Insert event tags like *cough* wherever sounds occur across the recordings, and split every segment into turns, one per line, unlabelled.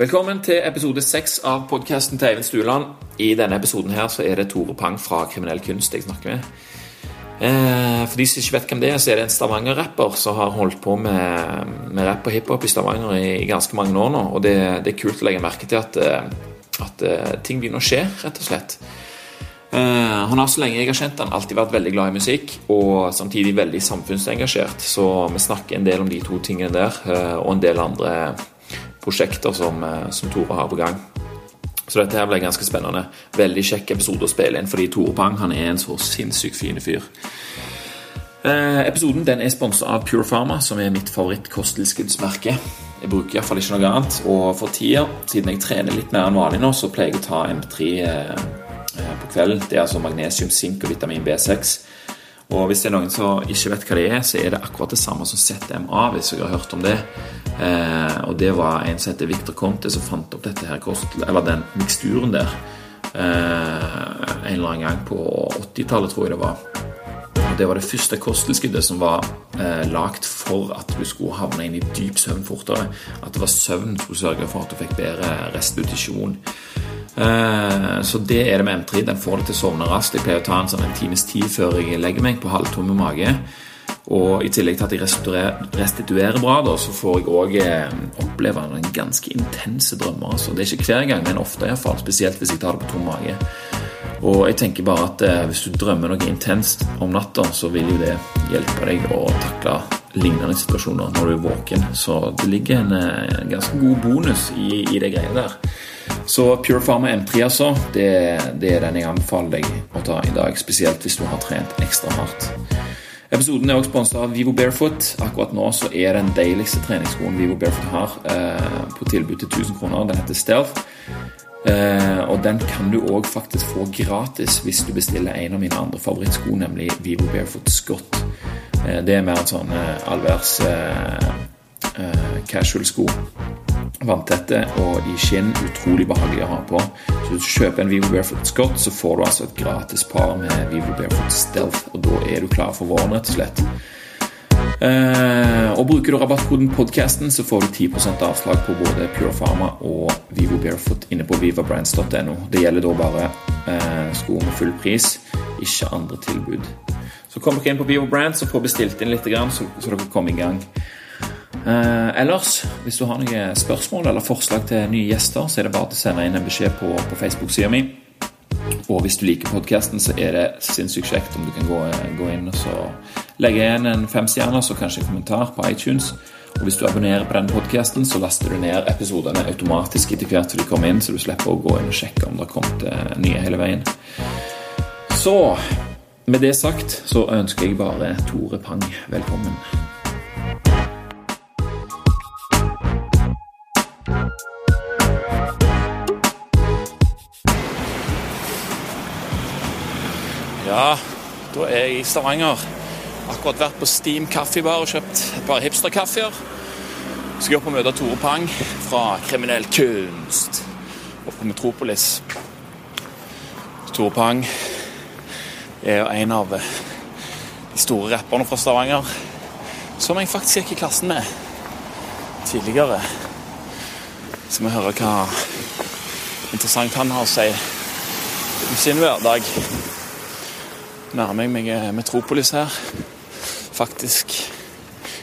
Velkommen til episode seks av podkasten til Eivind Stuland. I denne episoden her så er det Tore Pang fra Kriminell Kunst jeg snakker med. Eh, for de som ikke vet hvem det er, så er det en Stavanger-rapper som har holdt på med, med rapp og hiphop i Stavanger i, i ganske mange år nå. Og det, det er kult å legge merke til at, eh, at eh, ting begynner å skje, rett og slett. Eh, han har så lenge jeg har kjent han alltid vært veldig glad i musikk, og samtidig veldig samfunnsengasjert. Så vi snakker en del om de to tingene der, eh, og en del andre prosjekter som, eh, som Tore har på gang. Så dette her ble ganske spennende. Veldig kjekk episode å spille inn, fordi Tore Pang han er en så sinnssykt fin fyr. Eh, episoden den er sponsa av Pure Pharma, som er mitt favorittkosttilskuddsmerke. Jeg bruker iallfall ikke noe annet, og for tida, siden jeg trener litt mer enn vanlig nå, så pleier jeg å ta M3 eh, eh, på kvelden. Det er altså magnesium, sink og vitamin B6. Og hvis det er noen som ikke vet hva det er, så er det akkurat det samme som ZMA, hvis jeg har hørt om det. Eh, og det var en som heter Victor Conte som fant opp dette her kost, eller den miksturen der eh, en eller annen gang på 80-tallet, tror jeg det var. Og det var det første kosttilskuddet som var eh, lagt for at du skulle havne inn i dyp søvn fortere. At det var søvn som skulle sørge for at du fikk bedre restitusjon. Eh, så det er det med M3. Den får deg til å sovne raskt. Jeg pleier å ta den sånn en times tid før jeg legger meg på halvtomme mage. Og i tillegg til at jeg restituerer, restituerer bra, da, så får jeg òg eh, oppleve noen ganske intense drømmer. Altså. Det er ikke hver gang, men ofte iallfall. Spesielt hvis jeg tar det på tom mage. Og jeg tenker bare at eh, hvis du drømmer noe intenst om natta, så vil jo det hjelpe deg å takle lignende situasjoner når du er våken. Så det ligger en eh, en ganske god bonus i, i det greiene der. Så Pure Pharma M3 altså, det, det er den jeg anbefaler deg å ta i dag, spesielt hvis du har trent ekstra hardt. Episoden er også sponset av Vivo Barefoot. Akkurat nå så er den deiligste treningsskoen Vivo Barefoot har, eh, på tilbud til 1000 kroner. Den heter Stealth. Eh, og den kan du òg faktisk få gratis hvis du bestiller en av mine andre favorittsko, nemlig Vivo Barefoot Scott. Eh, det er mer en sånn eh, allværs eh, eh, casual-sko. Vanntette og i skinn. Utrolig behagelig å ha på. Så hvis du kjøper en Vivo Barefoot Scott, så får du altså et gratis par med Vivo Barefoot Stealth, og da er du klar for våren, rett og slett. Eh, og Bruker du rabattkoden podcasten, så får du 10 avslag på både Pure Pharma og Vivo Barefoot inne på vivabrands.no. Det gjelder da bare eh, sko med full pris, ikke andre tilbud. Så kom dere inn på Vivo Brands og få bestilt inn litt, grann, så, så dere kommer i gang. Eh, ellers, hvis du har noen spørsmål eller forslag til nye gjester, så er det bare til å sende inn en beskjed på, på Facebook-sida mi. Og hvis du liker podkasten, så er det sinnssykt kjekt om du kan gå, gå inn og så legge igjen en femstjerners og kanskje en kommentar på iTunes. Og hvis du abonnerer på den podkasten, så laster du ned episodene automatisk etter hvert som de kommer inn, så du slipper å gå inn og sjekke om det har kommet eh, nye hele veien. Så med det sagt så ønsker jeg bare Tore Pang velkommen. Ja, da er jeg i Stavanger. Akkurat vært på Steam kaffebar og kjøpt et par hipsterkaffer. Skal opp og møte Tore Pang fra Kriminell Kunst oppe på Metropolis. Tore Pang er jo en av de store rapperne fra Stavanger som jeg faktisk gikk i klassen med tidligere. Så vi hører hva interessant han har å si om sin hverdag nærmer jeg meg eh, Metropolis her. Faktisk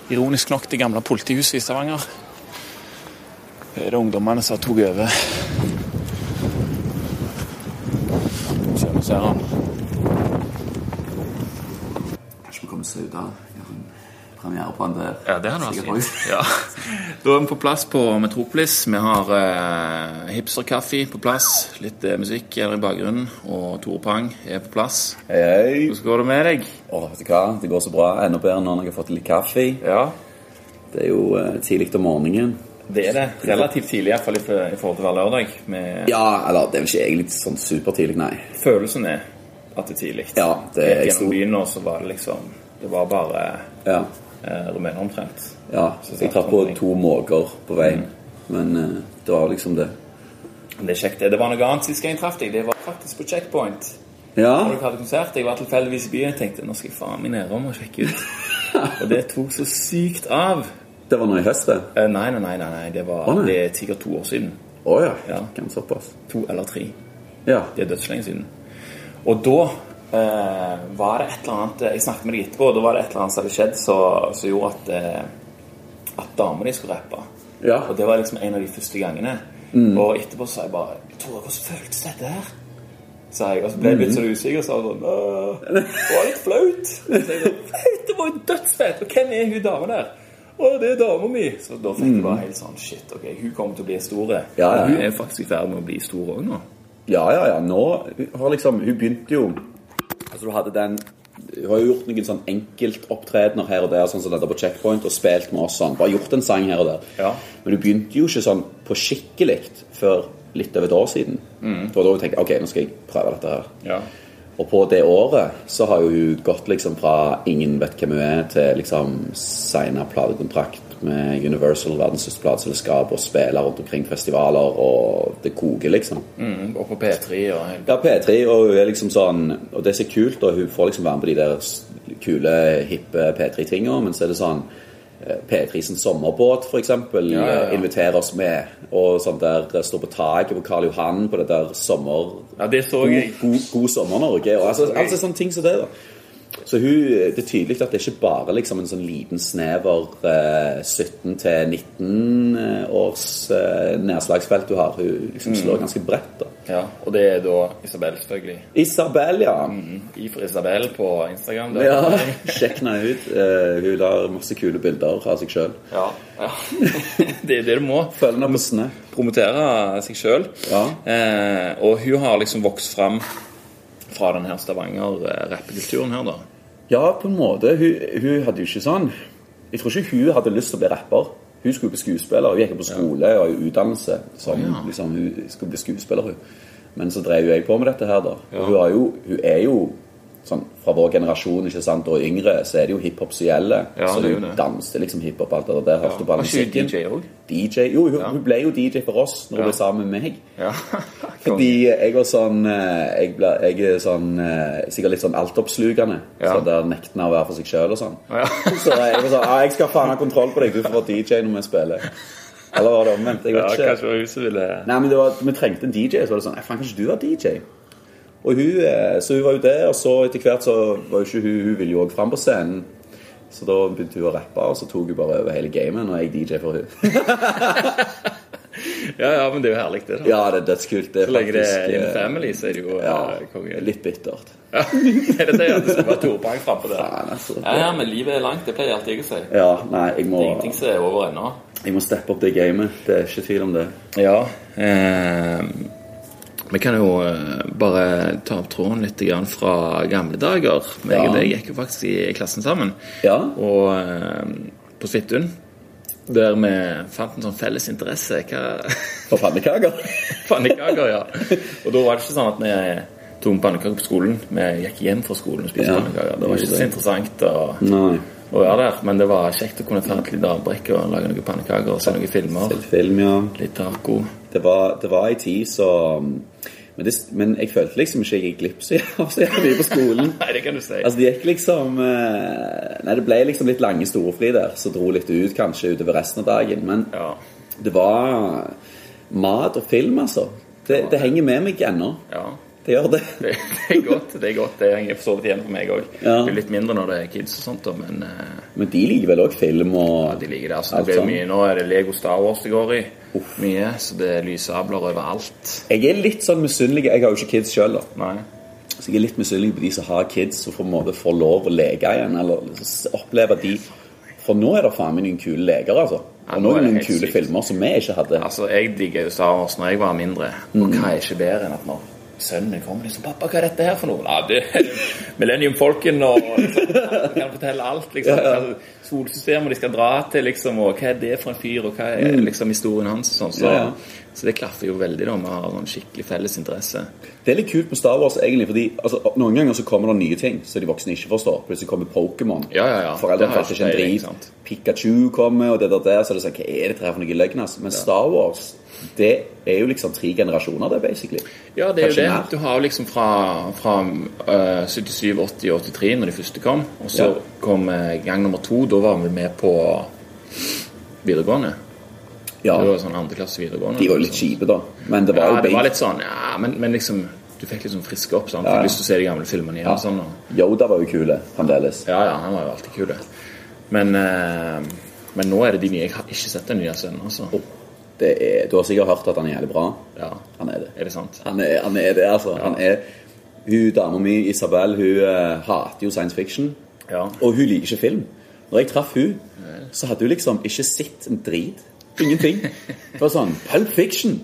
ironisk nok det gamle politihuset i Stavanger. Det er det ungdommene som tok over. Se om vi ser han.
Kanskje vi kommer oss ut av gjør en premiere på han der. Sikkert også.
altså. Ja. Da er vi på plass på Metropolis. Vi har eh, hipsterkaffe på plass. Litt eh, musikk er der i bakgrunnen. Og Tore Pang er på plass.
Hei, hei.
Hvordan går det med deg?
Å, vet du hva? Det går så bra. Enda bedre nå når jeg har fått litt kaffe.
Ja,
Det er jo eh, tidlig om morgenen.
det er det. Relativt tidlig, iallfall i for- i forhold til hver lørdag. Med
Ja, eller det er vel ikke egentlig sånn supertidlig, nei.
følelsen er at det er tidlig.
Ja, det er jeg
Gjennom
stor.
byen nå så var det liksom Det var bare
Ja,
eh, rumenere omtrent.
ja. Jeg traff på to måker på veien,
Mm.
men eh, det var liksom det.
Men Det er kjekt. det. Det var noe annet sist gang jeg traff deg. Det var faktisk på checkpoint.
Ja,
Når dere hadde konsert, Jeg var tilfeldigvis i byen og tenkte nå skal jeg faen meg nedom og sjekke
*laughs*
ut. og det tok så sykt av.
det var nå i høst, det.
Eh, nei, nei, nei, nei, nei. Det, var,
Å, nei.
det er sikkert to år siden.
Å ja.
Ja.
Tok han såpass?
To eller tre.
Ja.
Det er dødslenge siden. Og da eh, var det et eller annet
eh,
Jeg snakket med deg etterpå, og da var det et eller annet som hadde skjedd som som gjorde at, eh, at damene skulle rappe.
Ja.
Og det var liksom en av de første gangene. Og etterpå sa jeg bare Tore, hvordan føltes dette her? Sa jeg. Og så ble jeg litt sånn usikker og sa sånn «Åh, Det var litt *laughs* flaut. Så jeg sånn, «Flaut, Det var jo dødsfett! Og hvem er hun dama der? Å, det er dama mi! Så da fikk jeg bare helt sånn Shit, ok, hun kommer til å bli stor.
Ja, ja,
Og Hun
ja.
er jo faktisk i ferd med å bli stor òg nå.
ja, ja, ja. Nå har liksom Hun begynte jo Altså, du hadde den Hun har jo gjort noen sånn enkeltopptredener her og der, sånn som dette på Checkpoint, og spilt med oss sånn. Bare gjort en sang her og der.
Ja.
Men hun begynte jo ikke sånn på skikkelig før litt over et år siden. Det var da hun tenkte OK, nå skal jeg prøve dette her.
Ja.
Og på det året så har jo hun gått liksom fra ingen vet hvem hun er, til liksom signa platekontrakt med Universal, verdens største plateselskap, og spiller rundt omkring festivaler, og det koker, liksom.
Mm, og på P3 og
Ja, P3, og hun er liksom sånn Og det er så kult, og hun får liksom være med på de der s- kule, hippe P3-tinga, men så er det sånn eh, P3 sin sommerbåt, for eksempel,
Ja, ja, ja.
eh, inviterer oss med. Og sånn der eh, står på taket på Karl Johan på det der sommer...
Ja, det så
god,
jeg.
god, god sommer, Norge. Og altså,
Så gøy.
altså sånne ting som det, da. Så hun, eh, det er tydelig at det er ikke bare liksom en sånn liten snever eh, 17-19-års eh, nedslagsfelt du har. Hun liksom
Mm.
slår ganske bredt. da.
Ja, og det er da Isabel, selvfølgelig.
Isabel, ja.
Mm. I for Isabel på Instagram. Det.
ja. *laughs* Sjekk henne ut. Eh, hun lar masse kule bilder av seg sjøl.
ja. ja. *laughs* det er det du må.
Følg henne på Snap.
Promotere seg sjøl.
Ja.
Eh, og hun har liksom vokst fram fra den her Stavanger-rappekulturen her, da.
Ja, på en måte. Hun, hun hadde jo ikke sånn Jeg tror ikke hun hadde lyst til å bli rapper. Hun skulle bli skuespiller. Hun gikk jo på skole og i utdannelse. Som,
Ja.
liksom, hun skulle bli skuespiller, hun. Men så drev jo jeg på med dette her, da. Og hun, har jo, hun er jo sånn fra vår generasjon ikke sant, og yngre, så er det jo hiphop som gjelder.
Ja,
så
det er jo
hun
det.
danser liksom hiphop alt det der. Hørte på all
Var ikke hun
musikken.
DJ òg?
DJ? Jo, hun,
Ja.
hun ble jo DJ for oss når
Ja.
hun ble sammen med meg.
*laughs* Ja.
Fordi jeg var sånn eh, Jeg, ble, jeg er sånn, eh, sikkert litt sånn altoppslukende.
Ja.
Sånn der nekten av å være for seg sjøl og sånn.
Ja.
*laughs* Så jeg var sånn Ja, jeg skal faen ha kontroll på deg. Du får være DJ når vi spiller. Eller var det omvendt? Jeg
Ja,
vet
kanskje
ikke.
det var hun som ville
Nei, men det var, Vi trengte en DJ, så var det sånn «Nei, Faen, kanskje du var DJ? Og hun, eh, Så hun var jo det, og så etter hvert så var jo ikke hun Hun ville jo òg fram på scenen. Så da begynte hun å rappe, og så tok hun bare over hele gamet. Og jeg DJ for hun *laughs*
Ja, ja, men det er jo herlig, det. da
Ja, det er dødskult. Det er
Så lenge det er in
eh,
family, så er det jo
ja,
eh, konge. *laughs*
litt bittert.
Ja, det sier jeg at det skal være Tore Bang frampå der.
Faen, altså.
Ja, ja, men livet er langt. Det pleier alltid jeg å si.
Ja, nei, jeg må,
Ingenting som er over ennå.
jeg må steppe opp det gamet. Det er ikke tvil om det.
Ja. Eh, vi kan jo eh, bare ta opp tråden litt grann fra gamle dager. Jeg
Ja.
og deg gikk jo faktisk i klassen sammen.
Ja.
Og eh, på Svithun. Der vi fant en sånn felles interesse. Hva *laughs*
For pannekaker.
Pannekaker, ja. Og da var det ikke sånn at vi tok med pannekaker på skolen. Vi gikk hjem fra skolen og spiste
Ja,
pannekaker. Det var ikke
det.
så interessant å,
*laughs* Nei.
å være der, men det var kjekt å kunne ta et lite avbrekk og lage noen pannekaker og se noen filmer.
Litt film, ja.
Litt taco.
Det var, det var ei tid så um, men, det, men jeg følte liksom ikke jeg gikk glipp så *laughs* av så jævlig mye på skolen.
*laughs* Nei, det kan du si.
Altså, det gikk liksom eh, Nei, det ble liksom litt lange storefri der, så dro litt ut kanskje utover resten av dagen. Men
Ja.
det var eh, mat og film, altså. Det, det henger med meg ennå.
ja.
Det gjør det.
Det, det er godt. Det er godt. Det henger for så vidt igjen for meg òg.
Ja.
Blir litt mindre når det er kids og sånt, da, men eh,
Men de liker vel òg film og
de liker det. Altså,
Alt
det blir jo
sånn.
mye, nå er det Lego Star Wars det går i. Mye. Så det er lyssabler overalt.
Jeg er litt sånn misunnelig. Jeg har jo ikke kids sjøl, da.
Nei.
Så jeg er litt misunnelig på de som har kids, og på en måte får lov å leke igjen. Eller s- oppleve de For nå er det faen meg noen kule leker, altså.
Ja,
Og
nå er
noen
det helt
kule
sykt.
filmer som vi ikke hadde.
Altså, jeg digger jo Star Wars når jeg var mindre. Og hva er ikke bedre enn at når sønnen min kommer liksom 'Pappa, hva er dette her for noe?' Nei, det er Millennium Falcon og liksom, Han kan fortelle alt, liksom. Altså, Solsystemet de skal dra til, liksom, og hva er det for en fyr, og hva er liksom historien hans, og sånn. Så,
Ja, ja.
så det klaffer jo veldig, da. Vi har sånn skikkelig felles interesse.
Det er litt kult med Star Wars, egentlig, fordi altså, noen ganger så kommer det nye ting som de voksne ikke forstår. Plutselig kommer Pokémon.
Ja, ja, ja. Det
Foreldrene
har
fatter
jeg ikke
ikke en
peiling,
drit.
sant.
Pikachu kommer, og det der der. Så er det sånn Hva er dette her for noe løgn, altså? Men Star Wars, det er jo liksom tre generasjoner, det, basically.
Ja, det er jo
Kanskje
det.
mer.
Du har jo liksom fra, fra eh, 77, 80 og 83, når de første kom. Og så
Ja.
kom eh, gang nummer to. Da var vi med på videregående.
Ja.
Det var jo sånn andreklasse videregående.
De var jo litt kjipe, da. Men det var
Ja,
jo
det var
Bing.
litt sånn, ja, men, men liksom Du fikk liksom friske opp, sant?
Ja, ja.
Fikk lyst til å se de gamle filmene igjen. og Sånn, og,
Yoda var jo kule fremdeles.
ja, ja, han var jo alltid kul, det. Men, eh, men nå er det de nye. Jeg har ikke sett den nye scenen, altså.
Det er, du har sikkert hørt at han er jævlig bra.
Ja.
Han er det.
Er det sant?
Han er, han er det, altså. Han er, hun dama mi, Isabel, hun eh, hater jo science fiction.
Ja.
Og hun liker ikke film. Når jeg traff hun, så hadde hun liksom ikke sett en drit. Ingenting. Det var sånn Pulp Fiction!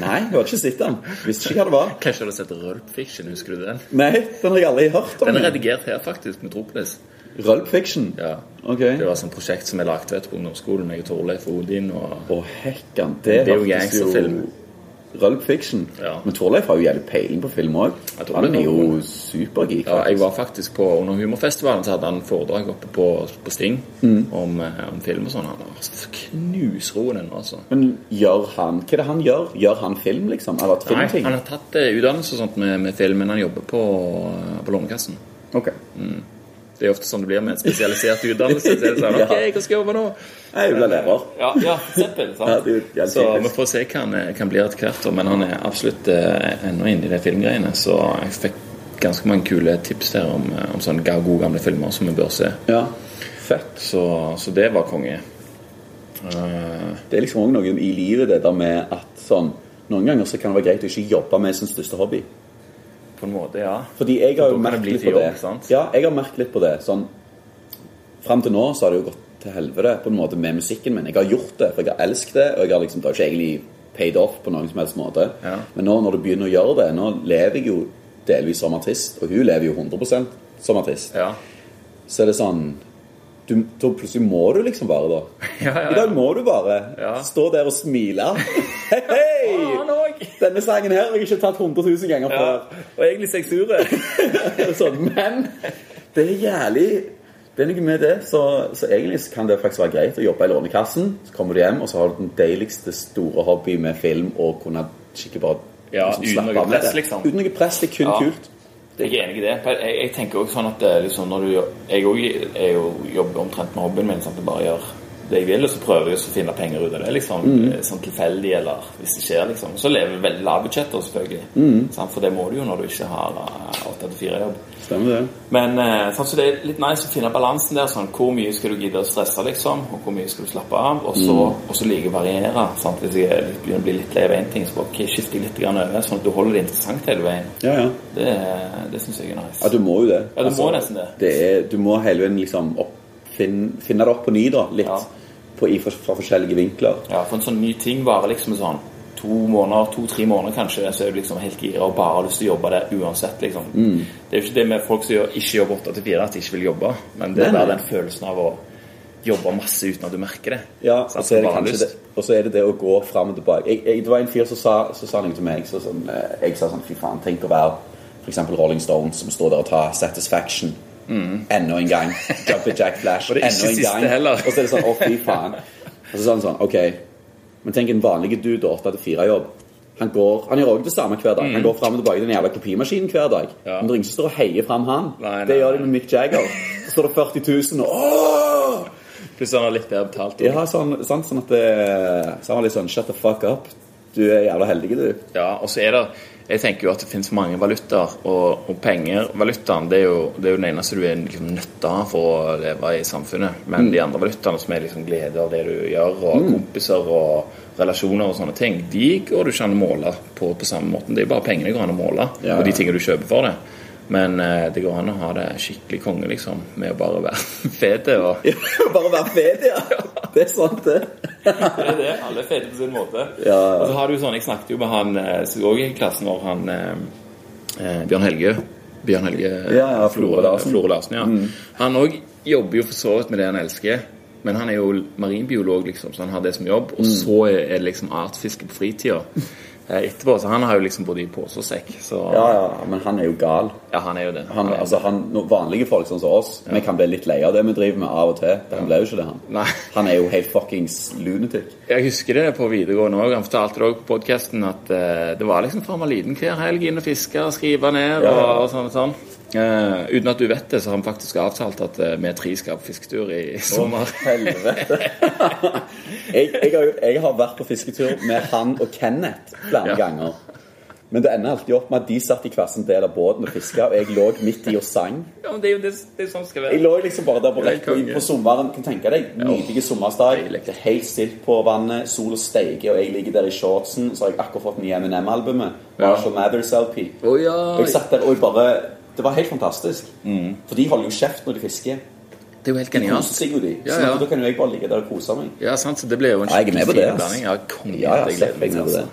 Nei, hun hadde ikke sett den. Visste ikke hva det var.
Kanskje du har sett Rølp Fiction? Husker du den?
Nei, den har jeg aldri hørt om.
Den er redigert her, faktisk. Metropolis.
Rølp Fiction?
Ja.
Ok.
Det var et sånt prosjekt som jeg lagde vet, du, på ungdomsskolen. Jeg og Torleif og Odin og
Å, hekkan. Det,
Det er jo
hørtes
gangsterfilm.
Rølp Fiction.
Ja.
Men Torleif har jo jævlig peiling på film òg.
Ja, Torleif
Han er
har
jo supergeek.
ja, Jeg var faktisk på Under humorfestivalen så hadde han foredrag oppe på, på Sting
Mm.
om, eh, om film og sånn. Han var så knusroende nå, altså.
Men gjør han Hva er det han gjør? Gjør han film, liksom? Eller et
Nei,
filmting?
han har tatt eh, utdannelse og sånt med, med film, men han jobber på, eh, på Lånekassen.
Ok.
Det er ofte sånn det blir med en spesialisert utdannelse. Så er det sånn,
*laughs* Ja.
ok, hva skal jeg jobbe nå?
Nei, Jeg ble lærer.
Ja, ja, for eksempel.
Ja,
Sant?
det er jo jævlig
Så vi
typisk.
får se hva han eh, kan bli etter hvert, da, men han er absolutt eh, ennå inne i de filmgreiene. Så jeg fikk ganske mange kule tips der om, eh, om sånne ga- gode gamle filmer som vi bør se.
Ja.
Så, så det var konge. Eh,
Det er liksom også noe i livet det der med at sånn Noen ganger så kan det være greit å ikke jobbe med sin største hobby.
på en måte, ja.
Fordi jeg har
Da
jo
kan det
merket
bli
litt
til
på det.
jobb, sant?
Ja, jeg har merket litt på det. Sånn Fram til nå så har det jo gått til helvete på en måte med musikken min. Jeg har gjort det, for jeg har elsket det, og jeg har liksom, det har ikke egentlig paid off på noen som helst måte.
Ja.
Men nå når du begynner å gjøre det Nå lever jeg jo delvis som artist, og hun lever jo 100 som artist.
Ja,
Så er det sånn du, Da plutselig må du liksom bare, da.
*laughs* ja, ja.
I dag må du bare
Ja.
stå der og smile. *laughs* Hei, hei! Denne sangen her har jeg ikke tatt 100 000 ganger før.
Og egentlig så er jeg
*laughs*
sur.
Så, men det er jævlig Det er noe med det. Så, så egentlig så kan det faktisk være greit å jobbe i Lånekassen. Så kommer du hjem, og så har du den deiligste store hobby med film og kunne skikkelig bare
Ja,
liksom,
uten
slappe
noe
av med
press,
det.
liksom.
Uten noe press. Det er kun
Ja.
kult.
Jeg er enig i *laughs* det. Jeg, jeg tenker også sånn at eh, liksom, når du, gjør- jeg også er jo jobber omtrent med hobbyen min. Sant? Jeg bare gjør det jeg vil, og så prøver jeg også å finne penger ut av det. Liksom,
Mm.
eh, Sånn tilfeldig, eller hvis det skjer, liksom. Så lever vi veldig lave budsjetter, selvfølgelig.
Mm.
Sant? For det må du jo når du ikke har eh, 8-4-jobb.
Stemmer det.
Men eh, sånn, så det er litt nice å finne balansen der. Sånn, hvor mye skal du gidde å stresse, liksom? Og hvor mye skal du slappe av? Og så,
Mm.
og så like å variere. Sant? Hvis jeg er- begynner å bli litt lei av én ting, så bare, ok, skifter jeg litt grann over. Sånn at du holder det interessant hele veien.
Ja, ja.
Det, det syns jeg er nice.
Ja, du må jo det. Altså,
Ja, du må nesten det.
er, du må hele veien liksom opp, finne, finne det opp på ny, da. Litt.
Ja.
På, i, fra, fra forskjellige vinkler.
Ja, for en sånn ny ting varer liksom sånn to måneder, to-tre måneder kanskje, så er du liksom helt gira og bare har lyst til å jobbe der uansett, liksom.
Mm.
Det er jo ikke det med folk som gjør, ikke jobber 8 til 4, at de ikke vil jobbe, men det er
Nei, nei.
bare den følelsen av å jobbe masse uten at du merker det.
Ja,
Sant?
og så er det
Bare
kanskje
lyst.
det, og så er det det å gå fram og tilbake. Jeg, jeg, det var en fyr som sa, som sa noe til meg. Så sånn, eh, jeg sa sånn Fy faen, tenk å være f.eks. Rolling Stones, som står der og tar Satisfaction enda en
*laughs*
gang. Jumper Jack Flash
Mm. Og det er
enda
ikke
en
siste
gang.
heller.
Og så er det sånn Å, fy
*laughs*
faen. Og så sa han sånn OK, men tenk en vanlig dude 8 til 4-jobb. Han, går, han gjør også det samme hver dag. Han går fram og tilbake i den jævla kopimaskinen hver dag.
Mm. Ja.
Men det er ingen som står og heier fram han.
Nei,
det
nei,
gjør de med Mick
*laughs*
Jagger. Så står det 40 000 og Åh!
Pluss han har litt bedre betalt.
Ja, sånn, sant, sånn at det, Så han var litt sånn Shut the fuck up. Du er jævla heldig, du. *laughs*
Ja, og så er det Jeg tenker jo at det finnes mange valutaer, og, og penger Valutaen det er, jo, det er jo den eneste du er liksom nødt av for å leve i samfunnet. Men de andre valutaene, som er liksom glede av det du gjør, og kompiser og relasjoner og sånne ting, de går du ikke an å måle på på samme måten. Det er jo bare pengene går an å måle,
Ja, ja.
og de tingene du kjøper for det. Men eh, det går an å ha det skikkelig konge, liksom, med å bare være *laughs* fet og
Bare vær fet, ja. Det er sant, det.
Det er det. Alle er fete på sin måte.
Ja.
Og så har du jo sånn, Jeg snakket jo med han eh, som også gikk i klassen vår, han eh, eh, Bjørn Helge. Bjørn Helge
Ja, ja, Flore Larsen. Mm.
Flore eh, Larsen, ja. Han òg jobber jo for så vidt med det han elsker. Men han er jo marinbiolog, liksom, så han har det som jobb.
Mm.
Og så er det liksom artsfiske
*laughs*
på fritida eh, etterpå. Så han har jo liksom både i pose og sekk. Så
Ja, ja, men han er jo gal.
Ja, han er jo det.
Han, altså, han, no- vanlige folk sånn som oss, vi kan bli litt lei av det vi driver med av og til. Men Han ble jo ikke det, han.
Nei.
Han er jo helt fuckings lunatic.
Jeg husker det på videregående òg. Han fortalte det også på podkasten at eh, det var liksom fra han var liten hver helg inn og fiske og skrive ned
Ja, ja.
og, og sånn og sånn. Eh, uten at du vet det, så har han faktisk avtalt at eh, vi tre skal på fisketur i sommer.
Helvete. *laughs* jeg, jeg, har, jo- jeg har vært på fisketur med han og Kenneth flere
Ja.
ganger. Men det ender alltid opp med at de satt i hver sin del av båten og fiska, og jeg lå midt i og sang.
*laughs* Ja, men det er jo det, det er sånn det skal
Jeg
være.
lå liksom bare der på
Det er
rekken
konge.
på sommeren. Kan tenke deg, Nydelig sommersdag.
Deilig.
Det er helt stilt på vannet. Sola steiker, og jeg ligger der i shortsen. Så har jeg akkurat fått den i M&M-albumet. Marshall Mathers LP.
Å ja.
Og jeg satt der og jeg bare Det var helt fantastisk. For de holder jo kjeft når de fisker.
Det er jo helt
De
genialt.
koser seg jo, de.
Ja,
Så
ja.
da kan jo jeg bare ligge der og kose meg.
Ja, sant, så det ble jo en
Ja, jeg er med på
skikkelig
det,
fin
ass.
blanding. Ja, konge,
Ja, ja,
jeg gleder
slett
meg
meg med
altså.
det.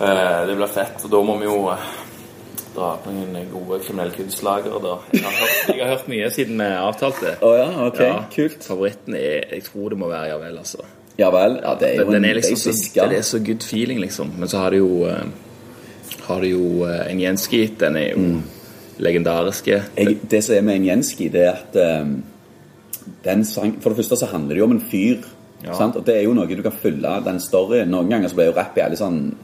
Eh, Det blir fett. Og da må vi jo eh, dra opp noen
eh,
gode kriminelle kunstlagere, da. Jeg har hørt-
Jeg har hørt mye siden vi avtalte.
Å ja, ok.
Ja.
Kult.
Favoritten er Jeg tror det må være Ja vel, altså.
Ja vel. Ja, det er jo
Den, den er
en
liksom
det er jo
så,
fisker.
det er så good feeling, liksom. Men så har du jo eh, Har du jo eh, en gjenskit. Den er jo
Mm.
legendariske.
jeg, Det som er med en Jenski, det er at um, den sang, For det første så handler det jo om en fyr.
Ja.
Sant? Og det er jo noe du kan fylle den storyen. Noen ganger så blir jo rap jævlig sånn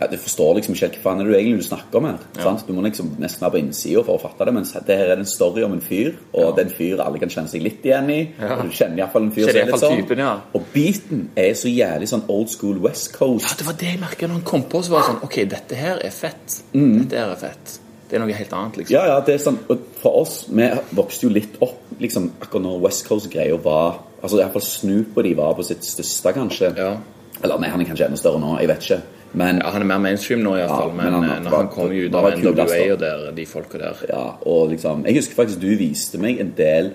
ja, Du forstår liksom ikke helt hva faen er det du egentlig du snakker om her. Sant? Du må liksom nesten være på innsida for å fatte det, mens det her er en story om en fyr, og det er en fyr alle kan kjenne seg litt igjen i.
Ja.
Og du kjenner iallfall en fyr
Kjenner
som er litt
iallfall
sånn.
typen, ja.
Og beaten er så jævlig sånn old school West Coast.
Ja, det var det jeg merket når han kom på. Så var det sånn OK, dette her er fett. Dette her er fett. Det er noe helt annet, liksom.
Mm. Ja, ja, det er sånn og For oss, vi vokste jo litt opp liksom, akkurat når West Coast-greia var Altså i hvert fall Snoop og de var på sitt største, kanskje.
Ja.
Eller nei, han er kanskje enda større nå, jeg vet ikke. Men
Ja, han er mer mainstream nå, i hvert
Ja,
fall. men
men han-
eh, når han
var-
kom jo ut
var
av
kulest, da.
NWA og der, de folka *laughs* der
ja, og liksom Jeg husker faktisk du viste meg en del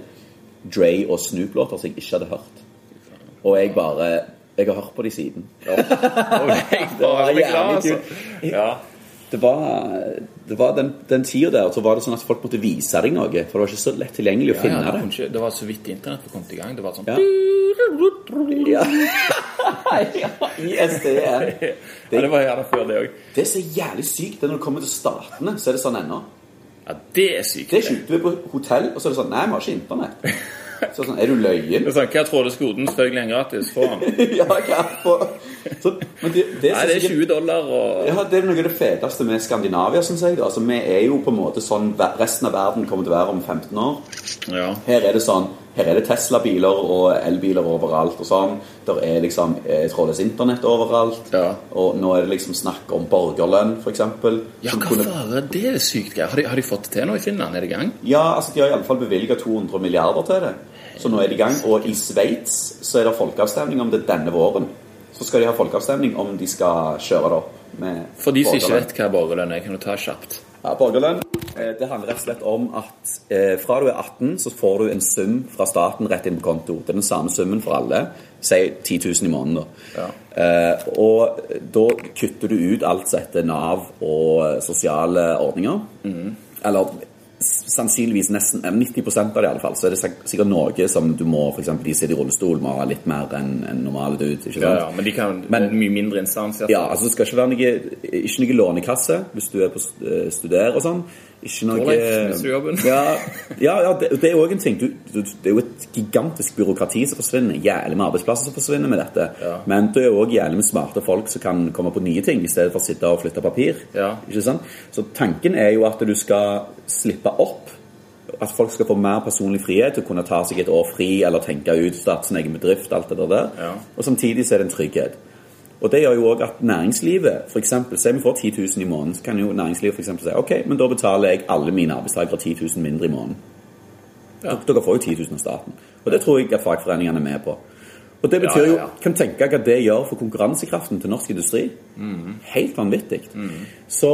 Dre og Snoop-låter som jeg ikke hadde hørt. Og jeg bare Jeg har hørt på de siden.
Å, nei,
Det var
faen, jeg er glad,
jævlig
altså. Ja.
Det var, det var den, den tida der så var det sånn at folk måtte vise deg noe, for det var ikke så lett tilgjengelig å
Ja,
finne
ja, det,
det.
kunne ikke- det var så vidt internett var kommet i gang. Det var sånn
Ja. Ja. ISDN.
*laughs* Ja, det var gjerne før det òg.
Det som er jævlig sykt, det er når du kommer til statene, så er det sånn ennå.
Ja, det er sykt.
Det er sjukt. Du er på hotell, og så er det sånn Nei, vi har ikke internett. Så er det sånn Er du løyen? *laughs*
Det er sånn, Hva tror du skoden selvfølgelig er gratis for han?
ja, hva for så, Men det, det,
Nei, det er
sikkert-
20 dollar og
ja, det er noe av det feteste med Skandinavia, syns jeg. da. Altså, vi er jo på en måte sånn ver- resten av verden kommer til å være om 15 år.
Ja.
Her er det sånn Her er det Tesla-biler og elbiler overalt og sånn. Der er liksom eh, trådløs internett overalt.
Ja.
Og nå er det liksom snakk om borgerlønn, for eksempel.
Ja,
som
hva
kunne-
fare? Det er sykt greier. Har, de- har de fått det til nå i Finland? Er det i gang?
Ja, altså de har iallfall bevilga 200 milliarder til det. Så nå er de i gang. Og i Sveits så er det folkeavstemning om det denne våren. Så skal de ha folkeavstemning om de skal kjøre det opp med
For de som ikke
borgerlønn.
vet hva borgerlønn er, kan du ta kjapt.
Ja, borgerlønn. eh, Det handler rett og slett om at eh, fra du er 18, så får du en sum fra staten rett inn på konto. Det er den samme summen for alle. Si 10 000 i måneden, da. Eh, og da kutter du ut alt som heter Nav og eh, sosiale ordninger. Eller s- sannsynligvis nesten eh, 90 av det, i alle fall. Så er det sik- sikkert noe som du må F.eks. de som sitter i rullestol, må ha litt mer enn en normal dude. Ikke sant?
Ja, ja, men de kan
Men-
det er en mye mindre instans.
Ja, altså det skal ikke være noe, ikke noe lånekasse hvis du er på st- eh, studer og sånn. Ikke noe
Torleif, mister du jobben?
ja,
*laughs*
ja, ja det, det er jo også en ting. Du, du, det er jo et gigantisk byråkrati som forsvinner. Jævlig med arbeidsplasser som forsvinner med dette.
Ja.
Men det er jo òg jævlig med smarte folk som kan komme på nye ting i stedet for å sitte og flytte papir.
Ja.
Ikke sant? Så tanken er jo at du skal slippe opp. At folk skal få mer personlig frihet til å kunne ta seg et år fri eller tenke ut, starte sin egen bedrift, alt det der.
Ja.
Og samtidig så er det en trygghet. Og det gjør jo òg at næringslivet for eksempel, Se vi får 10 000 i måneden, så kan jo næringslivet for eksempel si ok, men da betaler jeg alle mine arbeidstakere 10 000 mindre i måneden.
Ja.
Dere får jo 10 000 av staten. Og det tror jeg at fagforeningene er med på. Og det betyr
Ja, ja,
jo,
ja.
kan tenke hva det gjør for konkurransekraften til norsk industri.
Mm.
Helt vanvittig. Så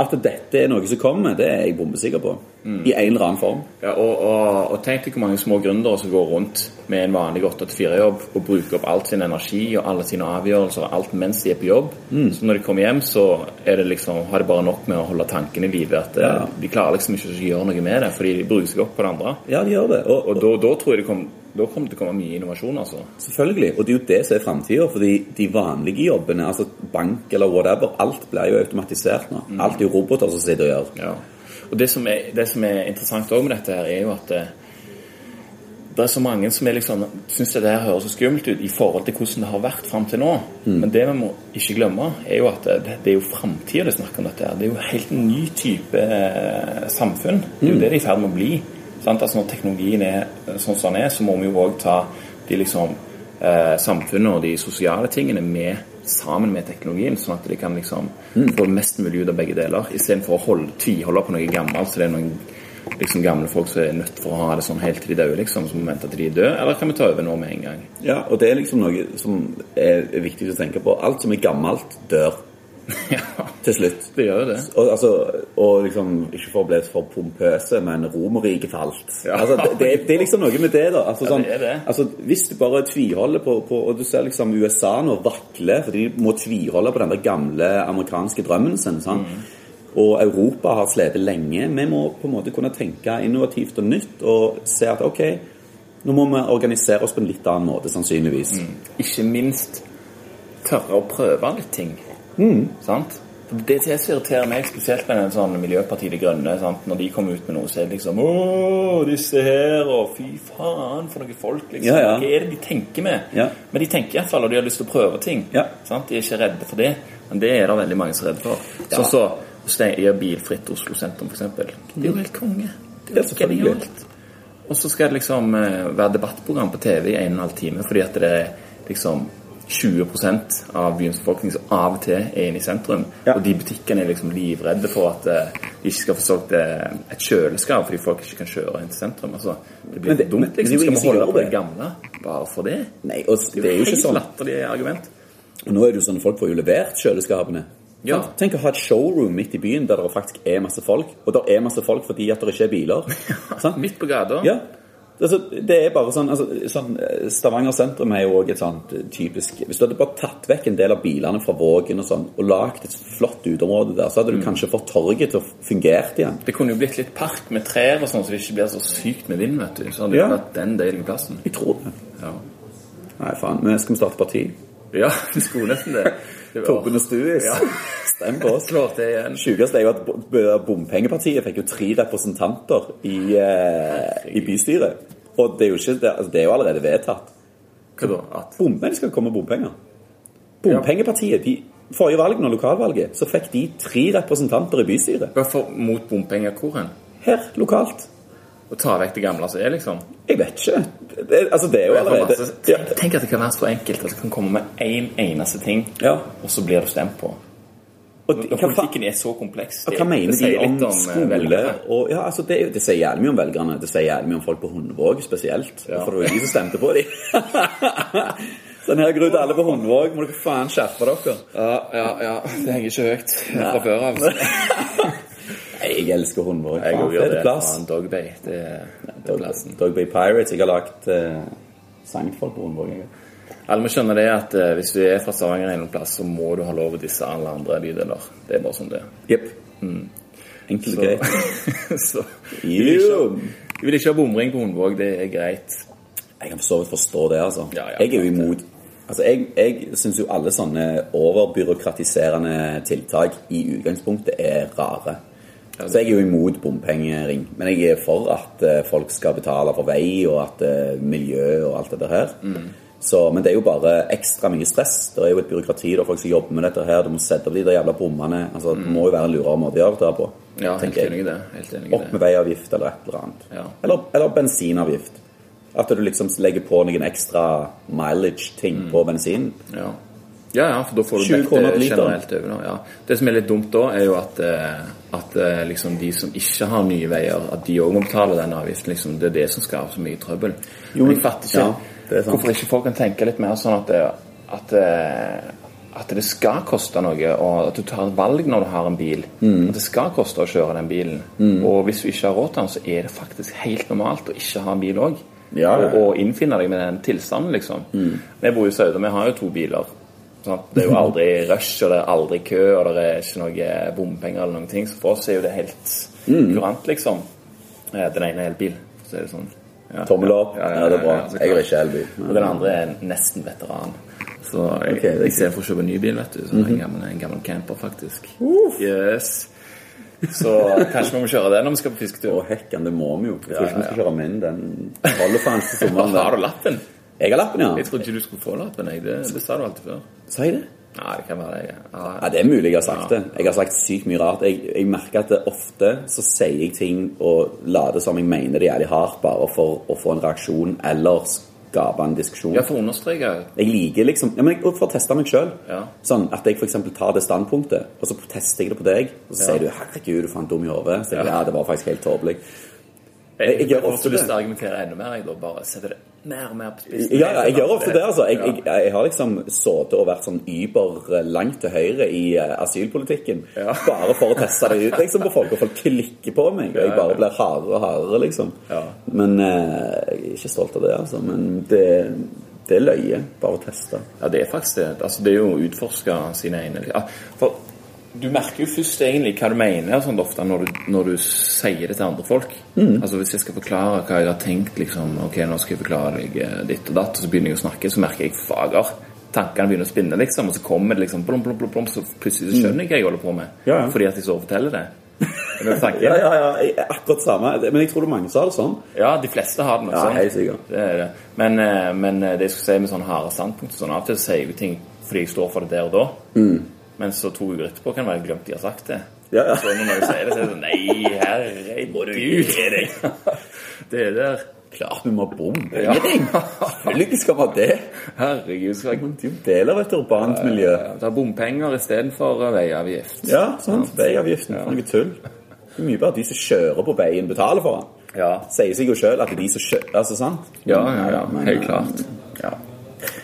at dette er noe som kommer, det er jeg bombesikker på.
Mm.
I en eller annen form.
Ja, og, og, og tenk deg hvor mange små gründere som går rundt med en vanlig 8-4-jobb og bruker opp all sin energi og alle sine avgjørelser og alt mens de er på jobb. Så når de kommer hjem, så er det liksom, har de bare nok med å holde tanken i live. At eh,
Ja.
de klarer liksom ikke å gjøre noe med det, fordi de bruker seg opp på det andre.
Ja, de gjør det. Og,
Og da, da tror jeg det kom, da kommer det til å komme mye innovasjon, altså.
Selvfølgelig. Og det er jo det som er framtida. Fordi de vanlige Mm. jobbene, altså bank eller whatever, alt blir jo automatisert nå. Alt er jo roboter som sitter og gjør.
Ja. Og det som er, det som er interessant også med dette her, er jo at eh, det er så mange som er liksom, syns det her høres så skummelt ut i forhold til hvordan det har vært fram til nå. Men det vi må ikke glemme, er jo at eh, det, det er jo framtida det er snakk om dette her. Det er jo helt en ny type eh, samfunn. Det er jo det det er i ferd med å bli. Sant? Altså Når teknologien er sånn som den er, så må vi jo òg ta de liksom eh, samfunnet og de sosiale tingene med sammen med teknologien, sånn at de kan liksom få mest mulig ut av begge deler, istedenfor å holde, tviholde på noe gammelt. så det er noen liksom gamle folk som er nødt for å ha det sånn helt til de dør, liksom, som må vente til de er døde, eller kan vi ta over nå med en gang? *laughs*
Ja, og det er liksom noe som er viktig å tenke på. Alt som er gammelt, dør
ja,
til slutt.
det gjør jo det.
Og, altså, og liksom, ikke for å bli for pompøse, men Romerriket falt.
Ja.
Altså, det, det, er- det er liksom noe med det, da. Altså,
Ja,
sånn,
det er det.
Altså, hvis du bare tviholder på, på Og du ser liksom USA nå vakle, for de må tviholde på den der gamle amerikanske drømmen sin. sant?
Mm.
Og Europa har slitt lenge. Vi må på en måte kunne tenke innovativt og nytt og se at ok, nå må vi organisere oss på en litt annen måte, sannsynligvis.
Mm. Ikke minst tørre å prøve litt ting.
Mm.
Sant? For Det er det som irriterer meg, spesielt med den sånn Miljøpartiet De Grønne. Sant? Når de kommer ut med noe, så er det liksom Å, disse her, og fy faen, for noen folk, liksom.
Ja, ja.
Hva er det de tenker med?
Ja.
Men de tenker iallfall, og de har lyst til å prøve ting.
Ja.
Sant? De er ikke redde for det. Men det er det veldig mange som er redde for.
Ja.
Sånn så steng- gjør bilfritt Oslo sentrum, f.eks. Det er
Mm.
jo helt konge. Det
Ja,
er jo
selvfølgelig.
genialt. Og så skal det liksom eh, være debattprogram på TV i en og en halv time fordi at det er liksom 20 av byens befolkning som av og til er inne i sentrum.
Ja.
Og de butikkene er liksom livredde for at eh, de ikke skal få solgt eh, et kjøleskap fordi folk ikke kan kjøre inn til sentrum. Altså, det blir
Men det- men
dumt,
det er jo ingen
liksom. Skal vi
som
holde
gjør
på det
det.
gamle bare for det?
Nei, og det er jo ikke
helt
sånn.
latterlig argument.
Og nå er det jo sånn folk får jo levert kjøleskapene.
Ja.
Sant? Tenk å ha et showroom midt i byen der det faktisk er masse folk. Og der er masse folk fordi at det ikke er
*laughs*
biler. Sant?
Midt på gata.
Ja. Altså, det er bare sånn, altså, sånn eh, Stavanger sentrum er jo også et sånt eh, typisk Hvis du hadde bare tatt vekk en del av bilene fra Vågen og sånn, og lagd et flott uteområde der, så hadde du
Mm.
kanskje fått torget til å fungere igjen.
Det kunne jo blitt litt park med trær og sånn, så det ikke blir så sykt med vind, vet du. Så hadde det
Ja.
vært den deilige plassen.
Jeg tror det.
Ja.
Nei, faen. Men skal vi starte parti?
Ja, vi skulle nesten *laughs* det. *laughs* det var-
Torbjørn og Stuis.
Ja.
*laughs* Stem på oss.
Slår til igjen.
Sjukeste er jo at bo- bo- bompengepartiet fikk jo tre representanter i, eh, i bystyret. Og det er, jo ikke, det, altså, det er jo allerede vedtatt.
Hva da? At
Bomben skal komme bompenger. Bompengepartiet de, Forrige valg, når lokalvalget, så fikk de tre representanter i bystyret.
Hvorfor mot bompenger hvor hen?
Her, lokalt.
Å ta vekk det gamle som er, liksom?
Jeg vet ikke. Det, altså, det er jo
Jeg får
allerede
masse-
ja,
Tenk- Tenk at det kan være så enkelt. At det kan komme med én eneste ting,
ja.
og så blir du stemt på.
Og de, hva,
Når
fa-
politikken er så kompleks
hva mener de
sier
om,
litt eh,
skole
velgerne.
og ja, altså, det, er jo- det sier jævlig mye om velgerne. Det sier jævlig mye om folk på Hundvåg spesielt.
Ja.
For det var jo de som stemte på dem. *laughs* sånn her grunn til alle på Hundvåg. Må dere faen skjerpe dere.
Ja, ja, ja. Det henger ikke høyt fra før av.
Nei, Jeg elsker Hundvåg.
*laughs* Jeg
Faen,
òg gjør
fete
det.
plass.
Faen, Dog Bay. Det, det er plassen.
Dog Bay Pirates. Jeg har lagt eh, sang for folk på Hundvåg. jeg.
Alle må skjønne det at eh, hvis du er fra Stavanger en eller annen plass, så må du ha lov å disse alle andre bydeler. Det er bare sånn det er.
Jepp. Enkelt
Mm. Så,
og greit.
så vi vil ikke
Jo.
ha- vi vil ikke ha bomring på Hundvåg, det er greit.
Jeg kan for så vidt forstå det, altså.
Ja, ja,
jeg er jo
klart det.
imot Altså, Jeg, jeg syns jo alle sånne overbyråkratiserende tiltak i utgangspunktet er rare. Så jeg er jo imot bompengering. Men jeg er for at eh, folk skal betale for vei og at eh, miljø og alt dette her.
Mm.
Så, men det er jo bare ekstra mye stress. Det er jo et byråkrati, det er folk som jobber med dette her. Du må sette opp de der jævla bommene. Altså, Det må jo være en lurere måte å gjøre dette her på.
Mm. Ja, helt
tenker jeg.
enig i det. Helt enig i
Opp
det.
med veiavgift eller et eller annet.
Ja.
Eller, eller bensinavgift. At du liksom legger på noen ekstra mileage-ting på bensin.
Ja. ja, ja, for da får du
20
dekket
kroner per liter.
generelt over. da, Ja. Det som er litt dumt da, er jo at, eh, at eh, liksom de som ikke har nye veier, at de òg må betale den avgiften. Liksom, det er det som skaper så mye trøbbel.
Jo,
Men jeg fatter
ja,
ikke
det er sant.
hvorfor ikke folk kan tenke litt mer sånn at, det- at, eh, at det skal koste noe, og at du tar et valg når du har en bil.
Mm.
At det skal koste å kjøre den bilen. Og hvis du ikke har råd til den, så er det faktisk helt normalt å ikke ha en bil òg.
Ja, Mm. ja, ja.
Og, og innfinne deg med den tilstanden, liksom. Vi bor i Sauda, vi har jo to biler. Sant? Det er jo aldri rush, og det er aldri kø, og det er ikke noe eh, bompenger eller noen ting. Så for oss er jo det helt
Mm.
kurant, liksom. Eh, Den ene er elbil, så er det sånn. Ja,
Tommel opp. Ja, det er bra.
så
jeg er
klart.
ikke elbil.
Og den andre er nesten veteran. Så jeg,
Ok, det er
Sånn
Mhm.
i stedet for å kjøpe en ny bil, vet du, så har jeg en gammel, en gammel camper, faktisk. Yes. Så kanskje vi må kjøre det når vi skal på fisketur.
Og hekken, det må vi jo. Jeg tror
Ja,
ikke vi
ja,
skal kjøre menn den holdefanen til
*laughs*
sommeren.
Har du
den.
lappen?
Jeg har lappen, ja.
Jeg trodde ikke du skulle få lappen. Jeg. Det, det sa du alltid før.
Si det.
Nei, det kan være det. Ja,
Ja, Det er mulig jeg har sagt det. Jeg har sagt sykt mye rart. Jeg, jeg merker at det ofte så sier jeg ting og later som jeg mener det jævlig hardt, bare for å få en reaksjon eller skape en diskusjon.
ja, for å understreke
Jeg liker liksom ja, men jeg, og For å teste meg sjøl.
Ja.
Sånn at jeg f.eks. tar det standpunktet, og så tester jeg det på deg. Og så sier du 'herregud, du fant dum i hodet'. Så sier jeg,
Ja.
ja, det var faktisk helt tåpelig.
Jeg,
jeg gjør
får
ofte
så lyst
det.
til å argumentere enda mer. Jeg da bare setter det mer og mer på spissen.
Ja, ja, jeg gjør ofte det, altså. Jeg,
Ja.
jeg, jeg har liksom sittet og vært sånn yber eh, langt til høyre i eh, asylpolitikken.
Ja.
*laughs* Bare for å teste det ut liksom, på folk, og folk klikker på meg. Og jeg bare blir hardere og hardere, liksom.
Ja.
Men eh, jeg er ikke stolt av det, altså. Men det, det er løye. Bare å teste.
Ja, det er faktisk det. Altså, det er jo å utforske sine egne ja, For du merker jo først egentlig hva du mener sånn ofte når du, når du sier det til andre folk.
Mm.
Altså Hvis jeg skal forklare hva jeg har tenkt liksom, Ok, nå skal jeg forklare deg eh, ditt og datt, og så begynner jeg å snakke, så merker jeg fager. Tankene begynner å spinne, liksom, og så kommer det liksom blom, blom, blom, blom, så plutselig så skjønner jeg hva jeg holder på med.
Mm. Ja, ja.
Fordi at jeg så forteller
*laughs*
det. Er det tanken?
Ja, ja, ja. jeg- Akkurat samme. Men jeg tror det er mange som har det sånn.
Ja, de fleste har den nok
Ja,
sånn.
helt sikkert.
Det er det. Men, eh, men eh, det jeg skulle si med sånne harde standpunkt og sånn, Av og til sier jeg jo ting fordi jeg står for det der og da. Men så to uker etterpå kan det være jeg glemt de har sagt det.
Ja, ja.
Så når noen sier det, så er det sånn Nei, herregud! *laughs* Det der.
Klart vi må ha bom.
Ja.
Ingenting. Selvfølgelig skal vi ha det.
*laughs* Herregud, skal jeg
Det er jo en del av et urbant miljø.
Ja, ta bompenger istedenfor eh, veiavgift.
Ja, sant. Veiavgiften. for Noe tull. Det er mye bare at de som kjører på veien, betaler for den.
Ja.
Sier seg jo sjøl at det er de som kjører Altså, sant?
Ja, ja, ja.
Men,
Helt
eh,
klart.
Ja.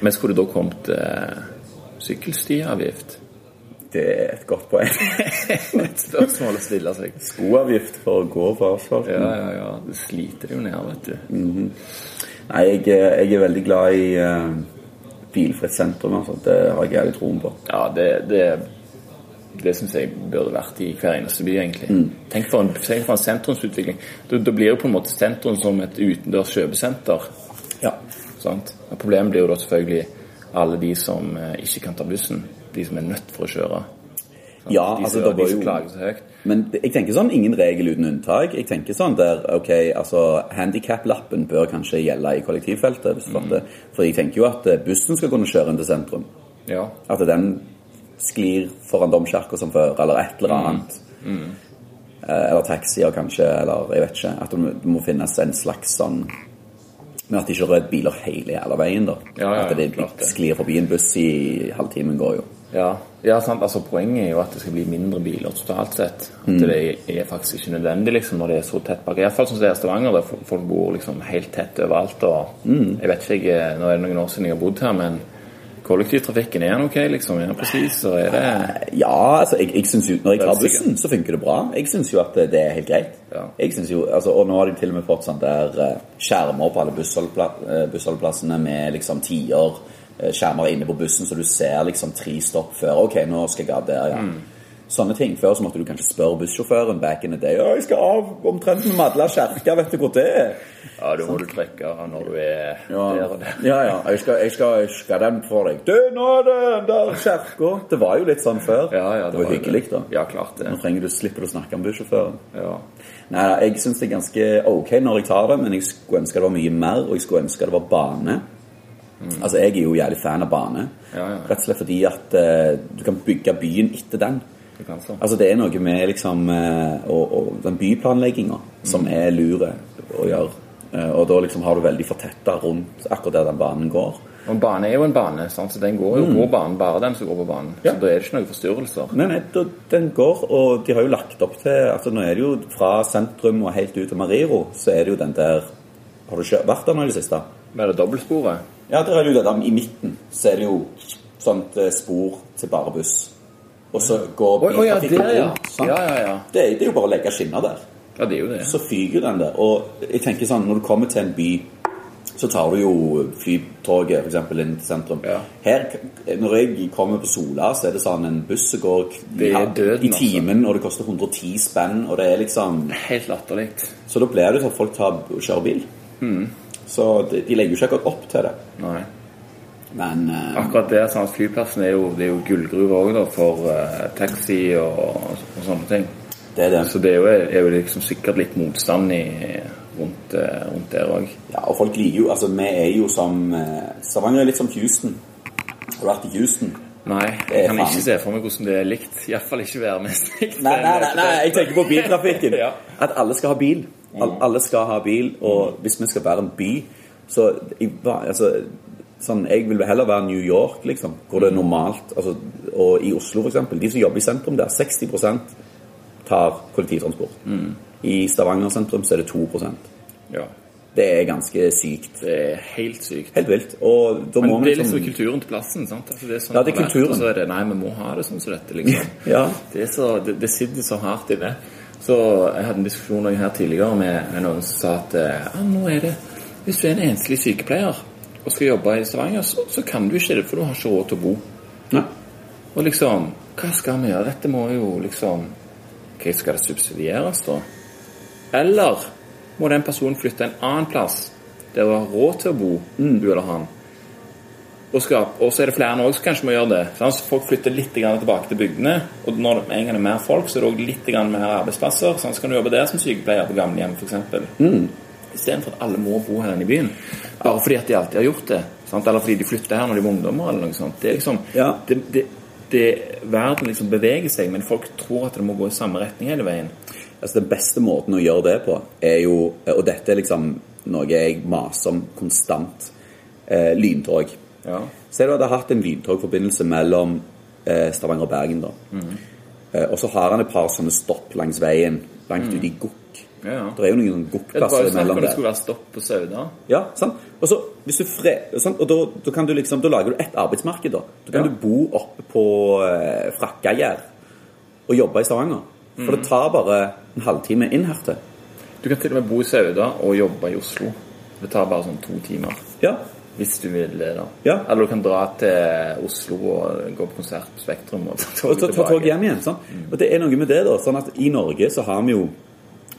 Men skulle det da kommet eh, sykkelstiavgift?
Det er et godt poeng.
*laughs*
*laughs*
Et spørsmål å stille seg.
Skoavgift for å gå på asfalten.
Ja, ja, ja. Det sliter jo ned, vet du.
Nei, jeg, eh, jeg er veldig glad i eh, bilfritt sentrum. Altså. Det har jeg jævlig troen på.
Ja, det, det, det syns jeg burde vært i hver eneste by, egentlig. Tenk, for en, tenk for en sentrumsutvikling. Da, da blir jo på en måte sentrum som et utendørs kjøpesenter.
Ja.
Sant? Og Problemet blir jo da selvfølgelig alle de som eh, ikke kan ta bussen. De som er nødt for å kjøre.
Ja,
De,
altså,
som,
det
de
var
som
jo
klager så høyt.
Men det- jeg tenker sånn ingen regel uten unntak. Jeg tenker sånn der, ok, altså Handikap-lappen bør kanskje gjelde i kollektivfeltet. Hvis du fatter.
Mm.
For jeg tenker jo at eh, bussen skal kunne kjøre inn til sentrum.
Ja.
At den sklir foran domkirka som før, eller et
Mm.
eller annet. Eh, Eller taxier, kanskje, eller jeg vet ikke. At det må- det må finnes en slags sånn Men at det ikke er røde biler hele jævla veien, da.
Ja, ja,
at det
klart det.
sklir forbi en buss i halvtimen, går jo.
Ja, ja sant? Altså, Poenget er jo at det skal bli mindre biler totalt sett.
Mm.
At Det er faktisk ikke nødvendig liksom, når det er så tett bak. Iallfall som det er i Stavanger, der fo- folk bor liksom helt tett overalt. og
Mm.
Jeg vet ikke, jeg, Nå er det noen år siden jeg har bodd her, men kollektivtrafikken er den ok? liksom, Er den presis? Og er det
Ja, altså, jeg, jeg synes jo Når jeg
Det er
tar
sikkert.
bussen, så funker det bra. Jeg syns jo at det det er helt greit.
Ja.
Jeg synes jo, altså, Og nå har de til og med fått sånn der eh, skjermer på alle bussholdpla eh, bussholdplassene med liksom tider. eh, Skjermer inne på bussen, så du ser liksom tre stopp før. Ok, nå skal jeg av der, ja.
Mm.
Sånne ting. Før så måtte du kanskje spørre bussjåføren back in the day. Ja, jeg skal av omtrent med Madla kjerke, vet du hvor det er?
Ja, da må du trekke når du er der og der.
ja, ja. Jeg skal, jeg skal, jeg skal den for deg. Du, nå er det den der kjerka! Det var jo litt sånn før.
Ja, ja,
det, var
jo
hyggelig, da.
Ja, klart det.
Nå trenger du slipper du å snakke om bussjåføren.
Ja.
Nei, da, jeg syns det er ganske ok når jeg tar det, men jeg skulle ønske det var mye mer, og jeg skulle ønske det var bane. Altså, jeg er jo jævlig fan av bane.
Mm. Ja, ja.
Rett og slett fordi at eh, du kan bygge byen etter den.
Du kan så.
Altså, det er noe med liksom eh, og, og den byplanlegginga som
Mm.
er lure å gjøre. Eh, og da liksom har du veldig fortetta rundt akkurat der den banen går.
Og en bane er jo en bane, sant? så den går jo går banen bare den som går på banen.
Mm. Ja.
Så da er det ikke noen forstyrrelser.
Nei, nei, da- den går, og de har jo lagt opp til altså Nå er det jo fra sentrum og helt ut til Mariro, så er det jo den der Har du kjø- vært der nå i det siste?
Men er det dobbeltsporet?
Ja, der er det jo det der i midten. Så er det jo sånt eh, spor til bare buss. Og så går
Oi, oi, ja,
biltrafikken
der, ja.
rundt. sant?
Ja, ja, ja.
Det, er- det er jo bare å legge skinner der.
Ja, det er jo det.
Så fyker den der. Og jeg tenker sånn, når du kommer til en by, så tar du jo flytoget for eksempel inn til sentrum.
Ja.
Her, når jeg kommer på Sola, så er det sånn en buss som går k-
Det er døden, altså.
i timen, og det koster 110 spenn, og det er liksom
Helt latterlig.
Så da blir det sånn at folk tar, kjører bil.
Mm.
Så de, de legger jo ikke akkurat opp til det.
Nei.
Men eh,
Akkurat der, sånn at flyplassen er jo, det er jo gullgruve òg, da, for eh, taxi og, og sånne ting.
Det er det.
Så det er jo, er jo liksom sikkert litt motstand i, rundt, eh, rundt der òg.
Ja, og folk liker jo Altså, vi er jo som eh, Stavanger er litt som Houston. Har du vært i Houston?
Nei,
Det er
jeg kan
faen.
ikke se for meg hvordan det er likt. Iallfall ikke værmessig.
*laughs* Nei, nei, nei, nei, jeg tenker på biltrafikken.
eh, *laughs* Ja. Mm.
At alle skal ha bil. Al alle skal ha bil, og hvis vi skal være en by, så jeg, var- altså, sånn, jeg vil heller være New York, liksom, hvor det er normalt. Altså, og i Oslo, for eksempel, de som jobber i sentrum der, 60 tar kollektivtransport.
Mm.
I Stavanger sentrum så er det 2
Ja,
Det er ganske sykt.
det er helt sykt.
Helt vilt. Og da må
Men det er
vi
liksom
liksom
kulturen til plassen. sant? Altså, det er sånn
Ja, det er
det har vært,
kulturen.
og Så er det, nei, vi må ha det sånn som
*laughs*
dette, liksom.
Ja.
Det, er så, det, det sitter så hardt inne. Så Jeg hadde en diskusjon også her tidligere med, med noen som sa at eh, ah, nå er det, hvis du er en enslig sykepleier og skal jobbe i Stavanger, så, så kan du ikke det, for du har ikke råd til å bo.
Nei.
Og liksom, hva skal vi gjøre? Dette må jo liksom Ok, skal det subsidieres, da? Eller må den personen flytte en annen plass der hun har råd til å bo, du eller han? Og, skal, og så er det flere nå også som kanskje må gjøre det. sant? Så folk flytter litt grann tilbake til bygdene. Og når det en gang er mer folk, så er det også litt grann mer arbeidsplasser. sånn, Så kan du jobbe der som sykepleier på gamlehjem, f.eks. Mm. Istedenfor at alle må bo her inne i byen. Bare fordi at de alltid har gjort det. sant? Eller fordi de flytter her når de var ungdommer. eller noe sånt. Det er liksom,
Ja.
det, det, det, verden liksom beveger seg, men folk tror at det må gå i samme retning hele veien.
Altså Den beste måten å gjøre det på er jo Og dette er liksom noe jeg maser om konstant. Eh, lyntog.
Ja.
Se du hadde hatt en lyntogforbindelse mellom eh, Stavanger og Bergen, da.
Mhm.
Eh, og så har han et par sånne stopp langs veien, langt ute i Gokk.
Ja, Mhm. ja.
Det er jo noen
Det var
Gokk-plasser
jo snakk om
imellom
det
der.
skulle være stopp på Sauda.
Ja, sant? Og så hvis du fre... Sant? Og da, da kan du liksom Da lager du ett arbeidsmarked, da. Da kan
Ja.
du bo oppe på eh, Frakkagjerd og jobbe i Stavanger.
Mhm.
For det tar bare en halvtime inn her til.
Du kan til og med bo i Sauda og jobbe i Oslo. Det tar bare sånn to timer.
Ja,
Hvis du vil det, da.
Ja.
Eller du kan dra til Oslo og gå på konsert på Spektrum og ta
Og
toget
ta, ta
tilbake. Mm.
tog hjem igjen. sant? Og det er noe med det, da. sånn at I Norge så har vi jo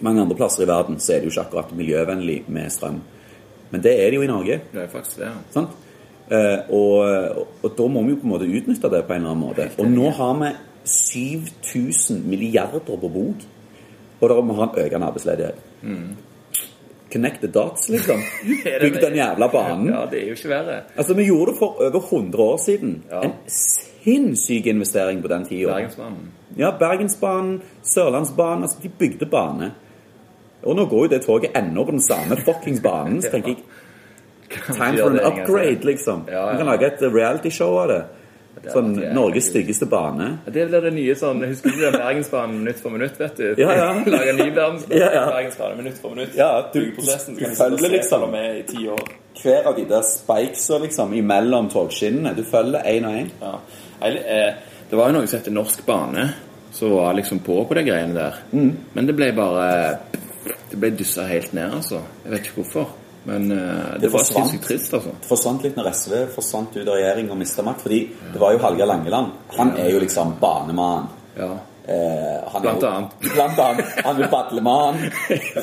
mange andre plasser i verden så er det jo ikke akkurat miljøvennlig med strøm. Men det er det jo i Norge.
Det er faktisk det. ja.
sant? Eh, og, og da må vi jo på en måte utnytte det på en eller annen måte. Og nå har vi 7000 milliarder på bok, og da må vi ha en økende arbeidsledighet.
Mm.
Connect the dots,
*laughs*
liksom. Bygg den jævla banen.
Ja, det er jo ikke verre.
Altså, Vi gjorde det for over 100 år siden.
Ja.
En sinnssyk investering på den tida.
Bergensbanen.
Ja, Bergensbanen, Sørlandsbanen altså De bygde bane. Og nå går jo det toget ennå på den
*laughs*
samme fuckings banen. Så tenker jeg Time for an upgrade, liksom.
Ja, ja.
Man kan lage et realityshow av det.
hadde
Sånn
vært jævlig
Norges
kult.
styggeste bane.
Det blir det nye sånn Husker du den Bergensbanen minutt for minutt, vet du?
Ja, ja.
*laughs* Lager ny verdensbane,
Ja, ja.
Bergensbanen minutt for minutt.
Ja, du-
Bygger prosessen,
du
så kan du sitte og
følger
se
liksom.
på meg i ti år.
Hver av de der spikesa liksom imellom togskinnene. Du følger én og én.
Ja. Jeg, eh, det var jo noe som heter Norsk Bane, som var liksom på på de greiene der. Men det ble bare Det ble dyssa helt ned, altså. Jeg vet ikke hvorfor. Men eh, det, var
forsvant.
sinnssykt trist, altså.
Det forsvant litt når SV forsvant ut av regjering og mista makt. Fordi det var jo Hallgeir Langeland. Han er jo liksom banemannen.
Ja.
Eh, han
Blant
er jo-
annet.
*laughs* Blant annet. Han vil badle med han,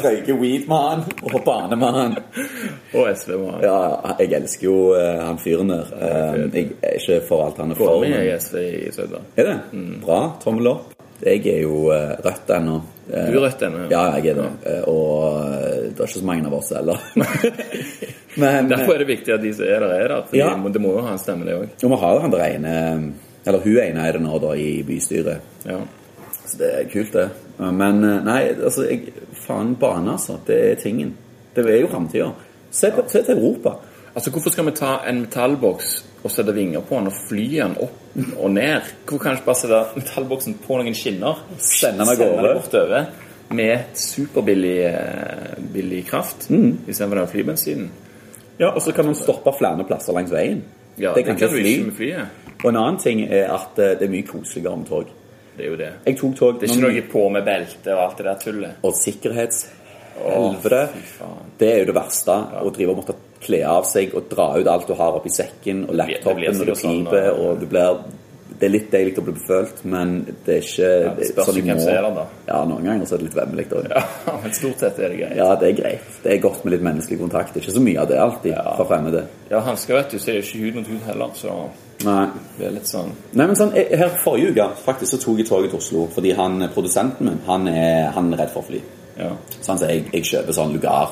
røyke weed med han og bane med han.
Og SV var
Ja, jeg elsker jo eh, han fyren der. Eh, jeg er ikke for alt han er for.
Kona mi
Men...
er SV i Sauda.
Er det?
Mm.
Bra. Tommel opp. Jeg er jo eh, rødt ennå. Eh,
Du er rødt ennå,
Ja,
ja.
jeg er det. Eh, Og eh, det er ikke så mange av oss
*laughs*
heller. Men
Derfor er det viktig at de som er der, er der. Fordi
Ja.
må- Det må jo ha en stemme, det òg.
eh, Og vi har jo han der ene Eller hun ene er det nå, da, i bystyret.
Ja.
Så det er kult, det. Men eh, nei, altså jeg, Faen, bane, altså. Det er tingen. Det er jo framtida. Se, på- se til Europa.
Altså, hvorfor skal vi ta en metallboks og sette vinger på den og fly den opp og ned? Hvorfor kan vi ikke bare sette metallboksen på noen skinner?
Sende den av
Sende
gårde.
den bortover med superbillig eh, billig kraft
Mm.
istedenfor den flybensinen.
Ja, Og så kan man stoppe flere plasser langs veien.
Ja,
det kan ikke
du
fly.
ikke med flyet.
Og en annen ting er at eh, det er mye koseligere med tog.
Det er jo det.
Jeg tok tog
Det er ikke noe på med belte og alt det der tullet.
Og sikkerhetshelvete.
Å, fy faen. *laughs*
det er jo det verste. Å drive og måtte kle av seg og dra ut alt du har oppi sekken, og
blir- det blir
laptopen, og
sikkert
det
sånn,
piper,
og-
og du blir det er litt deilig å bli befølt, men det er ikke
det spørs jo hvem som er der, da.
Ja, Noen ganger så er det litt vemmelig. da.
Ja, men stort sett er det greit.
Ja, det er greit. Det er godt med litt menneskelig kontakt. Det er ikke så mye av det alltid fra fremmede.
Ja, hansker, vet du, så er det jo ikke hud mot hud heller, så
Nei.
Det er litt sånn
Nei, men sånn, eh, her Forrige uke faktisk så tok jeg toget til Oslo fordi han, eh, produsenten min han er, han er redd for fly.
Ja.
Så han sier jeg, jeg kjøper sånn lugar.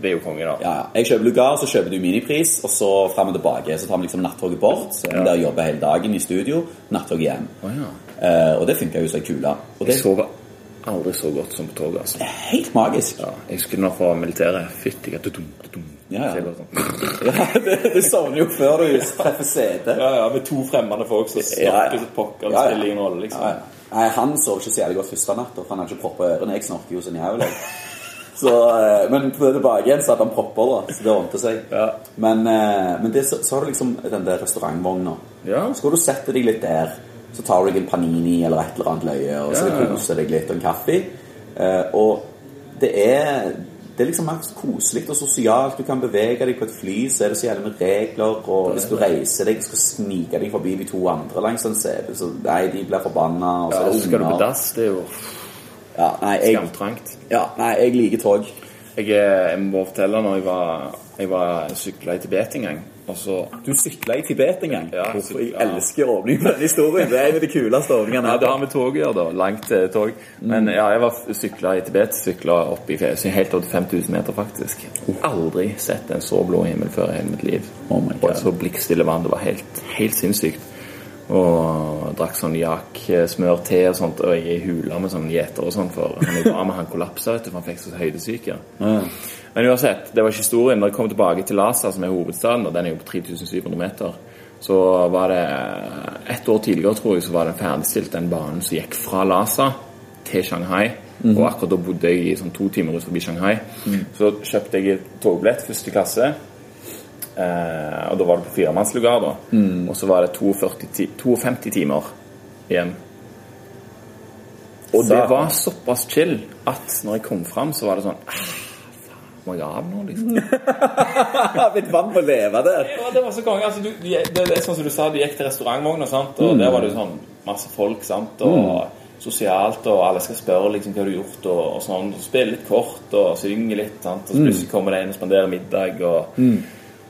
Det er jo konge, da.
Ja, ja. Jeg kjøper lugar, så kjøper du minipris, og så fram og tilbake. Så tar vi liksom nattoget bort, så er vi
Ja.
der jobber hele dagen i studio, nattoget hjem.
Å, ja.
Eh, og det funka jo som ei kule. Og det
Jeg sover aldri så godt som på toget. altså.
er helt magisk.
Ja, jeg husker når jeg var i militæret. Fytti ja,
Ja, ja.
sånn.
Ja, *laughs* det, det sovner jo før du treffer setet.
Ja, ja, med to fremmede folk som snakker som pokker. Det
Ja, ja.
spiller ingen rolle, liksom.
Ja, ja. Nei, han sov ikke så jævlig godt første natt, for han hadde ikke propper i ørene. Jeg snorker jo som en jævel. jeg. Så, eh, men på det tilbake igjen så hadde han propper, da, så det ordnet seg.
Ja.
Men, eh, men det, så, så har du liksom den der restaurantvogna.
Ja.
Så går du og setter deg litt der, så tar du deg en panini eller et eller annet løye, og så
Ja, ja, ja.
koser deg litt og en kaffe. Eh, og det er, det er liksom mer koselig og sosialt. Du kan bevege deg på et fly, så er det så jævlig med regler, og hvis du reiser deg, skal snike deg forbi de to andre langs en CD, så nei, de blir forbanna, og så
Så
er
skal
det
du på
unger.
dass. Det er jo
Ja, nei, jeg,
skamtrangt.
ja, nei, jeg liker tog.
Jeg, eh, jeg må fortelle når jeg var Jeg var sykla i Tibet en gang, og så
Du sykla i Tibet en gang.
Ja,
Hvorfor?
sykla.
jeg elsker åpningen på den historien. Det er en av de kuleste åpningene
Nei,
jeg
det
har.
har med tog å gjøre, da. Langt eh, tog. Men ja, jeg var sykla i Tibet. Sykla opp i fjellet, helt opp til 5000 meter, faktisk. Aldri sett en så blå himmel før i hele mitt liv.
Oh my
og
God.
et så blikkstille vann. Det var helt, helt sinnssykt. Og jeg drakk sånn jakk-smør-te og sånt, og jeg er i hula med sånn gjeter og sånn, for han jeg var med, han kollapsa, vet du, for han fikk så høydesyke. Men uansett, det var ikke historien. Når jeg kom tilbake til Lhasa, som er hovedstaden, og den er jo på 3700 meter, så var det Et år tidligere, tror jeg, så var den ferdigstilt, den banen som gikk fra Lhasa til Shanghai. Og akkurat da bodde jeg i sånn to timer ut forbi Shanghai. Så kjøpte jeg togbillett første klasse. Eh, og da var det på firemannslugar, da. Og så var det 42 ti 52 timer igjen. Og det
Satan.
var såpass chill at når jeg kom fram, så var det sånn ah, faen, Må jeg av nå, liksom?
Jeg har blitt vant med å leve der.
Ja, det var så konge. Altså, du, de- det, det er sånn som du sa, de gikk til restaurantvogna, sant? og der var det jo sånn masse folk, sant, og
Mm.
sosialt, og alle skal spørre liksom hva du har gjort, og, og sånn, og spille litt kort, og synge litt, sant,
Mm.
og så plutselig kommer det en og spanderer middag, og...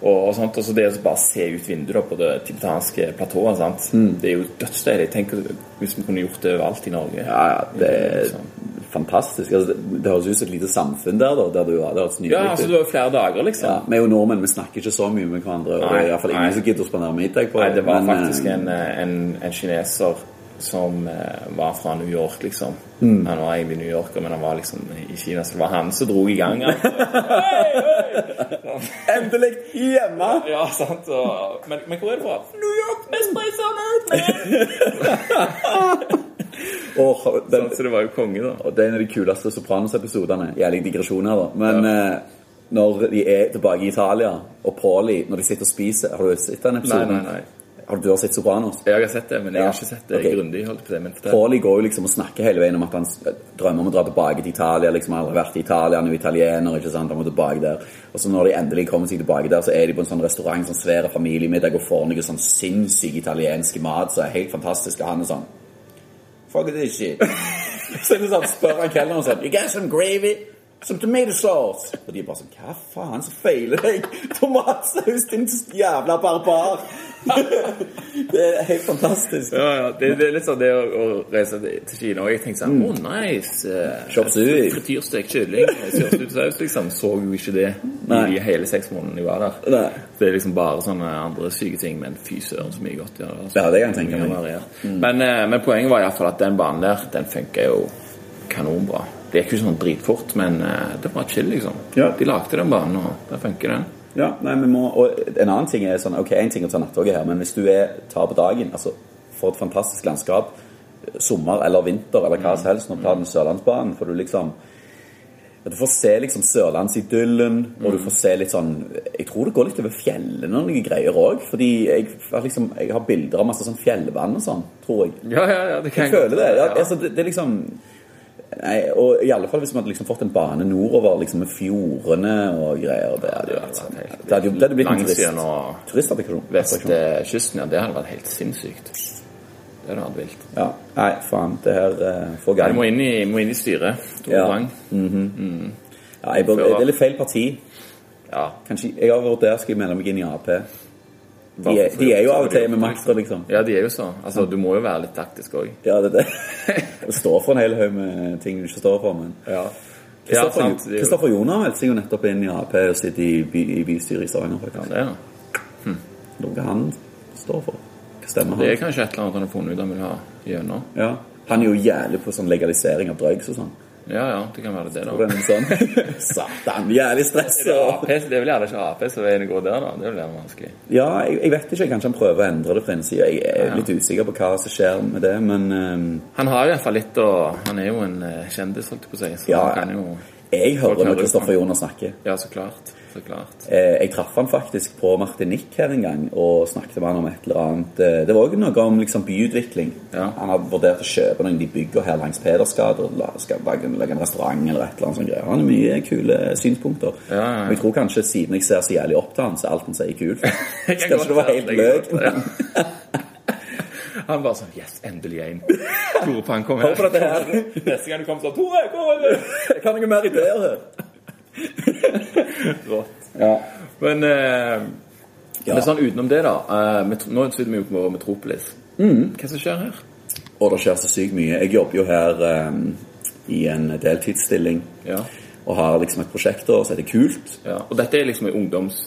Og, og, sånt, og så det å bare se ut vinduet da på det tibetanske platået sant?
Mm.
Det er jo dødsdeilig. Tenk hvis vi kunne gjort det overalt i Norge.
Ja, ja, det er fantastisk. Altså, det, det høres ut som et lite samfunn der, da, der du var. Det høres nydelig
Ja, altså
ut.
det var flere dager, liksom.
Ja, vi er jo nordmenn, vi snakker ikke så mye med hverandre. Og det er i hvert fall
Nei,
ingen
nei.
som gidder å spandere middag på
Nei, det var
men, eh,
faktisk en, eh, en, en kineser som eh, var fra New York, liksom. Han var egentlig New Yorker, men han var liksom i Kina, så det var han som dro i gang. Altså.
Endelig hjemme!
*laughs* Ja, sant, og... Men, men hvor er det fra? New York, best place on earth, man!
Og den,
*laughs* Så det var jo konge, da.
og det er en av de kuleste Sopranos-episodene. Jævlig digresjon her, da. Men eh, når de er tilbake i Italia, og Pauli, når de sitter og spiser Har du sett den
Nei,
episoden?
nei, nei.
Har du, du har sett Sopranos?
Jeg har sett det, men jeg har
Ja,
ikke sett det
ok.
grundig. holdt på det, men fortell.
Pauli går jo liksom og snakker hele veien om at han s- drømmer om å dra tilbake til Italia. liksom Han har aldri vært i Italia, han er jo italiener, ikke sant, han må tilbake der. Og så når de endelig kommer seg tilbake der, så er de på en sånn restaurant, sånn svær familiemiddag og får noe sånn sinnssyk italiensk mat som er helt fantastisk, og han er sånn Fuck this shit. *laughs* så er det sånn, spør han kelneren og sånn You got some gravy? Some tomato sauce? Og de er bare sånn Hva faen som feiler deg? *laughs* Tomatsaus, din jævla barbar! *laughs* det er helt fantastisk.
Ja, ja, det, det er litt sånn det å, å reise til til Kina og Jeg tenkte
Mm.
sånn Å, nice! eh,
Chop suey.
Frityrstekt kylling. eh, Sørstekt saus, liksom. Så jo ikke det
Nei.
i hele seks månedene jeg var der.
Nei.
Det er liksom bare sånne andre syke ting, men fy søren så mye godt de har der. altså.
Ja, det kan jeg tenke
Mye
meg. Mm.
variert. Men, eh, men poenget var iallfall at den banen der, den funka jo kanonbra. Det gikk jo sånn dritfort, men eh, det var chill, liksom.
Ja.
De lagde den banen, og der funker den.
Ja, nei, vi må, og en annen ting er sånn, ok, en ting er å ta nattoget her, men hvis du er, tar på dagen, altså, for et fantastisk landskap, sommer eller vinter eller hva som helst, når du tar den Sørlandsbanen, får du liksom, ja, du får se liksom Sørlandsidyllen, og du får se litt sånn, jeg tror det går litt over fjellene og noen greier også, fordi jeg, har liksom, jeg har bilder av masse sånn fjellvann og sånn, tror jeg.
Ja, ja, ja, det kan
Jeg føler det. Ja, altså, det, det er liksom Nei, og i alle fall hvis vi hadde liksom fått en bane nordover liksom med fjordene og greier. Det hadde jo vært sånn. Det hadde jo det hadde blitt en
Langs
turist,
gjennom
turistattraksjon.
vestkysten, ja, det hadde vært helt sinnssykt. Det hadde vært vilt.
Ja. Nei, faen. Det her eh, får
Jeg
gang.
må inn i, må inn i styret. Tore
Ja.
Bang.
Ja, jeg bør, det er litt feil parti.
Ja.
Kanskje, jeg har vurdert skal jeg melde meg inn i Ap. De er, de er jo av og til med makstre, liksom.
Ja, de er jo så. Altså, Du må jo være litt taktisk òg.
Ja, det, *laughs* det. det står for en hel haug med ting du ikke står for, men
Ja. Ja,
Kristoffer
sant. Det er jo-
Kristoffer Joner meldte seg jo nettopp inn i Ap og sitter i, by, i bystyret i Stavanger.
Ja,
faktisk.
det, er.
Noe han står for. Hva stemmer
det er
han?
kanskje et eller annet han har funnet ut han vil ha gjennom.
Ja. Han er jo jævlig på sånn legalisering av drugs og sånn.
Ja, ja, det kan være det, da.
Og den er sånn. Satan, jævlig stress! og-
AP, det er vel gjerne ikke Ap som veien å gå der, da. Det er vel gjerne vanskelig.
Ja, jeg, jeg vet ikke. Kanskje han prøver å endre det fra en side. Jeg er litt usikker på hva som skjer med det, men ehm,
Han har jo iallfall litt å Han er jo en eh, kjendis, holdt jeg på å si. Så
Ja.
han kan jo
jeg hører
Folk hører
når
på.
Kristoffer Joner snakker.
Ja, så klart. Så klart.
Eh, Jeg traff han faktisk på Martinique her en gang og snakket med han om et eller annet. Eh, Det var også noe om liksom, byutvikling.
Ja.
Han hadde vurdert å kjøpe noen av de bygger her langs Pedersgata og la- skal lage en, lage en restaurant eller et eller annet sånt. greier. Han har mye kule synspunkter.
Ja, ja, ja.
Og Jeg tror kanskje siden jeg ser så jævlig opp til han, så er alt han sier kult.
*laughs* Jeg kan
Skal
godt
ikke det være
være
helt
at jeg
løk?
er
*laughs*
godt, Han bare sånn Yes, endelig er jeg inn. Tore Pang, kom
Hør
her.
på dette her.
Neste gang du kommer sånn Tore, kom her!
Jeg kan noe mer ideer her.
*laughs* Rått.
Ja.
Men, eh,
Ja.
men sånn utenom det, da. eh, metro- nå sitter vi jo på Metropolis. Hva som skjer her?
Og det skjer så sykt mye. Jeg jobber jo her ehm, i en deltidsstilling.
Ja.
Og har liksom et prosjekt da, som heter Kult.
Ja. Og dette er liksom et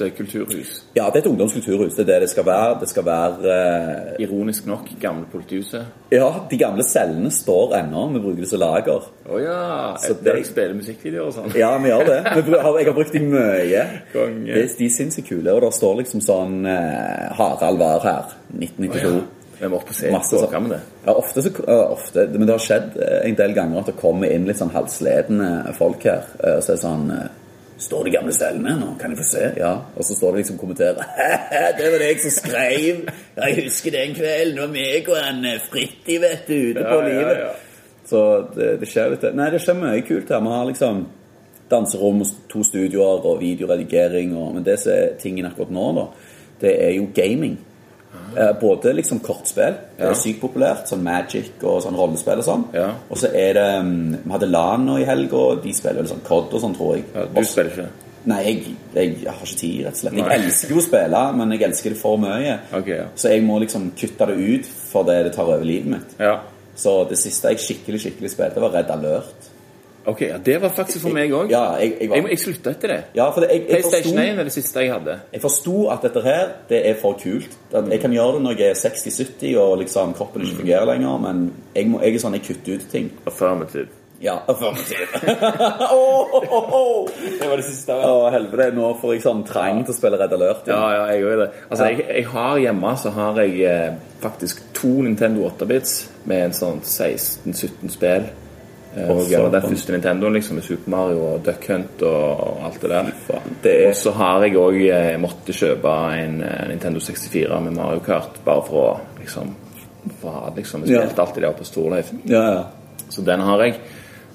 ungdomskulturhus.
Ja, det er et ungdomskulturhus. Det er det det skal være. Det skal være eh,
Ironisk nok, gamle politihuset.
Ja, de gamle cellene står ennå. Vi bruker det som lager.
Å ja!
Så
Der
det-
de spiller musikkvideoer og sånn.
Ja,
*laughs*
vi gjør det. Vi bru- har- Jeg har brukt de mye.
Konge.
De, de er sinnssykt kule. Og det står liksom sånn eh, Harald var her. 1992.
Vi må opp på scenen.
Masse
Masse
sånn.
med det.
Ja, ofte så ja, ofte, Men det har skjedd eh, en del ganger at det kommer inn litt sånn halsledende folk her. eh, Og så er det sånn eh, Står de gamle cellene nå? Kan jeg få se? Ja. Og så står de liksom og kommenterer. Det var det jeg som skrev. Ja, Jeg husker den kvelden. Det var meg og en Fritti, vet du, ute på
Ja, ja,
livet.
ja.
Så det, det skjer litt Nei, det skjer mye kult her. Vi har liksom danserom, to studioer og videoredigering og Men det som er tingen akkurat nå, da, det er jo gaming. Eh, Både liksom kortspill, det
Ja.
er sykt populært, sånn Magic og sånn rollespill og sånn.
Ja.
Og så er det mm, Vi hadde LAN nå i helga, og de spiller vel sånn COD og sånn, tror jeg.
Ja, du
Også-
spiller ikke?
Nei, jeg, jeg har ikke tid, rett og slett.
Nei.
Jeg elsker jo å spille, men jeg elsker det for mye.
Ok, ja.
Så jeg må liksom kutte det ut for det det tar over livet mitt.
Ja.
Så det siste jeg skikkelig skikkelig spilte, var Red Alert.
Ok, ja, Det var faktisk for meg òg.
Ja, jeg, jeg,
Jeg, må-
var,
jeg slutta etter det.
ja, for det, jeg, jeg,
PlayStation
forsto,
1 er det siste jeg hadde.
jeg forsto at dette her, det er for kult. At jeg kan gjøre det når jeg er 60-70 og liksom kroppen
Mm.
ikke fungerer lenger, men jeg, må, jeg er sånn jeg kutter ut ting.
Affirmative. *laughs*
Ja, affirmativ. Åh, åh, åh, åh.
Det var det siste.
Å, helvete, nå får jeg sånn trang til å spille Red Alert.
Ja, ja, jeg gjør det. Altså,
Ja.
jeg, jeg har hjemme så har jeg eh, faktisk to Nintendo 8-bits med en sånn 16-17 spill. Eh,
Å,
og ja, den
satan.
første Nintendoen liksom, med Super Mario og Duck Hunt og, og alt det der.
faen, det er-
Og så har jeg òg eh, måttet kjøpe en eh, Nintendo 64 med Mario Kart bare for å liksom Faen, liksom. Jeg spilte alltid det oppe på Storleif.
Ja, ja.
Så den har jeg.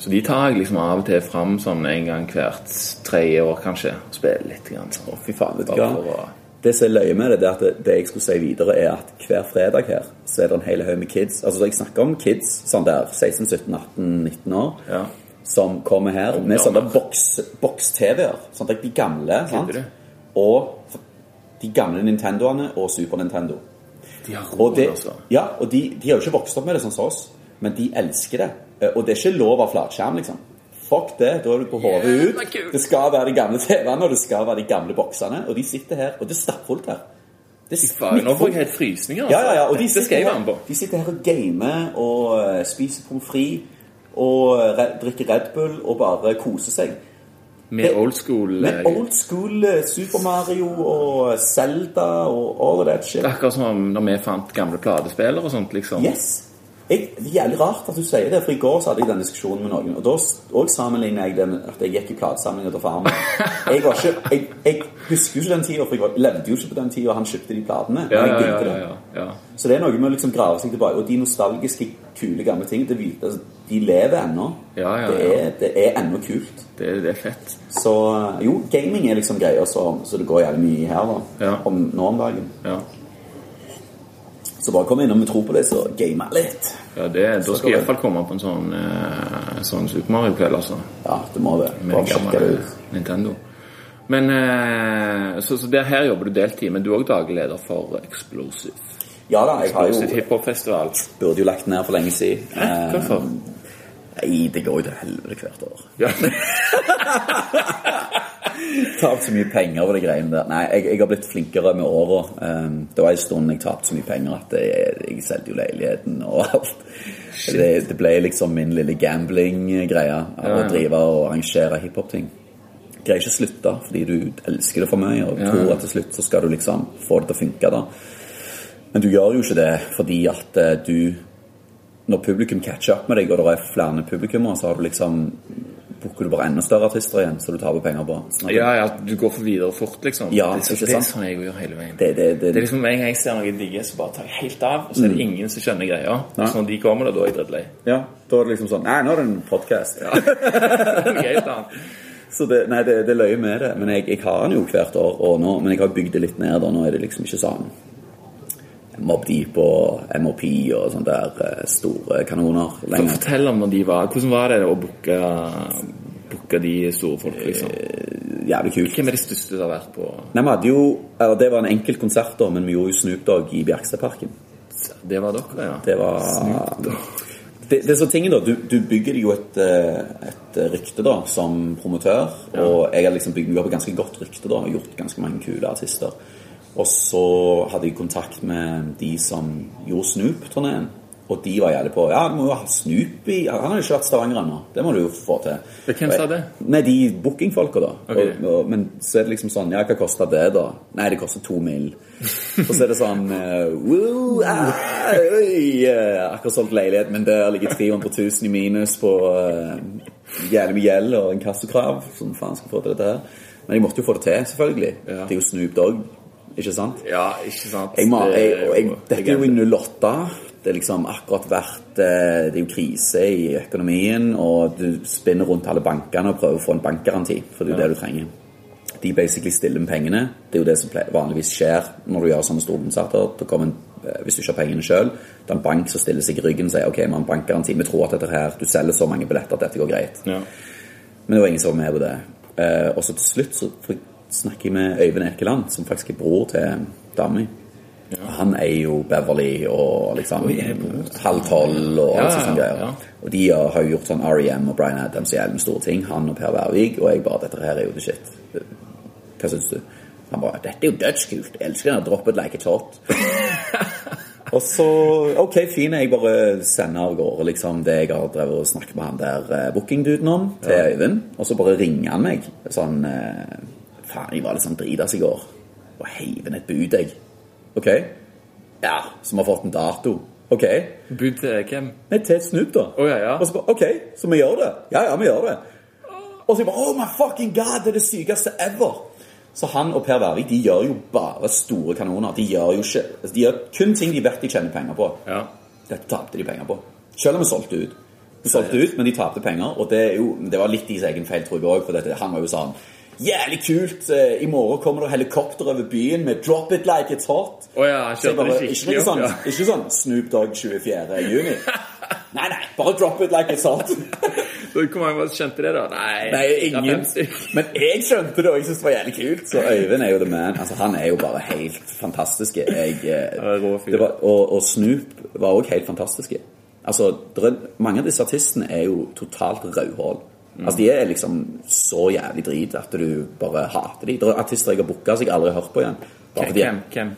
Så de tar jeg liksom av og til fram sånn en gang hvert tredje år, kanskje. Og spiller litt. Grann, sånn.
Fy faen, vet du
Bare
hva?
for å-
Det som er løye med det, det er at det, det jeg skulle si videre, er at hver fredag her så er det en hel haug med kids. Altså, jeg snakker om kids sånn der 16, 17, 18, 19 år.
Ja.
Som kommer her med sånne
Ungdommer.
boks- boks-TV-er. Sånn at de gamle sant?
Kødder
Og de gamle Nintendoene og Super Nintendo.
De har
Og,
råd,
det,
altså.
ja, og de, de har jo ikke vokst opp med det sånn som oss, men de elsker det. Eh, Og det er ikke lov av flatskjerm, liksom. Fuck det, da er du på hodet
Jævla
ut.
kult.
Det skal være de gamle TV-ene, og det skal være de gamle boksene. Og de sitter her, og det er stappfullt her. Det er
Faen, nå får jeg
smittfullt.
helt frysninger.
Ja, ja, ja. Og de
Dette skal
sitter
jeg være med
her,
på.
de sitter her og gamer og eh, spiser pommes frites og eh, re drikker Red Bull og bare koser seg.
Med old school.
Med
eh,
old school eh, Super Mario og eh, Zelda og all of that shit.
det er Akkurat som når vi fant gamle platespillere og sånt, liksom.
Yes. Jeg, det er jævlig rart at du sier det, for i går så hadde jeg den diskusjonen med noen. Og da s- og sammenlignet jeg det med at jeg gikk i platesamlinga til
*laughs*
faren min. Jeg, var ikke, jeg, jeg husker jo ikke den tida, for jeg var, levde jo ikke på den tida han kjøpte de platene. men
Ja,
jeg
ja, ja,
digget
ja,
det.
ja, ja.
Så det er noe med å liksom grave seg tilbake. Og de nostalgiske, kule, gamle ting, det, vi- altså, de lever ennå.
Ja, ja,
Det er, det er ennå kult.
Det, det er fett.
Så jo, gaming er liksom greia som så det går jævlig mye i her da.
Ja.
Om, nå om dagen.
Ja,
Så bare kom innom Metropolis og game litt.
ja det, Da skal
går
jeg
det.
iallfall komme på en sånn, eh, sånn Super Mario-kveld, altså.
Ja, det må det.
Med
Bare
den
sjekke det
gamle
ut.
Nintendo. Men, eh, så, så der her jobber du deltid, men du er òg daglig leder for Explosive,
Ja da, jeg har Ah, jo, Eh,
Explosive Hiphop-festival.
burde jo lagt den ned for lenge siden. Eh,
Hvorfor?
Nei, det går jo til helvete hvert år.
Ja.
Tapt så mye penger på de greiene der. Nei, jeg, jeg har blitt flinkere med åra. Um, det var en stund jeg tapte så mye penger at jeg, jeg solgte jo leiligheten og alt. Det, det ble liksom min lille gambling-greie av
Ja, ja.
å drive og arrangere hiphop-ting. Greier ikke å slutte fordi du elsker det for mye og
Ja,
tror
ja.
at til slutt så skal du liksom få det til å funke. da. Men du gjør jo ikke det fordi at eh, du når publikum catcher opp med deg, og det er flere publikummere, så har du liksom booker du bare enda større artister igjen, så du taper penger på. Sånn at
*laughs* ja, ja, du går for videre fort, liksom.
Ja,
det, er så-
ikke
det er
sant?
sånn jeg gjør hele veien.
Det, det, det,
Det er liksom, En gang jeg ser noe jeg digger, så bare tar jeg helt av. Og så er
Mm.
det ingen som skjønner greia.
Nei.
Så når de kommer, da, da er jeg drittlei.
ja, da er det liksom sånn Nei, nå er det en podkast.
Det er greit, da.
*laughs* Så det, nei, det, det løy med det. Men jeg, jeg har den jo hvert år, og nå, men jeg har bygd det litt ned. Og nå er det liksom ikke sånn Mobb Deep og MOP og sånne der eh, store kanoner
Kan du
lenger.
fortelle om når de var Hvordan var det å booke, booke de store folk, liksom?
Eh, Jævlig kult.
Hvem er de største du har vært på?
Nei, vi hadde jo, eller Det var en enkelt konsert, da, men vi gjorde jo Snoop Dogg i Bjerkstadparken.
Det var dere, ja?
Det var det, det er så tingen da, du, du bygger deg jo et, eh, et rykte da, som promotør, og jeg har liksom bygd meg opp et ganske godt rykte da, og gjort ganske mange kule artister. Og så hadde jeg kontakt med de som gjorde Snoop-turnéen, og de var jævlig på, ja, du må jo ha Snoop i, han har jo ikke vært Stavanger ennå, det må du jo få til.
Hvem sa det?
Nei, de bookingfolka da.
Ok.
Og, og, men så er det liksom sånn, ja, hva koster det da? Nei, det koster to
*laughs*
mil. Og så er det sånn, eh, wow, ah, oi, eh, akkurat solgt leilighet, men der ligger 300 000 i minus på uh, jævlig mye gjeld og en kassokrav, som faen skal få til dette her. Men jeg måtte jo få det til, selvfølgelig.
Ja.
Det er jo Snoop Dogg, ikke sant?
Ja, ikke sant?
Jeg, må, jeg, og jeg,
Det
dette er jo i 08. Det er liksom akkurat vært eh, Det er jo krise i økonomien, og du spinner rundt alle bankene og prøver å få en bankgaranti, for det er jo det du trenger. De basically stiller med pengene. Det er jo det som ple- vanligvis skjer når du gjør sånne store konserter. Da kommer en, eh, hvis du ikke har pengene sjøl, det er en bank som stiller seg i ryggen og sier OK, vi har en bankgaranti, vi tror at dette her, du selger så mange billetter at dette går greit.
Ja.
Men det var ingen som var med på det. Eh, og så til slutt så fikk- snakker jeg med Øyvind Ekeland, som faktisk er bror til dama mi. Og Han er jo Beverly og liksom Halv tolv og
Ja,
alt sånne
ja, ja.
greier. Og de har har jo gjort sånn R.E.M. og Bryan Adams og jævlig med store ting. Han og Per Værvik. Og jeg bare Dette her er jo the shit. Hva syns du? Han bare Dette er jo dødskult. Jeg elsker den der Drop it like it's hot. Og så OK, fin. Jeg bare sender av gårde liksom, det jeg har drevet og snakket med han der eh, booking-duden om, til Øyvind. Og så bare ringer han meg sånn eh, Faen, jeg var litt sånn dritas i går. Og heiv inn et bud, jeg. OK? Ja, som har fått en dato. OK?
Bud til hvem?
Nei, til Snoop, da.
Å, ja, ja.
Og så bare OK, så vi gjør det? Ja, ja, vi gjør det. Og så jeg bare Oh my fucking god, det er det sykeste ever. Så han og Per Værvik de gjør jo bare store kanoner. De gjør jo ikke altså, De gjør kun ting de vet de tjener penger på.
Ja.
Dette tapte de penger på. Selv om vi solgte ut. Vi solgte ut, men de tapte penger. Og det, er jo, det var litt deres egen feil, tror jeg òg. For dette, han var jo sånn Jævlig kult! eh, I morgen kommer det helikopter over byen med 'Drop it like it's hot'.
Å ja, han
Så jeg
kjørte
bare,
det
ikke,
skikkelig
noe sånn,
opp, ja.
ikke sånn Snoop Dogg 24.
*laughs*
juni. Nei, nei, bare drop it like it's hot.
Så Hvor mange var det som skjønte det, da? Nei,
Nei,
det er
ingen.
fem stykker.
*laughs* Men jeg skjønte det, og jeg syntes det var jævlig kult. Så Øyvind er jo the man. Altså, han er jo bare helt fantastisk. Jeg, eh,
er rå fyr.
det var, og, og Snoop var også helt fantastisk. Altså, der er- mange av disse artistene er jo totalt rødhål. Altså, de er liksom så jævlig drit at du bare hater dem. Det er artister jeg har booka som jeg aldri har hørt på igjen. Bare fordi
Hvem? hvem?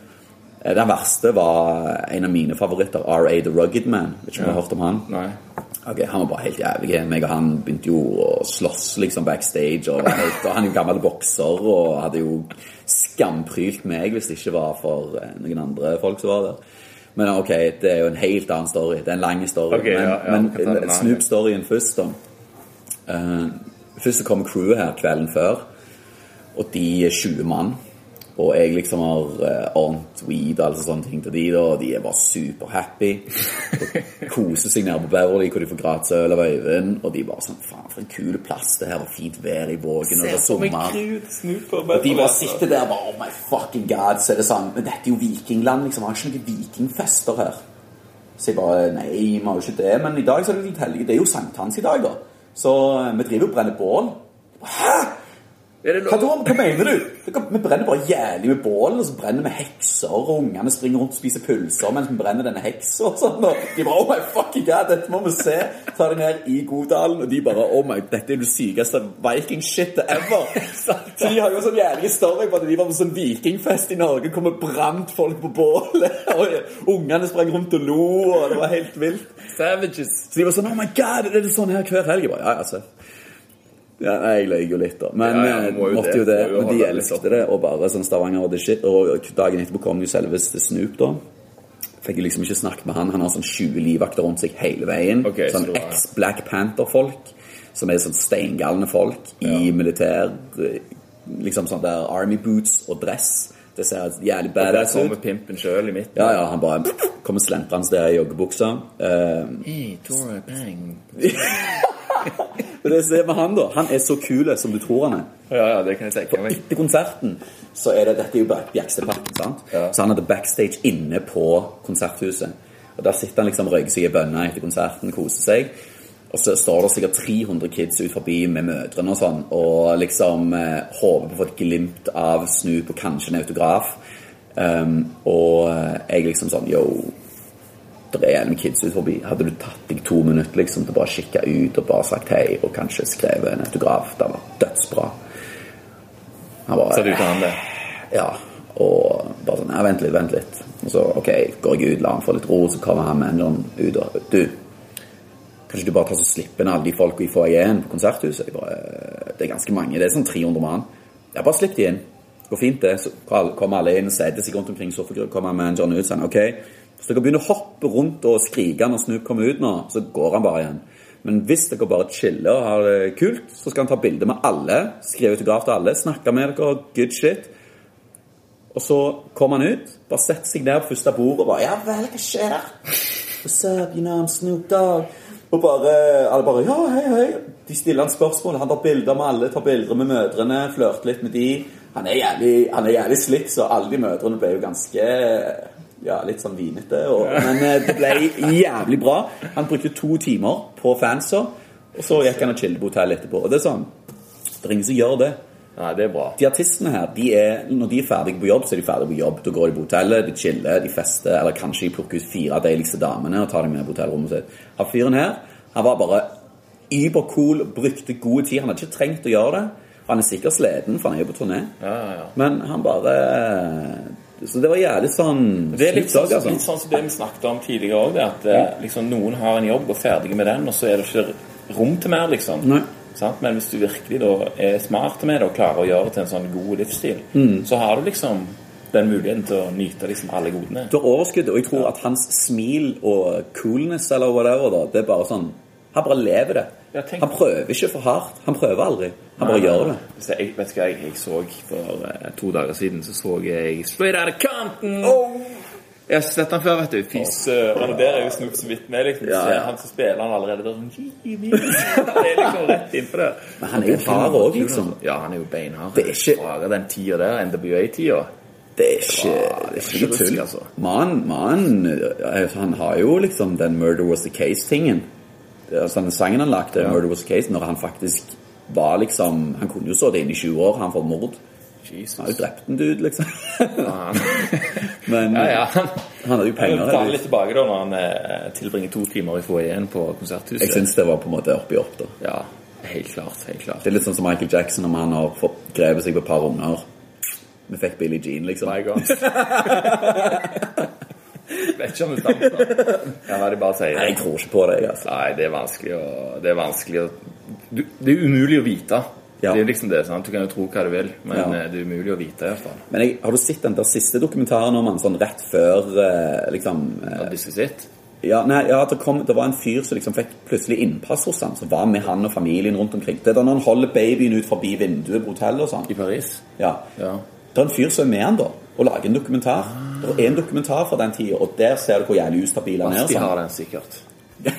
Eh, Den verste var en av mine favoritter, R.A. The Rugged Man. Vet ikke om du har hørt om han?
Nei.
Ok, Han var bare helt jævlig. Meg og han begynte jo å slåss liksom backstage. Og, var helt, og Han er jo gammel bokser og hadde jo skamprylt meg hvis det ikke var for eh, noen andre folk som var der. Men ok, det er jo en helt annen story. Det er en lang story.
Ok, ja, ja,
men
vi kan ta den
men
her.
Snoop-storyen først, da. Eh, først så kommer crewet her kvelden før, og de er 20 mann. Og jeg liksom har uh, ordnet weed og alle sånne ting til de da, og de er bare superhappy. Og koser seg nede på Beverly hvor de får gratis øl av Øyvind. Og de er bare sånn Faen, for en kul plass det her, og fint vær i vågen, og det er sommer. Og de bare sitter der og bare Oh my fucking god, så er det sånn Men dette er jo vikingland, liksom. Har ikke noen vikingfester her. Så jeg bare Nei, vi har jo ikke det. Men i dag så er det litt helge. Det er jo sankthans i dag, da. Så eh, vi driver og brenner bål. Hæ?
altså. Er det
Hva,
lov?
da, hva mener du? Dere- Vi brenner bare jævlig med bål, og så brenner vi hekser, og ungene springer rundt og spiser pølser mens vi brenner denne heksa og sånn. Og de bare Oh my fucking god, dette må vi se! Ta den her i Godalen, og de bare Oh my, dette er det sykeste vikingshit ever! Så de har jo sånn jævlig story på at de var på sånn vikingfest i Norge, kom og brant folk på bålet, *laughs* og ungene sprang rundt og lo, og det var helt vilt.
Savages.
Så de var sånn Oh my god, er det sånn her hver helg? Jeg bare, ja, ja, se. Ja, nei, jeg løy jo litt, da. Men
Ja, ja,
eh,
du må jo
måtte jo
det. liksom.
det.
Du må jo
Men de
holde litt opp.
elsket det. Og bare sånn Stavanger og the shit. Og dagen etterpå kom jo selveste Snoop, da. Fikk jeg liksom ikke snakket med han. Han har sånn 20 livvakter rundt seg hele veien.
Ok, så
sånn
du har-
eks-Black Panther-folk. Som er sånn steingalne folk i militær eh, Liksom sånn der army boots og dress. Det ser jævlig
Der
badass ut.
kommer pimpen sjøl i midten.
Ja, ja, han bare kommer slentrende der i joggebuksa. Eh,
Hey, Tora, bang.
Men det som er med han da, han er så kule som du tror han er.
Ja, ja, det kan jeg tenke meg.
Etter konserten så er det, dette er jo bare Bjerkstedparken, sant?
Ja.
Så han hadde backstage inne på konserthuset. Og der sitter han liksom og røyker seg i bønna etter konserten, koser seg. Og så står det sikkert 300 kids ut forbi med mødrene og sånn, og liksom eh, håper på å få et glimt av Snoop og kanskje en autograf. Um, og eh, jeg liksom sånn, yo, det er en med kids ut forbi. Hadde du tatt deg to minutter liksom, til bare å kikke ut og bare sagt hei, og kanskje skrevet en autograf? Det hadde vært dødsbra. Han bare,
Ser det ut til han, det.
ja, og bare sånn, ja, vent litt, vent litt. Og så, ok, går jeg ut, la han få litt ro, så kommer han med en ut og, du, kanskje du bare tar så slipper inn alle de folk vi får igjen på konserthuset? Jeg bare, "Eh, det er ganske mange, det er sånn 300 mann. Ja, bare slipp de inn. Går fint det, så kommer alle inn og setter seg rundt omkring sofagruppa, kommer han med en John ut, sånn, ok, hvis dere begynner å hoppe rundt og skrike når Snoop kommer ut nå, så går han bare igjen. Men hvis dere bare chiller og har det kult, så skal han ta bilder med alle, skrive autograf til alle, snakke med dere, good shit. Og så kom han ut, bare sette seg ned på første bord og bare Ja vel, hva skjer? What's up, you know, I'm Snoop Dogg. Og bare, alle bare Ja, hei, hei. De stiller han spørsmål. Han tar bilder med alle, tar bilder med mødrene, flørter litt med de. Han er jævlig, han er jævlig slick, så alle de mødrene ble jo ganske ja, litt sånn vinete. Og, men eh, det ble jævlig bra. Han brukte to timer på fanser, og så gikk han og chillet på hotellet etterpå. Og det er sånn Det er ingen som gjør det.
Nei, det er bra.
De artistene her, de er, når de er ferdige på jobb, så er de ferdige på jobb. Da går de på hotellet, de chiller, de fester, eller kanskje de plukker ut fire av de deiligste damene og tar dem med på hotellrommet sitt. Han fyren her, han var bare übercool, brukte god tid. Han hadde ikke trengt å gjøre det. Han er sikkert sliten, for han er jo på turné.
Ja, ja, ja.
Men han bare eh, Så det var jævlig sånn
Det er litt sånn,
Snoop Dogg,
litt sånn som det vi snakket om tidligere òg, at eh, liksom, noen har en jobb og er ferdig med den, og så er det ikke rom til mer, liksom.
Nei.
Sant? Men hvis du virkelig da er smart med det og klarer å gjøre det til en sånn god livsstil, så har du liksom den muligheten til å nyte liksom alle godene.
Du har overskudd, og jeg tror at hans smil og coolness eller whatever, da, det er bare sånn Han bare lever det.
Ja, tenk-
Han prøver ikke for hardt. Han prøver aldri. Han bare gjør det.
Så jeg, vet du hva jeg, jeg så for eh, to dager siden? Så så jeg Straight Outta Compton! Jeg har sett han før, vet du. Fy Oh! søren. Og der er jo Snoop så vidt med. Liksom.
Ja, ja.
Han som spiller han allerede der. sånn, Det er liksom rett innpå der.
Men han er jo hard òg, liksom.
Ja, han er jo beinhard.
Det er ikke-
Bare den tida der, NWA-tida.
Det er ikke, det er ikke noe tull.
altså.
Mannen mannen, eh, han har jo liksom den 'Murder Was The Case'-tingen. Det er Altså den sangen han lagde, 'Murder Was The Case', når han faktisk var liksom Han kunne jo sittet inne i 20 år, han for mord.
Jesus.
Han har jo drept en dude, liksom.
Faen.
*laughs* Men
Ja, ja.
han hadde jo
Jeg
penger.
vil *laughs* ta
eller?
litt tilbake da når han eh, tilbringer to timer i foajeen på konserthuset.
Jeg syns det var på en måte oppi opp, da.
Ja, helt klart. Helt klart.
Det er litt sånn som Michael Jackson om han har fått grepet seg på et par unger. Vi fikk Billie Jean, liksom.
My God. Vet ikke om det altså. stammer fra. Ja, hva de bare sier.
Nei, jeg tror ikke på det, jeg, altså.
Nei, det er vanskelig å Det er vanskelig å du, Det er umulig å vite.
Ja.
Det er jo liksom det, sant? Du kan jo tro hva du vil, men
Ja.
eh, det er umulig å vite. i hvert fall.
Men jeg, har du sett den der siste dokumentaren om han sånn rett før eh, liksom eh,
Ja, Visitt.
Ja, nei, ja det, kom, det var en fyr som liksom fikk plutselig innpass hos han, som var med han og familien rundt omkring. Det er da når han holder babyen ut forbi vinduet på hotellet og sånn.
I Paris.
Ja.
Ja.
Det er en fyr som er med han da, og lager en dokumentar. Det er en dokumentar fra den tida, og der ser du hvor jævlig ustabil han er. og
Basti
*laughs* Sånn.
har den sikkert. Han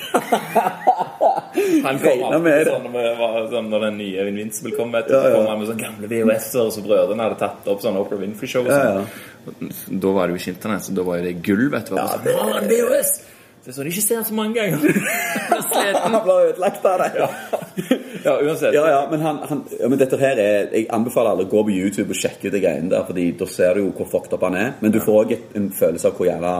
kom
Regner
opp
med det.
sånn, med- var sånn, når den nye Invincible kom, vet du,
Ja, ja.
så kom han med sånne gamle VHS-er som brødrene hadde tatt opp sånn Oprah Winfrey-show. og
Ja, ja.
sånn. Og Da var det jo ikke internett, så da var jo det gull, vet du.
Ja,
Ja,
det-
det... en
*laughs*
VHS! Det er sånn, ikke ser den så mange ganger.
Han blir ødelagt av det.
Ja, uansett.
Ja, ja, men, han, han, ja, men dette her er Jeg anbefaler alle å gå på YouTube og sjekke ut de greiene der, Fordi da ser du jo hvor fucked up han er. Men du får òg en følelse av hvor jævla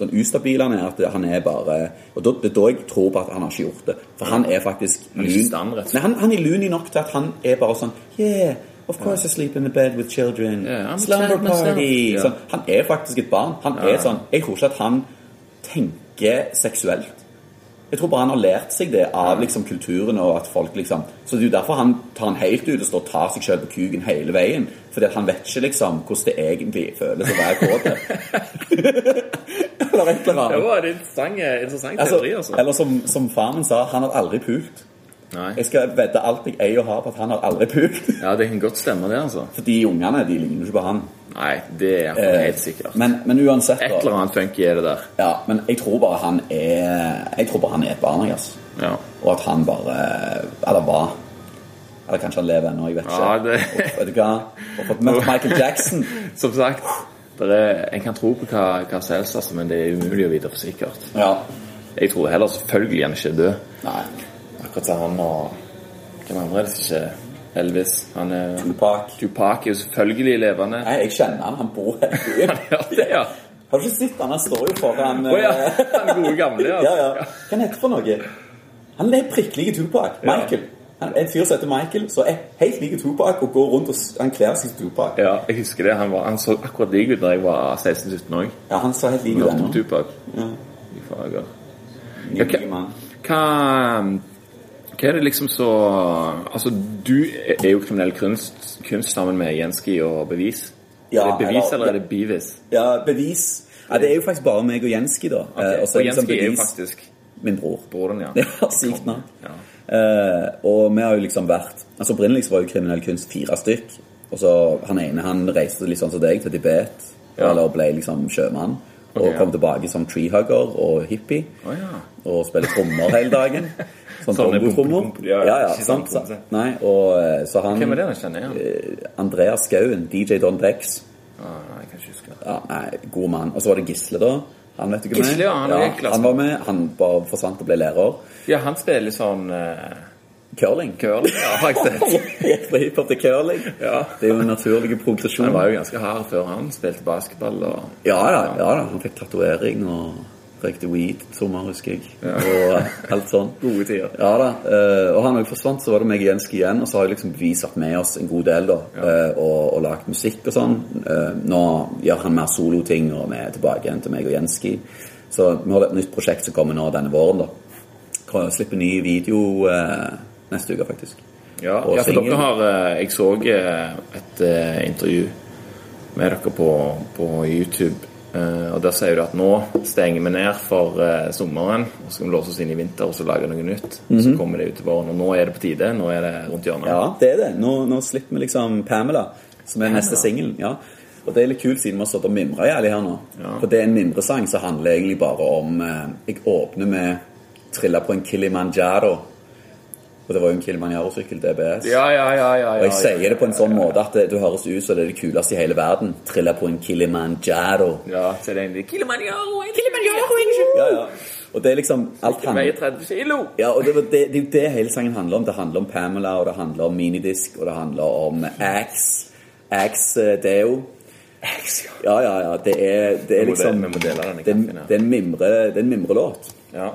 sånn ustabil han er. At han er bare Og da, det er da jeg tror på at han har ikke gjort det. For han er faktisk
er ikke i stand, rett og slett.
Nei, han, han er luny nok til at han er bare sånn Yeah, of course I sleep in the bed with children.
Yeah, I'm a
Slumber
child myself."
party.
Ja.
Sånn, han er faktisk et barn. Han er sånn Jeg tror ikke at han tenker seksuelt. Jeg tror bare han har lært seg det av liksom, kulturen og at folk liksom Så det er jo derfor han tar han helt ut og står og tar seg selv på kuken hele veien. Fordi at han vet ikke liksom hvordan det egentlig føles å være kåt. *laughs* eller et eller
Det
annet.
var en interessant, interessant
Altså,
teori, altså.
eller som, som faren min sa, han har aldri pult.
Nei.
Jeg skal vedde alt jeg eier og har på at han har aldri pult. *laughs*
Ja, det kan godt stemme, det, altså.
For de ungene, de ligner jo ikke på han.
Nei, det er jeg
Eh,
helt sikkert.
Men, men uansett,
Et eller
da.
annet funky er det der.
Ja, men jeg tror bare han er Jeg tror bare han er et barn, jeg, altså.
Ja.
Og at han bare Eller var. Eller kanskje han lever ennå, jeg vet ikke.
Ja, det-
Og Vet du hva? Og fått møtt Michael Jackson.
Som sagt, det er, en kan tro på hva, hva som helst, altså, men det er umulig å vite for sikkert.
Ja.
Jeg tror heller selvfølgelig han ikke er død.
Nei.
Akkurat som han og Hvem andre er det som ikke er Elvis? Han er
Tupac.
Tupac er jo selvfølgelig levende.
Nei, jeg kjenner han. Han bor her i byen.
*laughs* Ja, det, ja.
Har du ikke sett han? Han står jo foran
Å ja.
eh,
Den gode gamle,
ja,
altså.
ja. Hva er dette for noe? Han er prikkelige Tupac.
Ja.
Michael. Han er en fyr som heter Michael, som er helt lik Tupac og går rundt og s- han kler seg som Tupac.
Ja, jeg husker det. Han, var, han så akkurat lik ut da jeg var 16-17 òg.
Ja, han ser helt lik ut ennå.
Tupac.
Ja.
Fy fager.
Nydelig
Ok.
mann.
Hva um, hva er det liksom så Altså, du er jo kriminell kunst, kunst sammen med Jenski og Bevis.
Ja,
er det Bevis,
eller-
eller er det Bevis?
Ja, bevis. Ja, det er jo faktisk bare meg og Jenski, da.
Ok,
Eh, og så
og
er det liksom
Jenski er jo
bevis-
faktisk
Min bror.
broren, ja.
*laughs* Ja, sykt navn.
Ja.
Eh, og vi har jo liksom vært Altså Opprinnelig så var jo kriminell kunst fire stykk. Og så han ene han reiste litt sånn som deg, til Tibet,
Ja.
eller ble liksom sjømann. Og
Ok, ja.
kom tilbake som treehugger og hippie.
Å, ja.
Og spiller trommer hele dagen. Sånn
*laughs* Sånne
bongotrommer.
bumpe- bumpe-
Ja,
ja,
ja,
ikke
sant, sant.
sant, sant.
Nei, og eh, så han
Hvem er det han kjenner igjen?
eh, Andreas Skauen, DJ Don Dex.
Ah, nei, jeg kan ikke huske.
Ja, nei, god mann. Og så var det Gisle, da. Han vet du ikke
Gisle, ja, han er i klassen.
han var med. Han bare forsvant og ble lærer.
Ja, han spiller sånn uh,
Curling.
curling, ja, har jeg
*laughs*
sett.
Gikk fra hiphop til curling.
Ja.
Det er jo en naturlig progresjon.
Han var jo ganske hard før han spilte basketball og
Ja da, ja da. Han fikk tatovering og røykte weed et sommer, husker jeg. Og alt sånn.
*laughs* Gode tider.
Ja da. eh, Og han òg forsvant, så var det meg og Jenski igjen. Og så har jeg liksom bevis vært med oss en god del, da. eh, Og, og lagd musikk og sånn. Eh, Nå gjør han mer soloting, og vi er tilbake igjen til meg og Jenski. Så vi har et nytt prosjekt som kommer nå denne våren, da. Kan slippe ny video eh, neste uke, faktisk.
Ja,
Og
ja for
singel.
dere har eh, Jeg så eh, et eh, intervju med dere på, på YouTube. eh, og Der sier du at nå stenger vi ned for eh, sommeren, og så skal vi låse oss inn i vinter og så lage noe nytt. Så kommer det ut til våren. Og nå er det på tide. Nå er det rundt hjørnet.
Mhm. Ja, det er det. Nå, nå slipper vi liksom Pamela, som er neste singel. Ja. Og det er litt kult, siden vi har stått og mimra jævlig her nå.
Ja.
For det er en mimresang som handler egentlig bare om eh, Jeg åpner med 'Trilla på en Kilimanjaro'. Og det var jo en Kilimanjaro-sykkel, DBS.
ja, ja, ja, ja,
og jeg
ja,
sier det på en sånn
ja, ja.
måte at det, du høres ut som det er det kuleste i hele verden. 'Trilla på en Kilimanjaro'.
Ja, så er det egentlig Kilimanjaro!
Ja, ja. Og det er liksom alt handler
Veier 30 kilo!
Ja, og det, var- det, det er jo det hele sangen handler om. Det handler om Pamela, og det handler om minidisk, og det handler om Axe. Axe eh, Deo. Ja, ja, ja. Det er, det er
Vi må
liksom
dele- vi må dele den i
det, er-
kaffen, ja.
det er en mimre, det er en mimrelåt.
Ja.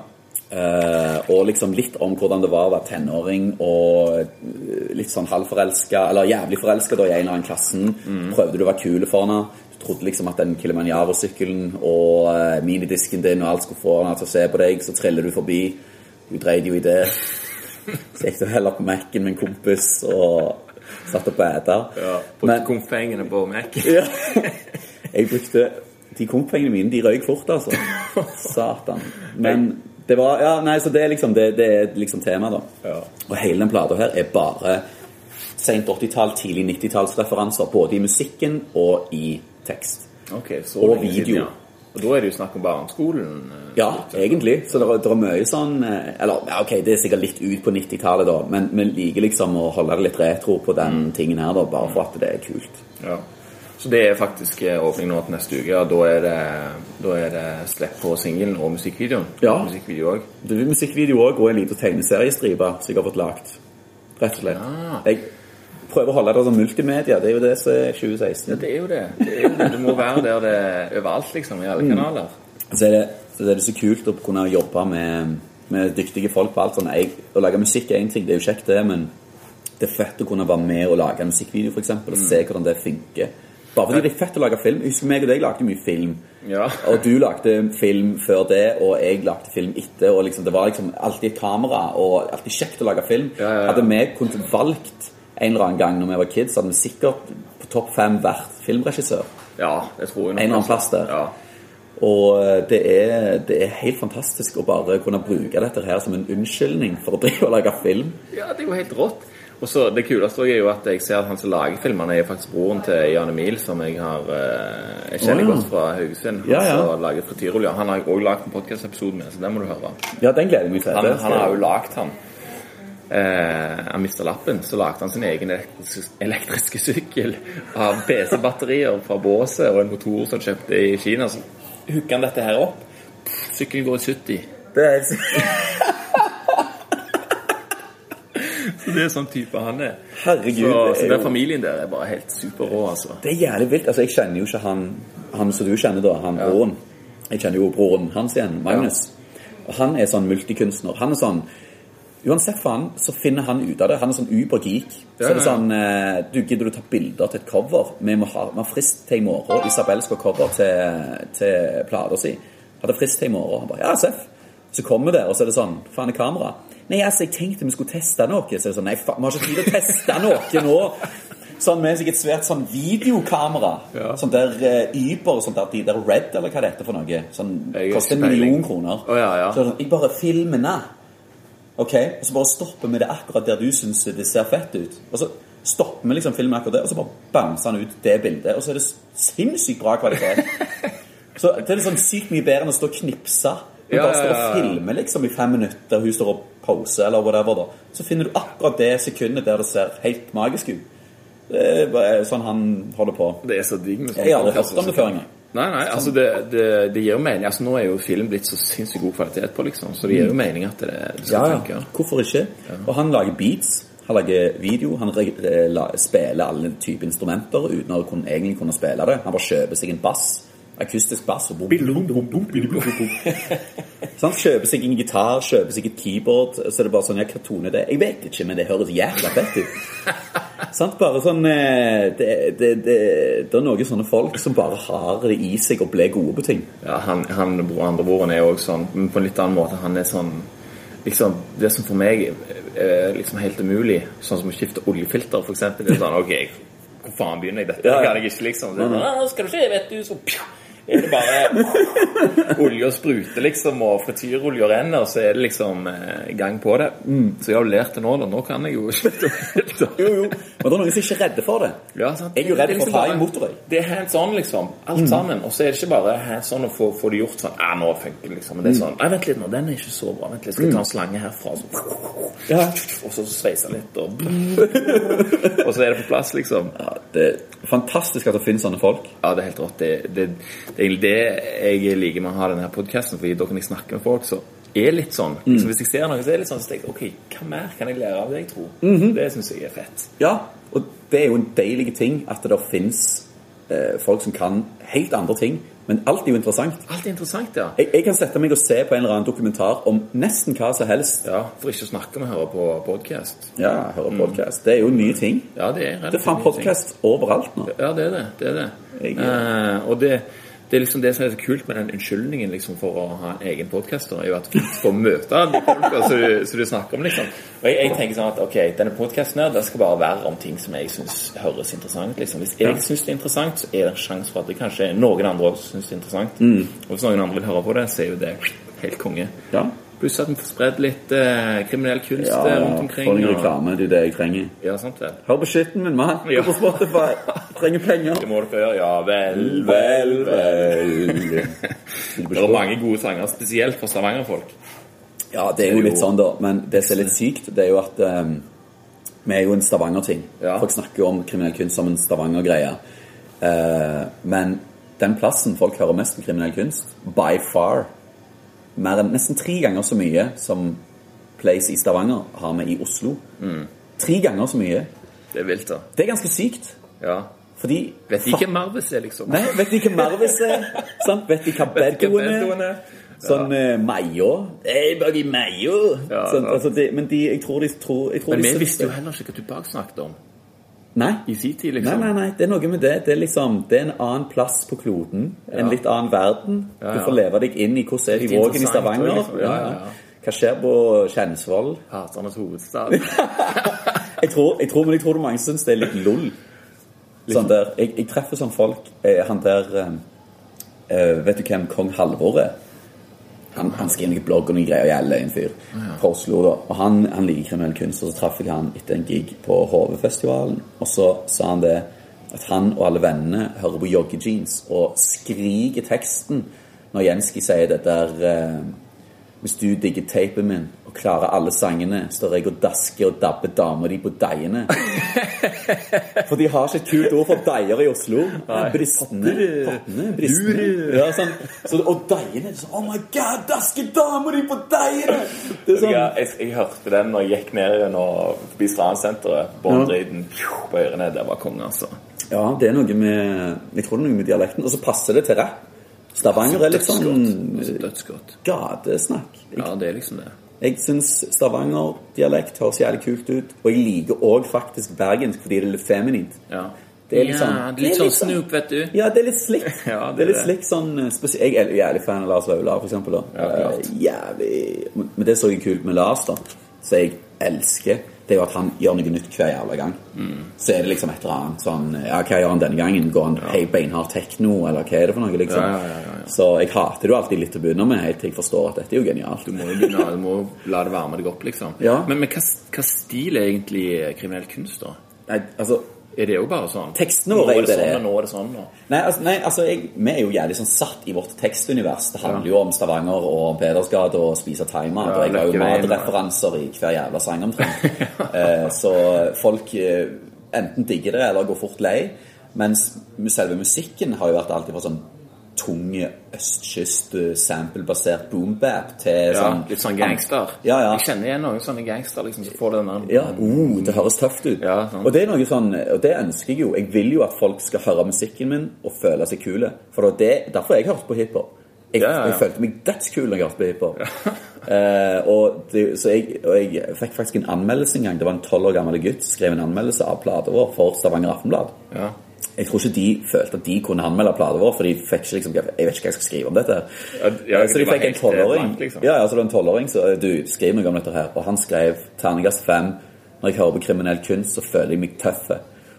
Eh, og liksom litt om hvordan det var å være tenåring og eh, litt sånn halvforelska, eller jævlig forelska da i en eller annen i klassen.
Mm.
Prøvde du å være kul for henne. Du trodde liksom at den Kilimanjaro-sykkelen og eh, minidisken din og alt skulle få henne til å se på deg, så triller du forbi. Hun dreide jo i
*laughs*
det. Så gikk du heller på Mac-en med en kompis og satt og bæta.
ja. På
Men-
konfengene på Mac.
ja. *laughs* Jeg brukte De kompengene mine, de røyk fort, altså. Satan. Men det var Ja, nei, så det er liksom, det, det er liksom temaet, da.
Ja.
Og hele den plata her er bare sent 80-tall, tidlig 90-tallsreferanser. Både i musikken og i tekst.
Ok, så
Og
lenge siden,
video.
ja. Og da er det jo snakk om barneskolen. eh,
Ja,
litt,
egentlig. Så det er, det er mye sånn eh, Eller ja, ok, det er sikkert litt ut på 90-tallet, da, men vi liker liksom å holde det litt retro på den tingen her, da, bare for at det er kult.
Ja. Så det er faktisk eh, åpning nå til neste uke, og da er det, da er det slipp på singelen og musikkvideoen.
Ja.
Musikkvideo også.
Det er musikkvideo òg, og en liten tegneseriestripe som jeg har fått lagt rett og slett. Jeg prøver å holde det som multimedia. Det er jo det som er 2016.
Det er jo det. det, er jo det. Du må være der det overalt, liksom. I
Mm.
alle kanaler.
Så er det så, er det så kult å kunne jobbe med, med dyktige folk på alt. Sånn, jeg, å lage musikk er én ting, det er jo kjekt, det, men det er fett å kunne være med og lage en musikkvideo, f.eks., og
Mm.
se hvordan det funker. Bare fordi det er fett å lage film. Jeg Husker meg og deg lagde mye film.
Ja.
Og du lagde film før det, og jeg lagde film etter. Og liksom, det var liksom alltid et kamera, og alltid kjekt å lage film.
ja, ja.
Hadde vi kunnet valgt en eller annen gang når vi var kids, hadde vi sikkert på topp fem vært filmregissør.
Ja, det tror jeg nok.
En eller annen plass der.
Ja.
Og eh, det er, det er helt fantastisk å bare kunne bruke dette her som en unnskyldning for å drive og lage film.
ja, det er jo helt rått. Og så Det kuleste også er jo at jeg ser at han som lager filmene, er faktisk broren til Jan Emil, som jeg har eh, jeg kjenner
Å, ja.
godt fra Haugesund. Han
Ja, ja.
som lager frityrolje. Han har jeg også lagd en podkastepisode med, så den må du høre.
Ja, den gleder jeg meg til.
Han,
Det
han
skal-
har jo lagd han. Eh, han mista lappen, så lagde han sin egen elektriske, elektriske sykkel av PC-batterier fra båset og en motor som han kjøpte i Kina. Så hooka han dette her opp. Sykkelen går i 70.
det er helt...
Så *laughs* det er sånn type han er.
Herregud.
Så,
det
så
er jo-
den familien der er bare helt superrå, altså.
Det er jævlig vilt. Altså, jeg kjenner jo ikke han, han som du kjenner, da, han broren. Jeg kjenner jo broren hans igjen, Magnus. Og han er sånn multikunstner. Han er sånn Uansett hva han, så finner han ut av det. Han er sånn ubergeek. Så
Ja,
er det
ja.
sånn eh, Du, gidder du ta bilder til et cover? Vi må ha, vi har frist til i morgen. Isabel skal ha cover til, til plata si. Hadde frist til i morgen. Han bare Ja, Seff. Så kommer vi der, og så er det sånn Faen, er kamera? Nei, altså, jeg tenkte vi skulle teste noe. Så er det sånn Nei, faen, vi har ikke tid til å teste noe nå. Sånn med seg et svært sånn videokamera. Sånn der eh, Uber, sånn der, de der Red, eller hva det heter for noe. Sånn,
Jeg har
koster en
ikke peiling.
million kroner.
Å, ja, ja.
Så er det sånn, jeg bare filmer ned. Ok, og så bare stopper vi det akkurat der du syns det ser fett ut. Og så stopper vi liksom filmen akkurat der, og så bare bouncer han ut det bildet. Og så er det sinnssykt bra
*laughs*
kvalitet. så det er liksom sykt mye bedre enn å stå og knipse. Du
Ja,
bare står
ja, ja,
og
ja.
filmer liksom i fem minutter, hun står og poser eller whatever, da. Så finner du akkurat det sekundet der det ser helt magisk ut. Det er bare sånn han holder på.
Det er så digg med sånn
Jeg har aldri hørt om det før Sånn. engang.
Nei, nei, altså det, det, det gir jo mening. Altså Nå er jo film blitt så sinnssykt god kvalitet på, liksom. Så det gir jo mening at det, det skal funke.
Hvorfor ikke? Og han lager beats, han lager video, han re- re- la- spiller alle typer instrumenter uten å kunne, egentlig kunne spille det. Han bare kjøper seg en bass, akustisk bass, og bom, *laughs* så han kjøper seg en gitar, kjøper seg et keyboard, så er det bare sånn, ja, hva tone er det? Jeg vet ikke, men det høres jævla fett ut. *laughs* Sant, bare sånn, eh, det, det, det, det er noen sånne folk som bare har det i seg og blir gode på ting.
Ja, han, han andrebroren er jo også sånn, men på en litt annen måte. Han er sånn liksom, Det som for meg er liksom helt umulig, sånn som å skifte oljefilter, f.eks. Det er sånn OK, hvor faen begynner jeg dette? Det kan jeg ikke, liksom. Det er
Mm.
sånn, «Ah, skal du se, vet du, så pja, er det bare olje og sprute, liksom, og frityrolje og renner, så er det liksom eh, gang på det. Så jeg har jo lært det nå, da. Nå kan jeg jo *laughs* skifte oljefilter.
Mm. Jo, jo. Men det er noen som ikke er redde for det.
Ja, sant.
Jeg er jo redd
Det
for å
liksom
ta
bare-
i motorøy.
Det er hands on, liksom. Alt
Mm.
sammen. Og så er det ikke bare hands on å få, få det gjort sånn Ja, nå funker det, liksom. Men det
Mm.
er sånn Nei, vent litt nå, den er ikke så bra. Vent litt, skal jeg ta en slange herfra? Og så,
Ja.
og så sveise litt, og
Mm.
*laughs* Og så er det på plass, liksom.
Ja, det er fantastisk at det finnes sånne folk.
Ja, det er helt rått. Det, det, det er egentlig det jeg liker med å ha denne podkasten, fordi da kan jeg snakke med folk som er litt sånn.
Mm.
Liksom, hvis jeg ser noe, så er det litt sånn, så tenker jeg OK, hva mer kan jeg lære av deg, tro?
Mm-hmm.
Det syns jeg er fett.
Ja, og det er jo en deilig ting at det finnes eh, folk som kan helt andre ting, men alt er jo interessant.
Alt er interessant, ja.
Jeg, jeg kan sette meg og se på en eller annen dokumentar om nesten hva som helst.
Ja, For ikke å snakke om å høre på podkast.
Ja, høre podcast. Det er jo nye ting.
Ja, det er
Det er faen
mye ting.
podcast overalt nå.
Ja, det er det. det, er det.
Jeg-
Eh, og det, det er liksom det som er så kult med den unnskyldningen liksom, for å ha en egen podcaster, er jo at du får møte de folka som du- som du snakker om, liksom. Og jeg, jeg tenker sånn at ok, denne podcasten her, den skal bare være om ting som jeg synes høres interessant liksom. Hvis jeg synes det er interessant, så er det en sjanse for at det kanskje noen andre også synes det er interessant. Og hvis noen andre vil høre på det, så er jo det helt konge.
Mm. Ja.
Pluss at vi får spredd litt eh, kriminell kunst
Ja,
eh, rundt omkring.
få noen
og-
reklame, det er det jeg trenger.
Ja, sant det.
Hør på skitten min, mann. Gå
Ja.
på Spotify. Trenger penger.
Det må dere gjøre. Ja vel,
Vel, vel.
Det er mange gode sanger, spesielt for stavangerfolk.
Ja, det er jo litt sånn, da. Men det som er litt sykt, det er jo at eh, vi er jo en Stavanger-ting.
Ja.
Folk snakker jo om kriminell kunst som en Stavanger-greie. Eh, men den plassen folk hører mest om kriminell kunst, by far
Mm.
Mer enn nesten tre ganger så mye som Place i Stavanger har vi i Oslo. Tre ganger så mye.
Det er vilt, da.
Det er ganske sykt.
Ja.
Fordi
Vet de hva Marvis er, liksom?
Nei, vet de hva Marvis er?
*laughs*
Sant? Vet de hva
Vet de hva
Beddoen er?
Beddoen er?
Sånn eh, Mayo. Eh, Hey, buggy Mayo!
Ja,
sånn,
ja.
altså, de, men de, jeg tror de tror, jeg tror
Men
de
vi
syns
visste jo
det.
heller ikke hva Tupac snakket om
Nei.
i sin tid,
Nei,
liksom.
nei, nei, det er noe med det. Det er liksom, det er en annen plass på kloden. En litt annen verden.
Ja, ja.
Du får leve deg inn i hvordan er det i Vågen i
interessant
Stavanger.
også, liksom. Ja, ja, ja.
Hva skjer på Kjensvoll?
Haternes hovedstad.
Jeg tror, jeg tror, men jeg tror det er mange som syns det er litt lol. Sånn der, jeg, jeg treffer sånn folk eh, Han der eh, eh, Vet du hvem kong Halvor er? Han, han skrev noen blogg og noen greier gjelder en fyr fra Oslo. da Og han, han liker kriminell kunst, og så traff jeg han etter en gig på HV-festivalen. Og så sa han det at han og alle vennene hører på joggejeans og skriker teksten når Jenski sier det der eh, hvis du digger tapen min og klarer alle sangene, står jeg og dasker og dabber damer de på deiene. For de har ikke et kult ord for deier i Oslo. Bristene. Pottene. Bristene. Ja, sånn. så, og deiene det er sånn, Oh my god, dasker damer de på deiene! Det er sånn,
Ja, jeg, jeg hørte den når jeg gikk ned igjen og forbi Stransenteret. Båndriden på ørene. Der var kongen, altså.
ja, det er noe med Jeg tror det er noe med dialekten. Og så passer det til rapp. Stavanger er litt sånn
Dødsgodt. Altså, Dødsgodt.
gatesnakk.
Ja, det er liksom det.
Jeg syns Stavanger-dialekt høres jævlig kult ut. Og jeg liker òg faktisk bergensk fordi det er litt feminint.
Ja.
Det er litt sånn-
ja, det er
det
litt
er
sånn
litt sånn-
Snoop, vet du.
Ja, det er litt slick.
*laughs*
det,
Ja, det er
er litt
det.
slick sånn eh, spesielt Jeg er jævlig fan av Lars Vaular, for eksempel. Da.
Ja, klart.
Eh, jævlig Men men det som er kult med Lars, da, som jeg elsker, det er jo at han gjør noe nytt hver jævla gang.
Mm.
Så er det liksom et eller annet sånn Ja, hva gjør han denne gangen? Går han hei, beinhard tekno, eller hva er det for noe, liksom?
Ja, ja, ja, ja, ja.
Så jeg hater det jo alltid litt til å begynne med, helt til jeg forstår at dette er jo genialt.
Du må, jo begynne, du må la det varme deg opp, liksom.
Ja.
Men, men hva, hva stil er egentlig kriminell kunst, da?
Nei, altså
Er det jo bare sånn?
Tekstene våre
nå er det
er det.
sånn, og nå er det sånn. Og.
Nei, altså, nei, altså jeg, vi er jo jævlig sånn satt i vårt tekstunivers. Det handler jo om Stavanger og Pedersgade og spise timer.
Ja,
og jeg har jo
Løkkeveien,
matreferanser i hver jævla sang
*laughs*
omtrent. eh, så folk eh, enten digger det eller går fort lei. Mens selve musikken har jo vært alltid fra sånn tung østkyst, eh, samplebasert boombap til
Ja,
sånn
litt sånn gangster.
Ja, ja.
Jeg kjenner igjen noen sånne gangster liksom, som får den der
Ja, oh, det høres tøft ut.
Ja, sant.
og det er noe sånn, og det ønsker jeg jo. Jeg vil jo at folk skal høre musikken min og føle seg kule. For det var det, derfor har jeg hørte på hiphop. Jeg,
Ja, ja, ja.
jeg følte meg dødskul når jeg hørte på hiphop. *laughs* Eh, og, det, så jeg, og jeg fikk faktisk en anmeldelse en gang. Det var en tolv år gammel gutt som skrev en anmeldelse av plata vår for Stavanger Aftenblad.
Ja.
Jeg tror ikke de følte at de kunne anmelde plata vår, for de fikk ikke liksom, jeg vet ikke hva jeg skal skrive om dette.
Ja, ja,
så
det
de
var
fikk en
helt, eh,
tolvåring.
blankt, liksom.
Ja, ja, så det var en tolvåring så eh, du skriv noe om dette her. Og han skrev terningkast fem. Når jeg hører på kriminell kunst, så føler jeg meg tøff.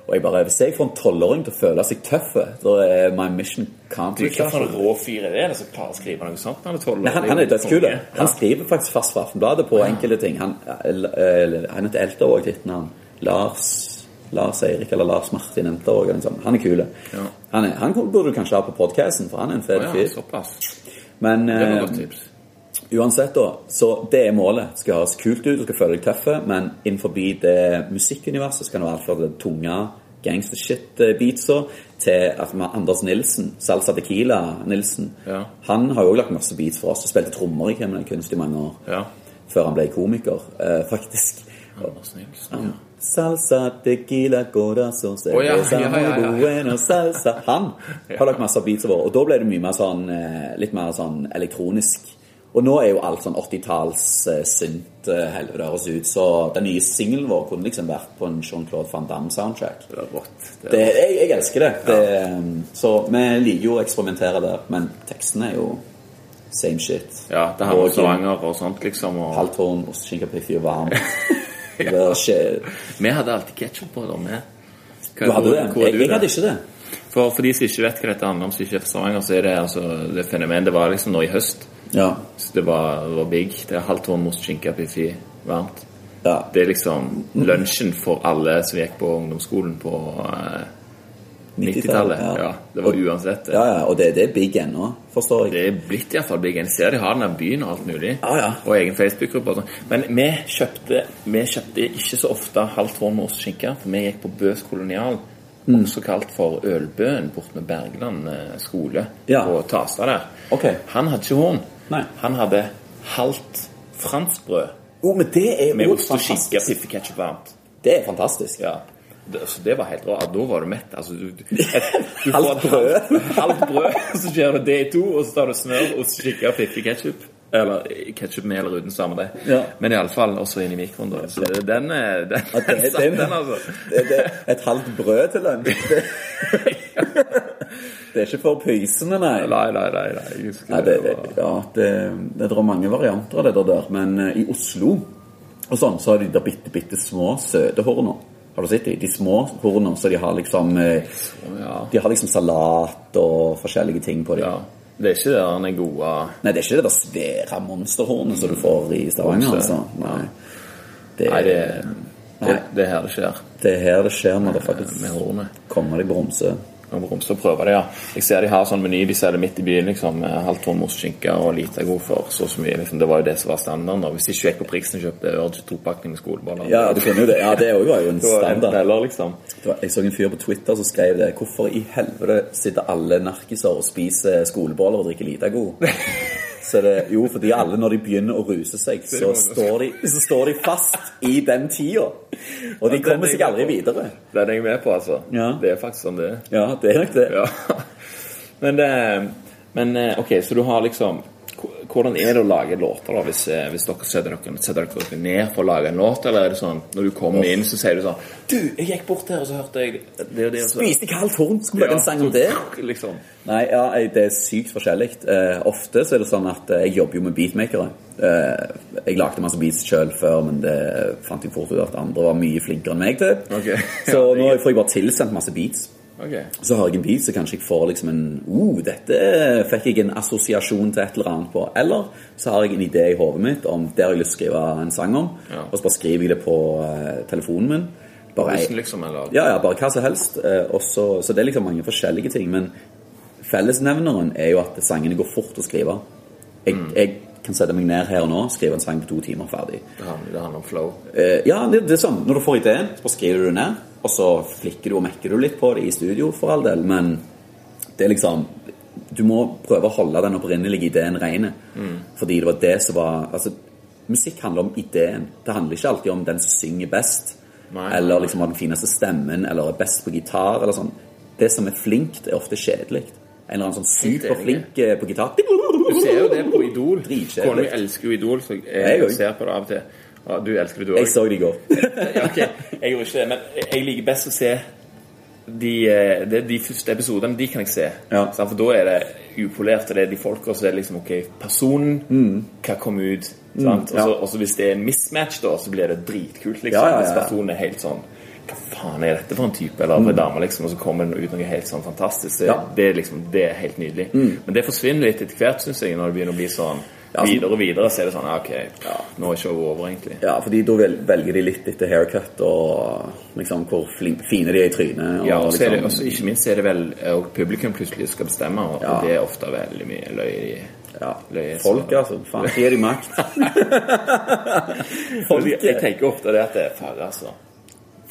Og jeg bare, Hvis jeg får en tolvåring til å føle seg tøff, da er my mission
Du, Hva for en
accomplished.
rå fyr er det som klarer å skrive noe sånt? Han er 12 år.
Nei, han, han er dødskul. Han skriver faktisk fast for Aftenbladet på enkelte ting. Han, eh, han heter Elter òg, heter han. Lars Lars Eirik eller Lars Martin Elter òg. sånn. Han er kul. Han, er- han burde du kanskje ha på podkasten, for han er en fet
Ja,
fyr.
såpass.
Men
Det var
eh,
et godt tips.
Uansett, da. Så det er målet. Det skal høres kult ut, du skal føle deg tøff, men innenfor det musikkuniverset skal det være alt fra det tunge gangstershit-beatsa til at vi har Anders Nilsen, Salsa Tequila Nilsen.
Ja.
Han har jo òg lagt masse beats for oss og spilte trommer i kriminell kunst i mange år.
Ja.
Før han ble komiker, eh, *laughs* faktisk.
Anders Nilsen. Ja.
Salsa, tequila, corazón,
ja,
cerveza,
ja, ja, ja, ja.
muy bueno, salsa
*laughs*
Han har lagt masse beats over, og da ble det mye mer sånn, eh, litt mer sånn elektronisk. Og nå er jo alt sånn 80-talls eh, synt eh, helvete høres ut, så den nye singelen vår kunne liksom vært på en Jean-Claude Van Damme-soundtrack.
Det er rått. Det er-
Det, jeg, jeg elsker det. det Så vi liker jo å eksperimentere der, men tekstene er jo same shit.
Ja, det handler om
Og-
Stavanger og sånt, liksom. Og...
Halvtårn, osteskinke, piffig og
*laughs*
varm. Det er skje-
Vi hadde alltid ketsjup på, da. Vi. Hva-
Du hadde det?
hvor er
Jeg, jeg
du der?
hadde ikke det.
For, for de som ikke vet hva dette handler om, som ikke er fra Stavanger, så er det altså det fenomenet Det var liksom nå i høst.
Ja.
Så det var, det var big. Det er halvt år most skinke piffi varmt.
Ja.
Det er liksom lunsjen for alle som gikk på ungdomsskolen på eh, 90-tallet. Ja. det var uansett.
Ja, ja, og det, det er big ennå, forstår jeg.
Det er blitt i hvert fall big. Jeg ser de har den her byen og alt mulig.
Ja, ja.
Og egen Facebook-gruppe. og sånn. Men vi kjøpte, vi kjøpte ikke så ofte halvt år med osteskinke, for vi gikk på Bøs kolonial.
Mm.
Også kalt for Ølbøen, borte med Bergland eh, skole
Ja.
på Tasta der.
Ok.
Han hadde ikke horn.
Nei.
Han hadde halvt franskbrød
Jo, men det er
med
jo
ost og skinke,
fantastisk.
piffeketchup varmt.
Det er fantastisk.
Ja. Det, så det var helt rart. Da var du mett. Altså, du, du, et, du får
*laughs* Halvt
et
brød.
halvt brød, så skjærer du det i to, og så tar du smør og skikker fiffig ketsjup. Eller ketsjup med eller uten, samme det.
Ja.
Men iallfall også inn i mikroen, da. Så det- den, er- den,
Ja, det- *laughs*
den, satt,
den-
den altså.
Det, det, et halvt brød til *laughs* den. Det, det er ikke for pysene, nei.
Nei, nei, nei. nei. jeg husker
Nei, det, det,
var-
ja, det, det er mange varianter av det der, der, men eh, i Oslo og sånn, så har de de bitte, bitte små søte horner. Har du sett de? De små horner, så de har liksom eh,
ja.
De har liksom salat og forskjellige ting på dem.
ja. Det er ikke det der den er gode
Nei, det er ikke det der svære monsterhornet som du får i Stavanger, altså. Nei. Det,
Nei, det, det,
Nei.
eh, det er her det skjer.
det er her det skjer når det faktisk
Med hornet.
kommer de bromser.
Jeg må romse og prøve det, ja. Jeg ser de har sånn meny, de selger midt i byen, liksom. eh, Halvt tonn osteskinke og lite god for så og så mye. liksom. Det var jo det som var standarden. da. Hvis ikke jeg på Priksen kjøpte Urge topakning med skoleboller
Ja, du kunne jo det. Ja, det òg var jo en
*laughs* Det var enten
standard.
eller, liksom.
Det var, jeg så en fyr på Twitter som skrev det. Hvorfor i helvete sitter alle narkiser og spiser skoleboller og drikker
*laughs*
Litago? Så det, jo, fordi alle når de begynner å ruse seg, så står de, så står de fast i den tida. Og de
den
kommer
er
seg
jeg
aldri
med
videre.
Den er jeg med på, altså.
Ja.
Det er faktisk sånn det er.
Ja, det er nok det.
Ja. *laughs* Men, det, men eh, ok, så du har liksom Hvordan er det å lage låter, da, hvis, eh, hvis dere setter dere, setter dere ned for å lage en låt? Eller er det sånn når du kommer inn, så sier du sånn Du, jeg gikk bort her, og så hørte jeg det og det og så-
Spiste kaldt horn, skulle lage en sang om det.
Ja, Liksom.
Nei, ja, jeg- det er sykt forskjellig. Eh, ofte så er det sånn at eh, jeg jobber jo med beatmakere. Eh, jeg lagde masse beats sjøl før, men det fant jeg fort ut at andre var mye flinkere enn meg til.
Ok.
*laughs* så nå får jeg bare tilsendt masse beats.
Ok.
Så har jeg en beat, så kanskje jeg får liksom en oh, dette fikk jeg en assosiasjon til et eller annet på. Eller så har jeg en idé i hodet mitt om det har jeg lyst til å skrive en sang om.
Ja.
Og så bare skriver jeg det på eh, telefonen min. Bare,
Hvordan liksom, eller?
ja, ja, bare hva som helst. Eh, og så- så det er liksom mange forskjellige ting. Men fellesnevneren er jo at sangene går fort å skrive. Jeg, jeg kan sette meg ned her og nå, skrive en sang på to timer ferdig.
Det handler, det handler om flow.
Eh, ja, det, det er sånn. Når du får ideen, så bare skriver du det ned. Og så flikker du og mekker du litt på det i studio, for all del. Men det er liksom Du må prøve å holde den opprinnelige ideen ren.
Mm.
Fordi det var det som var Altså, musikk handler om ideen. Det handler ikke alltid om den som synger best.
Nei.
Eller liksom har den fineste stemmen, eller er best på gitar, eller sånn. Det som er flinkt, er ofte kjedelig. En eller annen sånn
Helt enig.
superflink eh, på gitar
Du ser jo det på Idol.
Dritkjedelig.
Kona mi elsker jo Idol, så jeg,
Jeg òg.
ser på det av og til. Ja, du elsker det, du
Jeg
òg.
så det i går.
Ja, *laughs* ok. Jeg gjorde ikke det, men jeg liker best å se de, eh, det er de første episodene. De kan jeg se.
Ja.
Sant? For da er det upolert, og det er de folka, så det er liksom OK, personen, hva kom ut? sant? Og
Mm. ja.
så- Og så hvis det er en mismatch, da, så blir det dritkult, liksom.
Ja, ja, ja, ja. Mm.
Hvis personen er helt sånn Hva faen er dette for en type? Eller en dame, liksom. Og så kommer det ut noe helt sånn fantastisk. Det,
Ja. Mm.
det, er liksom, det er helt nydelig. Men det forsvinner litt etter hvert, syns jeg, når det begynner å bli sånn
Ja, altså så-
videre og videre. Så er det sånn ja, OK, nå er showet over, egentlig.
Ja, fordi da vel, velger de litt etter haircut og liksom hvor flin, fine de er i trynet. Og
Ja, og så er det,
liksom-
også, ikke minst er det vel eh, og publikum plutselig skal bestemme, og
Ja.
det er ofte veldig mye løy i
ja.
løy i-
Folk, altså. Faen, gir de
*laughs*
makt.
Men Jeg jeg tenker ofte det at det er færre, altså.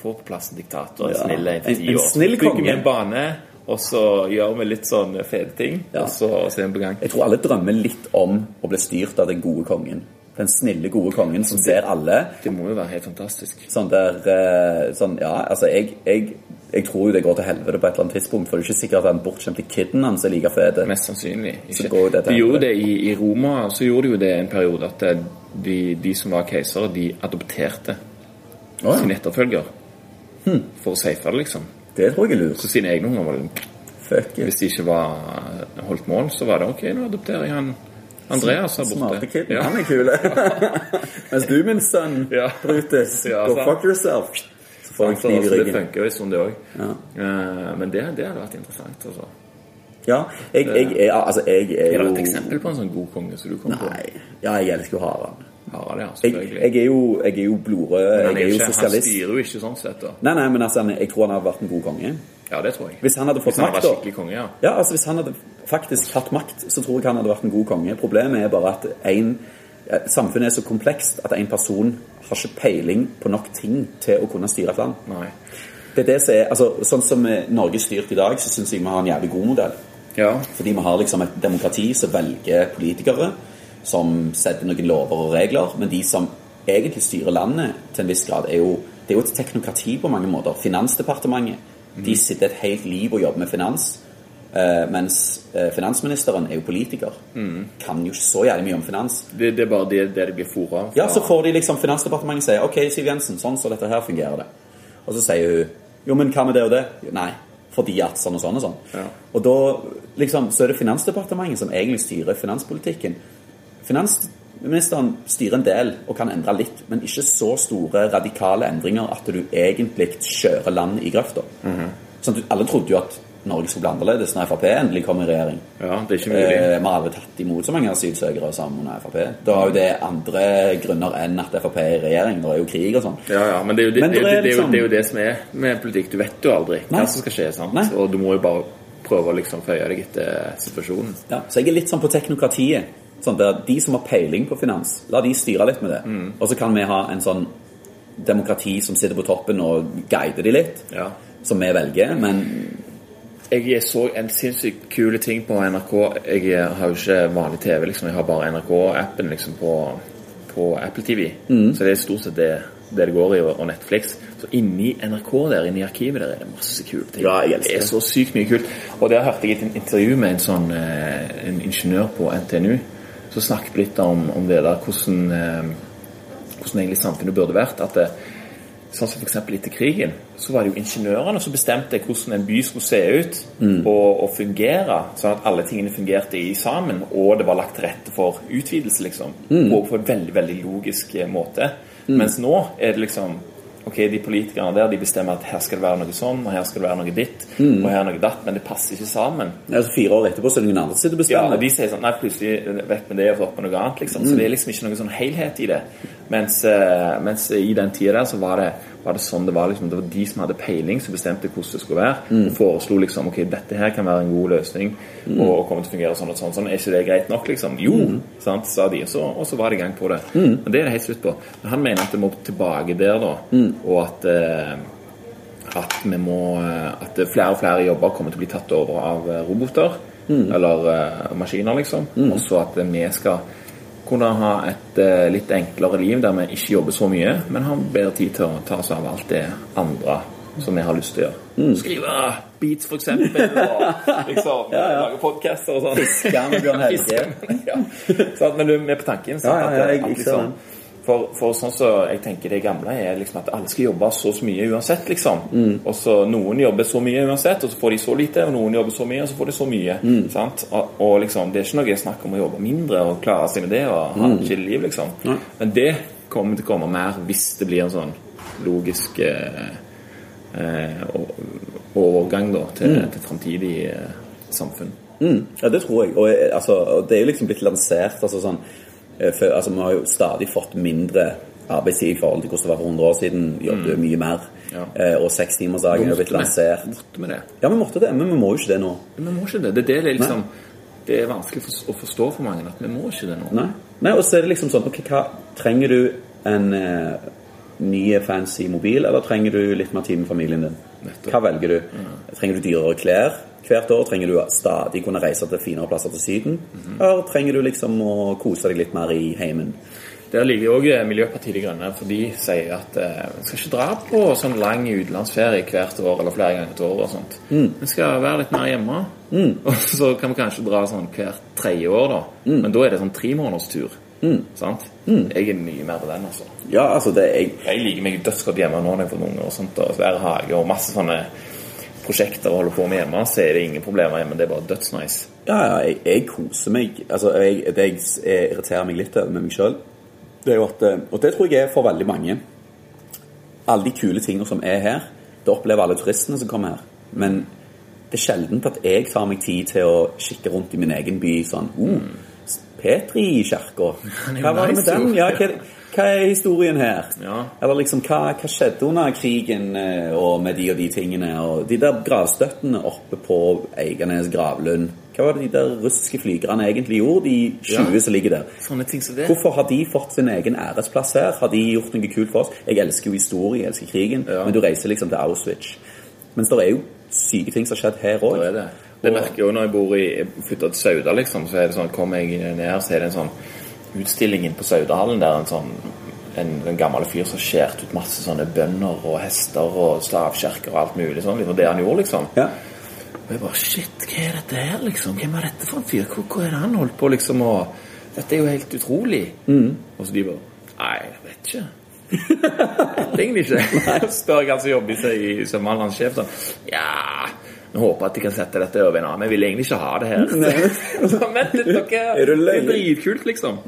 Få på plass en diktator, en
Ja.
snill en for
En-
ti
en
år. Så
snill konge.
Bygger vi en bane, og så gjør vi litt sånn fete ting,
Ja.
og så ser vi på gang.
Jeg tror alle drømmer litt om å bli styrt av den gode kongen. Den snille, gode kongen som ser alle.
Det må jo være helt fantastisk.
Sånn der eh, sånn, Ja, altså, jeg, jeg, jeg tror jo det går til helvete på et eller annet tidspunkt, for det er ikke sikkert at den bortskjemte kiden hans er like fet.
Mest sannsynlig. Ikke.
Så går jo det til
de
helvete.
gjorde det i, i Roma, så gjorde de jo det en periode at eh, de, de som var keisere, de adopterte
Å,
sin
ja.
etterfølger.
Hm.
For å safe det, liksom.
Det tror jeg er lurt.
Så sine egne unger var liksom det
Fuck it.
Hvis de ikke var eh, holdt mål, så var det ok, nå adopterer jeg han Andreas her
Smarte
borte.
kid.
Ja.
Han er kul.
*laughs*
Mens du, min sønn,
Ja.
Brutus,
Ja,
go
sant.
fuck yourself. Så får han
Så
kniv i
altså, det
ryggen.
funker jo en stund, det òg. Men det, det hadde vært interessant. Altså.
Ja, jeg, jeg, er- altså, jeg er
Er det
jo
et eksempel på en sånn god konge som du kom på?
Nei. Ja, jeg elsker jo Harald.
Harald, ja,
Jeg,
selvfølgelig.
jeg er jo, jeg er jo blodrød.
Men han,
Jeg er jo
ikke, han
sosialist.
styrer jo ikke sånn sett, da.
Nei, nei, men altså, han- jeg tror han hadde vært en god konge.
Ja, det tror jeg.
Hvis han hadde fått
Hvis han
makt,
var
da.
skikkelig konge, ja.
Ja, altså Hvis han hadde faktisk hatt makt, så tror jeg han hadde vært en god konge. Problemet er bare at en, eh, samfunnet er så komplekst at en person har ikke peiling på nok ting til å kunne styre et land.
Nei.
Det er det som er, altså, sånn som eh, Norge er styrt i dag, så syns jeg vi har en jævlig god modell.
Ja.
Fordi vi har liksom et demokrati som velger politikere, som setter noen lover og regler, men de som egentlig styrer landet til en viss grad, er jo Det er jo et teknokrati på mange måter. Finansdepartementet De sitter et helt liv og jobber med finans. eh, mens eh, finansministeren er jo politiker. Kan jo ikke så jævlig mye om finans.
Det, det er bare det, det de blir fôra
Ja, så får de liksom Finansdepartementet sier OK, Siv Jensen, sånn så dette her fungerer det. Og så sier hun jo, men hva med det og det? Nei, fordi at sånn og sånn og sånn.
Ja.
Og da liksom så er det Finansdepartementet som egentlig styrer finanspolitikken. Finansministeren styrer en del og kan endre litt, men ikke så store radikale endringer at du egentlig kjører landet i grøfta. sånn, at du- alle trodde jo at Norge skulle bli annerledes når Frp endelig kom i regjering.
Ja, det er ikke mulig.
Eh, Vi har aldri tatt imot så mange asylsøkere sammen under Frp. Da er jo det andre grunner enn at Frp er i regjering. Det er jo krig og sånn.
Ja, ja, men det er jo det,
Men
det, er jo-
det er
det, er jo,
liksom-
det er jo det som er med politikk. Du vet jo aldri
Nei.
hva som skal skje. sant?
Nei.
Og du må jo bare prøve å liksom føye deg etter situasjonen.
Ja, så jeg er litt sånn på teknokratiet. Sånn der De som har peiling på finans, la de styre litt med det.
Mm.
Og så kan vi ha en sånn demokrati som sitter på toppen og guider de litt,
Ja.
som vi velger. Men
Jeg så en sinnssykt kule ting på NRK. Jeg har jo ikke vanlig TV, liksom. Jeg har bare NRK-appen liksom på, på Apple TV.
Mm.
Så det er stort sett det det, det går i, og og Netflix. Så inni NRK der, inni arkivet der, er det masse kule ting.
Ja, jeg elsker
det er så sykt mye kult. Og der hørte jeg et intervju med en sånn eh, en ingeniør på NTNU. Så snakket vi litt om, om det der, hvordan, eh, hvordan egentlig samfunnet burde vært. At det, Sånn som for eksempel etter krigen, så var det jo ingeniørene som bestemte hvordan en by skulle se ut og, og fungere, sånn at alle tingene fungerte i sammen, og det var lagt til rette for utvidelse, liksom. Og på en veldig, veldig logisk eh, måte. Mens nå er det liksom Ok, de politikerne der de bestemmer at her skal det være noe sånn, og her skal det være noe ditt, og her noe datt, men det passer ikke sammen.
altså, fire år etterpå så er det noen andre som sitter og
Ja,
bestemmer.
og de sier sånn Nei, plutselig vekk med det og opp med noe annet, liksom. Så det er liksom ikke noen sånn helhet i det. Mens, eh, mens i den tida der så var det, var det sånn det var, liksom. Det var de som hadde peiling, som bestemte hvordan det skulle være. Og foreslo liksom Ok, dette her kan være en god løsning, og, og kommer til å fungere sånn og sånn. sånn. Er ikke det greit nok, liksom? Jo, sant, sa de. Og så, og så var det i gang på det. Men det er det helt slutt på. Men han mener at det må tilbake der, da. Og at eh, at, vi må, eh, at flere og flere jobber kommer til å bli tatt over av eh, roboter. Eller eh, maskiner, liksom. Og så at eh, vi skal kunne ha et eh, litt enklere liv der vi ikke jobber så mye, men har bedre tid til å ta oss av alt det andre som vi har lyst til å gjøre. Skrive beats, for eksempel, og liksom lage podcaster og sånn.
Fiske med
*laughs*
Bjørn Helge.
ja. sant, men du er med på tanken. sant,
Ja, ja, ja,
at-
jeg-
at
jeg ser
liksom,
den.
for, for sånn så jeg tenker det gamle er liksom at alle skal jobbe så så mye uansett, liksom.
Mm.
Og så noen jobber så mye uansett, og så får de så lite, og noen jobber så mye, og så får de så mye.
Mm.
Sant? Og, og liksom, det er ikke noe snakk om å jobbe mindre og klare seg med det og
Mm.
ha et chill liv, liksom. Men det kommer til å komme mer hvis det blir en sånn logisk eh, eh, o- overgang da, til,
Mm.
til framtidig eh, samfunn.
Ja, det tror jeg. Og, eh, altså, og det er jo liksom blitt lansert altså, sånn, eh, for, altså, Vi har jo stadig fått mindre arbeidstid i forhold til hvordan det var for 100 år siden. Vi jobbet mye mer.
Mm. Ja.
Eh, Og sekstimersdagen er jo blitt lansert.
Borte med det.
Ja, vi måtte det, men vi må jo ikke det nå.
Men vi må ikke det. Det, er det, det, er liksom, det er vanskelig for, å forstå for mange at vi må ikke det nå.
Nei. Nei, og så er det liksom sånn Ok, hva Trenger du en eh, ny fancy mobil, eller trenger du litt mer tid med familien din?
Nettopp. Mm.
Hva velger du? Trenger du dyrere klær hvert år? Trenger du stadig kunne reise til finere plasser til Syden?
Mhm.
Eller trenger du liksom å kose deg litt mer i heimen?
Der ligger jo også eh, Miljøpartiet De Grønne, for de sier at eh, vi skal ikke dra på sånn lang utenlandsferie hvert år eller flere ganger et år og sånt. Vi skal være litt mer hjemme. *laughs* Og så kan vi kanskje dra sånn hvert tredje år, da. Men da er det sånn tre måneders tur. Sant? Jeg er mye mer på den, altså.
Ja, altså det er
Jeg liker meg dødsgodt hjemme nå når jeg får unger og sånt, og svær hage og masse sånne prosjekter å holde på med hjemme, så er det ingen problemer hjemme. Det er bare dødsnice.
Ja, ja, jeg, jeg koser meg. Altså, jeg, det jeg, s- jeg irriterer meg litt over med meg sjøl, det er jo at eh, Og det tror jeg er for veldig mange. Alle de kule tingene som er her, det opplever alle turistene som kommer her. Men det er sjelden at jeg tar meg tid til å kikke rundt i min egen by sånn oh,
*laughs*
Petri-kirka.
er jo
Hva var det med
nice, jo.»
den? Ja, hva, hva er historien her?
Ja.
Eller liksom, hva, hva skjedde under krigen eh, og med de og de tingene? Og de der gravstøttene oppe på Eiganes gravlund. Hva var det de der russiske flygerne egentlig gjorde, de 20
Ja.
som ligger der?
Sånne ting som det.
Hvorfor har de fått sin egen æresplass her? Har de gjort noe kult for oss? Jeg elsker jo historie, jeg elsker krigen,
Ja.
men du reiser liksom til Auschwitz. Mens det er jo syke ting som har skjedd her òg.
Det er det. Det merker jeg jo når jeg bor i jeg flytter til Sauda, liksom. Så er det sånn, kommer jeg ned, så er det en sånn utstillingen på Saudahallen der en sånn en, en gammel fyr som skjærte ut masse sånne bønder og hester og slavkjerker og alt mulig sånn. Det var det han gjorde, liksom.
Ja.
Og jeg bare Shit, hva er dette her, liksom? Hvem er dette for en fyr? Hvor, hvor er det han holdt på, liksom? Og dette er jo helt utrolig. Og så de bare Nei, jeg vet ikke. *laughs* Jeg vet egentlig ikke. *laughs* Spør jeg han som jobber i seg i Sømmaland, hans sjef, sånn Ja, vi håper at de kan sette dette over en annen. Vi vil egentlig ikke ha det her. *laughs* Så, Vent litt, dere.
Er du
Det
løye?
er dritkult, liksom.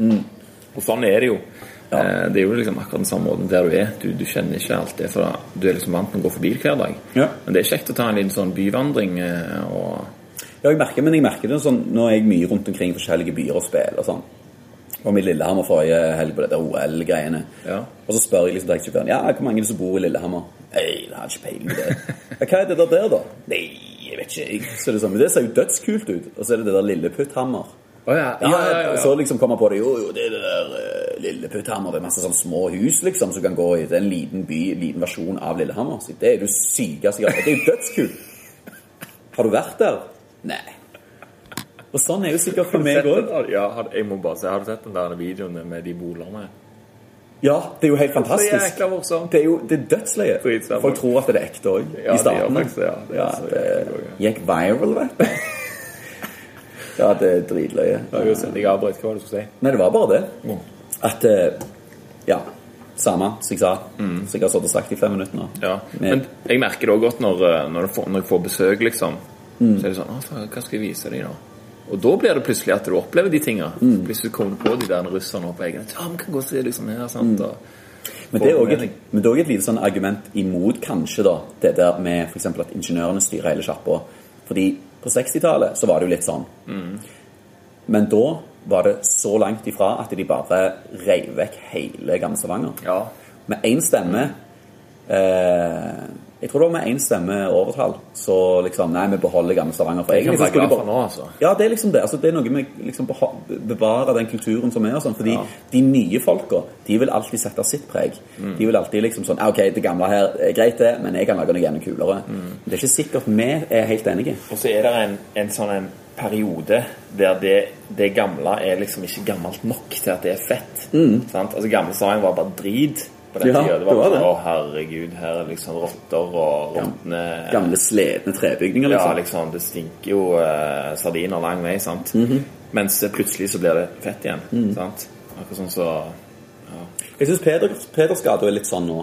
Og sånn er det jo. Eh, Det er jo liksom akkurat den samme måten der du er. Du, du kjenner ikke alt det, for du er liksom vant til å gå forbi det hver dag.
Ja.
Men det er kjekt å ta en liten sånn byvandring eh, og
Ja, jeg merker, men jeg merker det sånn Nå er jeg mye rundt omkring i forskjellige byer og spiller og sånn. Og med Lillehammer forrige helg på dette OL-greiene.
Ja.
Og så spør jeg liksom taxisjåføren Ja, hvor mange er det som bor i Lillehammer. Nei, det har jeg ikke peiling på. det. Ja, Hva er det der, der da? Nei, jeg vet ikke. jeg». Så det, er sånn, men det ser jo dødskult ut. Og så er det det der Lilleputthammer.
Å ja.
Ja,
ja, ja, ja.
Så liksom kommer jeg på det Jo, jo, det er det der eh, Lilleputthammer. Det er masse sånn små hus liksom som kan gå i. Det er en liten by, en liten versjon av Lillehammer. Så det er jo sykeste jeg har Det er jo dødskult. Har du vært der? Nei. Og sånn er jo sikkert for meg òg.
Ja, har- jeg må bare si, har du sett den der videoen med de bolerne?
Ja, det er jo helt
Så
fantastisk.
jækla morsomt.
Det er jo det er dødsløye.
Dritsvært.
Folk tror at det er ekte òg,
Ja,
i starten.
det gjør faktisk det, ja. Det er så jævlig gøy,
det gikk viral, vet du. *laughs* Ja, det er dritløye.
Ja, uansett, Jeg avbrøt hva var det du skulle si.
Nei, det var bare det.
Ja.
At eh, Ja. Samme som jeg sa. Som jeg har stått og sagt i fem minutter nå.
Mm. Ja,
Men,
men jeg merker det også godt når, eh, når, jeg får, når jeg får besøk, liksom. Så er det sånn «Å, faen, Hva skal jeg vise dem, da? Og da blir det plutselig at du opplever de tinga. Hvis du kommer på de der russerne på egen hånd. Ja, vi kan gå og se liksom her, sant? Og,
men det er
får
også
mening.
et, men det er også et lite sånn argument imot, kanskje, da, det der med f.eks. at ingeniørene styrer hele sjappa. Fordi på 60-tallet så var det jo litt sånn.
Mm.
Men da var det så langt ifra at de bare reiv vekk hele Gamle Stavanger.
ja.
Med én stemme eh, Jeg tror det var med én stemme overtall. Så liksom Nei, vi beholder Gamle Stavanger. For
Jeg kan
egentlig så
være
skulle de
glad for
bare
nå, altså.
Ja, det er liksom det. Altså, det er noe med liksom beha- bevare den kulturen som er og sånn. Fordi
Ja.
de nye folka, de vil alltid sette sitt preg.
Mm.
De vil alltid liksom sånn «Ah, OK, det gamle her er greit, det, men jeg kan lage noe enda kulere.
Mm.
Men Det er ikke sikkert vi er helt enige.
Og så er det en, en sånn en periode der det, det gamle er liksom ikke gammelt nok til at det er fett. Sant? Altså Gamle Stavanger var bare drit på den
Ja,
tida. Det
det
var
var
bare
det.
sånn, å herregud, her er liksom rotter og råtne
Gamle, sletne trebygninger,
Ja,
liksom.
liksom, det stinker jo eh, sardiner lang vei, sant? Mens eh, plutselig så blir det fett igjen, sant? Akkurat sånn så...
Jeg syns Peder, Pedersgata er litt sånn nå.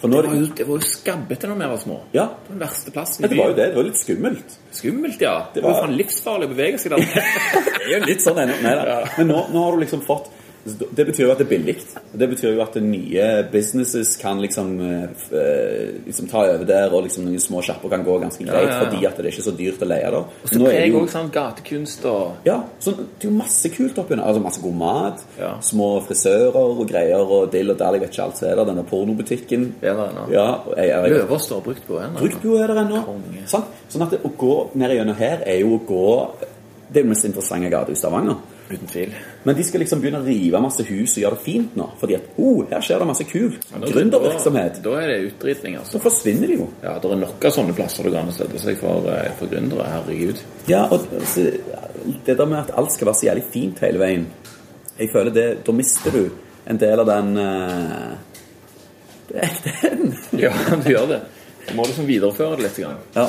For nå
Det
er
var
det
jo, det var jo skabbete når vi var små.
Ja.
Det var den verste plassen
Ja,
i
det var jo
byen.
det. Det var litt skummelt.
Skummelt, ja. Det
var-
var jo faen livsfarlig å bevege *laughs* seg der.
Det er jo litt sånn ennå. Nei da. Men nå, nå har du liksom fått Det betyr jo at det er billig. Og Det betyr jo at nye businesses kan liksom, eh, f- eh, liksom ta over der, og liksom noen små sjapper kan gå ganske greit
ja, ja.
fordi at det er ikke så dyrt å leie der.
Og så
Nå er det
preg
jo-
også sånn gatekunst og...
ja, sånn, det er jo masse kult oppi der. Altså masse god mat,
Ja.
små frisører og greier og dill og dall, jeg vet ikke alt som er der. Denne pornobutikken.
Det er det ennå.
Ja, og jeg, jeg, jeg,
Løver står brukt på henne.
Bruktbua er der ennå.
Konge.
Sant? Sånn at det, å gå ned gjennom her er jo å gå Det er jo den mest interessante gata i Stavanger.
Uten tvil.
Men de skal liksom begynne å rive masse hus og gjøre det fint nå. Fordi at oh, her skjer det masse kult. Gründervirksomhet.
Da, da er det utdritning, altså.
Så forsvinner de jo.
Ja, det er nok av sånne plasser du kan støtte seg for, eh, for gründere, herregud. *laughs*
Ja, og altså, det der med at alt skal være så jævlig fint hele veien Jeg føler det Da mister du en del av den eh, *laughs* Det er den.
Ja, du gjør det. Du må liksom videreføre det litt. Grann.
Ja.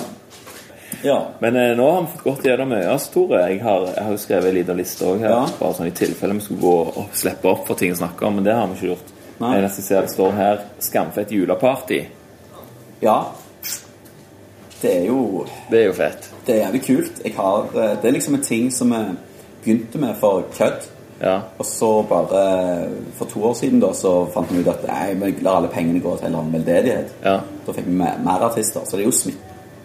ja.
Men eh, nå har vi fått gått gjennom mye, altså, Tore. Jeg har, jeg har jo skrevet en liten liste også her.
Ja.
Bare sånn i tilfelle vi skulle gå og slippe opp for ting å snakke om, men det har vi ikke gjort.
Nei.
Jeg nesten ser det står her 'Skamfett juleparty'.
Ja. Det er jo
Det er jo fett.
Det er jævlig kult. Jeg har, eh, det er liksom en ting som jeg begynte med for kødd.
Ja.
Og så bare For to år siden da så fant vi ut at nei, vi lar alle pengene gå til en eller annen veldedighet.
Ja.
Da fikk vi mer, mer artister. Så det er jo smitt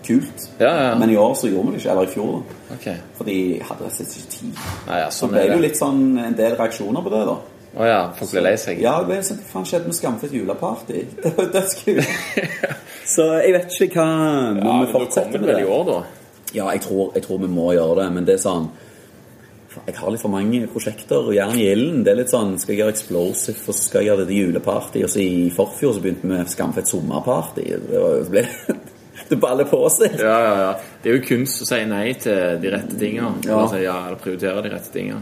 kult.
Ja, ja, ja.
Men i år så gjorde vi det ikke. Eller i fjor. da.
Ok.
Fordi jeg hadde rett og slett ikke tid.
Nei, ja,
Så
sånn
ble
er
det jo
det.
litt sånn en del reaksjoner på det, da.
Å ja, folk blir lei seg.
Ja, det ble sånn, hva faen skjedde med Skamfett juleparty? *laughs* Det var jo dødskult. *laughs* så jeg vet ikke hva Må
men
vi
da
fortsette
kommer
med
det
det?
vel i år, da.
Ja, jeg tror, jeg tror vi må gjøre det, men det er sånn faen, Jeg har litt for mange prosjekter, og jern i ilden. Det er litt sånn Skal jeg gjøre Explosive, og så skal jeg gjøre dette juleparty? Og så i forfjor så begynte vi med Skamfett sommerparty. Det var jo så ble *laughs* det Det baller på seg.
Ja, ja, ja. Det er jo kunst å si nei til de rette tinga.
Ja.
Eller si ja, eller prioritere de rette tinga.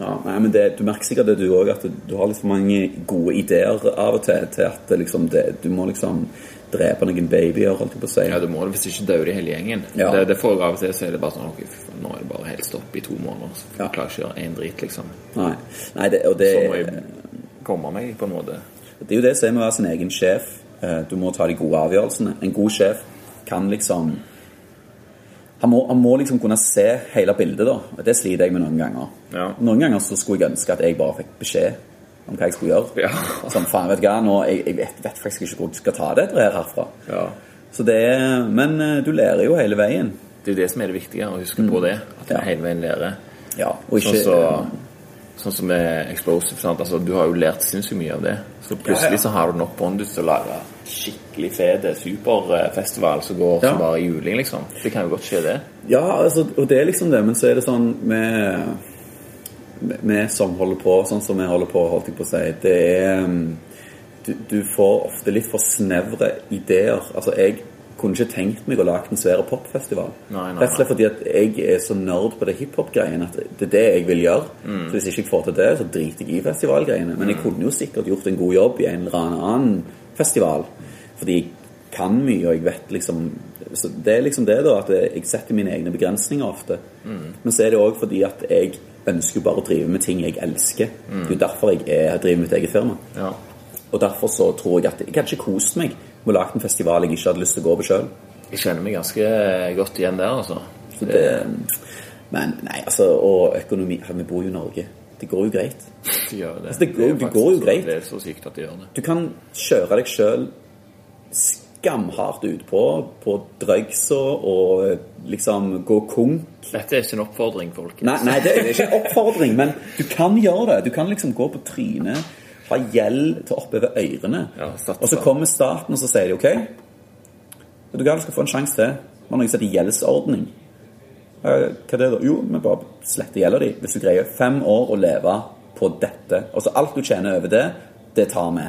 Ja, nei, men det, Du merker sikkert det du òg, at du har litt for mange gode ideer av og til til at det, liksom, det, du må liksom drepe noen babyer, holdt jeg på å si.
Ja, du må det hvis ikke dør i hele gjengen.
Ja.
Det, det får av og til så er det bare sånn ok, fy faen, Nå er det bare helt stopp i to måneder. Så
Ja.
jeg klarer ikke å gjøre én drit, liksom.
Nei, nei det, og det,
Så må jeg komme meg, på en måte.
det er jo det som er med å være sin egen sjef. Eh, Du må ta de gode avgjørelsene. En god sjef kan liksom han må, han må liksom kunne se hele bildet, da. Og Det sliter jeg med noen ganger.
Ja.
Noen ganger så skulle jeg ønske at jeg bare fikk beskjed om hva jeg skulle gjøre.
Ja.
*laughs* Sånn, faen, vet du hva, nå, jeg, jeg vet, vet faktisk ikke hvor jeg skal ta det etter her herfra.
Ja.
Så det er, men eh, du lærer jo hele veien.
Det er jo det som er det viktige, å huske på det. At du
Ja.
hele veien lærer.
Ja, og ikke
Sånn som- sånn som med Explosive. Sant? Altså, du har jo lært sinnssykt mye av det. Så plutselig så har du nok bondus til å lage skikkelig fete superfestival som går
Ja.
som bare i juling, liksom. Det kan jo godt skje, det.
Ja, altså, og det er liksom det, men så er det sånn med Vi som holder på sånn som vi holder på, holdt jeg på å si, det er mm, du, du får ofte litt for snevre ideer. Altså, jeg kunne ikke tenkt meg å lage en svær popfestival.
Nei, nei,
Rett og slett fordi at jeg er så nerd på det hiphop-greien at det er det jeg vil gjøre.
Mm.
Så hvis ikke jeg får til det, så driter jeg i festivalgreiene. Men jeg kunne jo sikkert gjort en god jobb i en eller annen annen festival. Fordi jeg kan mye, og jeg vet liksom så Det er liksom det, da, at jeg setter mine egne begrensninger ofte.
Mm.
Men så er det òg fordi at jeg ønsker jo bare å drive med ting jeg elsker.
Mm.
Det er jo derfor jeg er, driver mitt eget firma.
Ja.
Og derfor så tror jeg at jeg hadde ikke kost meg med å lage en festival jeg ikke hadde lyst til å gå på sjøl.
Jeg kjenner meg ganske godt igjen der, altså.
Men nei, altså, og økonomi ja, Vi bor jo i Norge. Det går jo greit.
De gjør det.
Altså, det går-
er
det går
faktisk
jo
så-
greit.
Det er så sykt at de gjør det.
Du kan kjøre deg sjøl skamhardt utpå på drøgsa og liksom gå konk.
Dette er ikke en oppfordring, folk.
Nei, nei, det er ikke en oppfordring, men du kan gjøre det. Du kan liksom gå på trynet, ha gjeld til oppover ørene.
Ja, satsa.
og så kommer staten, og så sier de OK, vet du hva, du skal få en sjanse til. Vi har noe som heter gjeldsordning. «Eh, Hva er det da? Jo, vi bare sletter gjelda di hvis du greier fem år å leve på dette. Altså alt du tjener over det, det tar vi.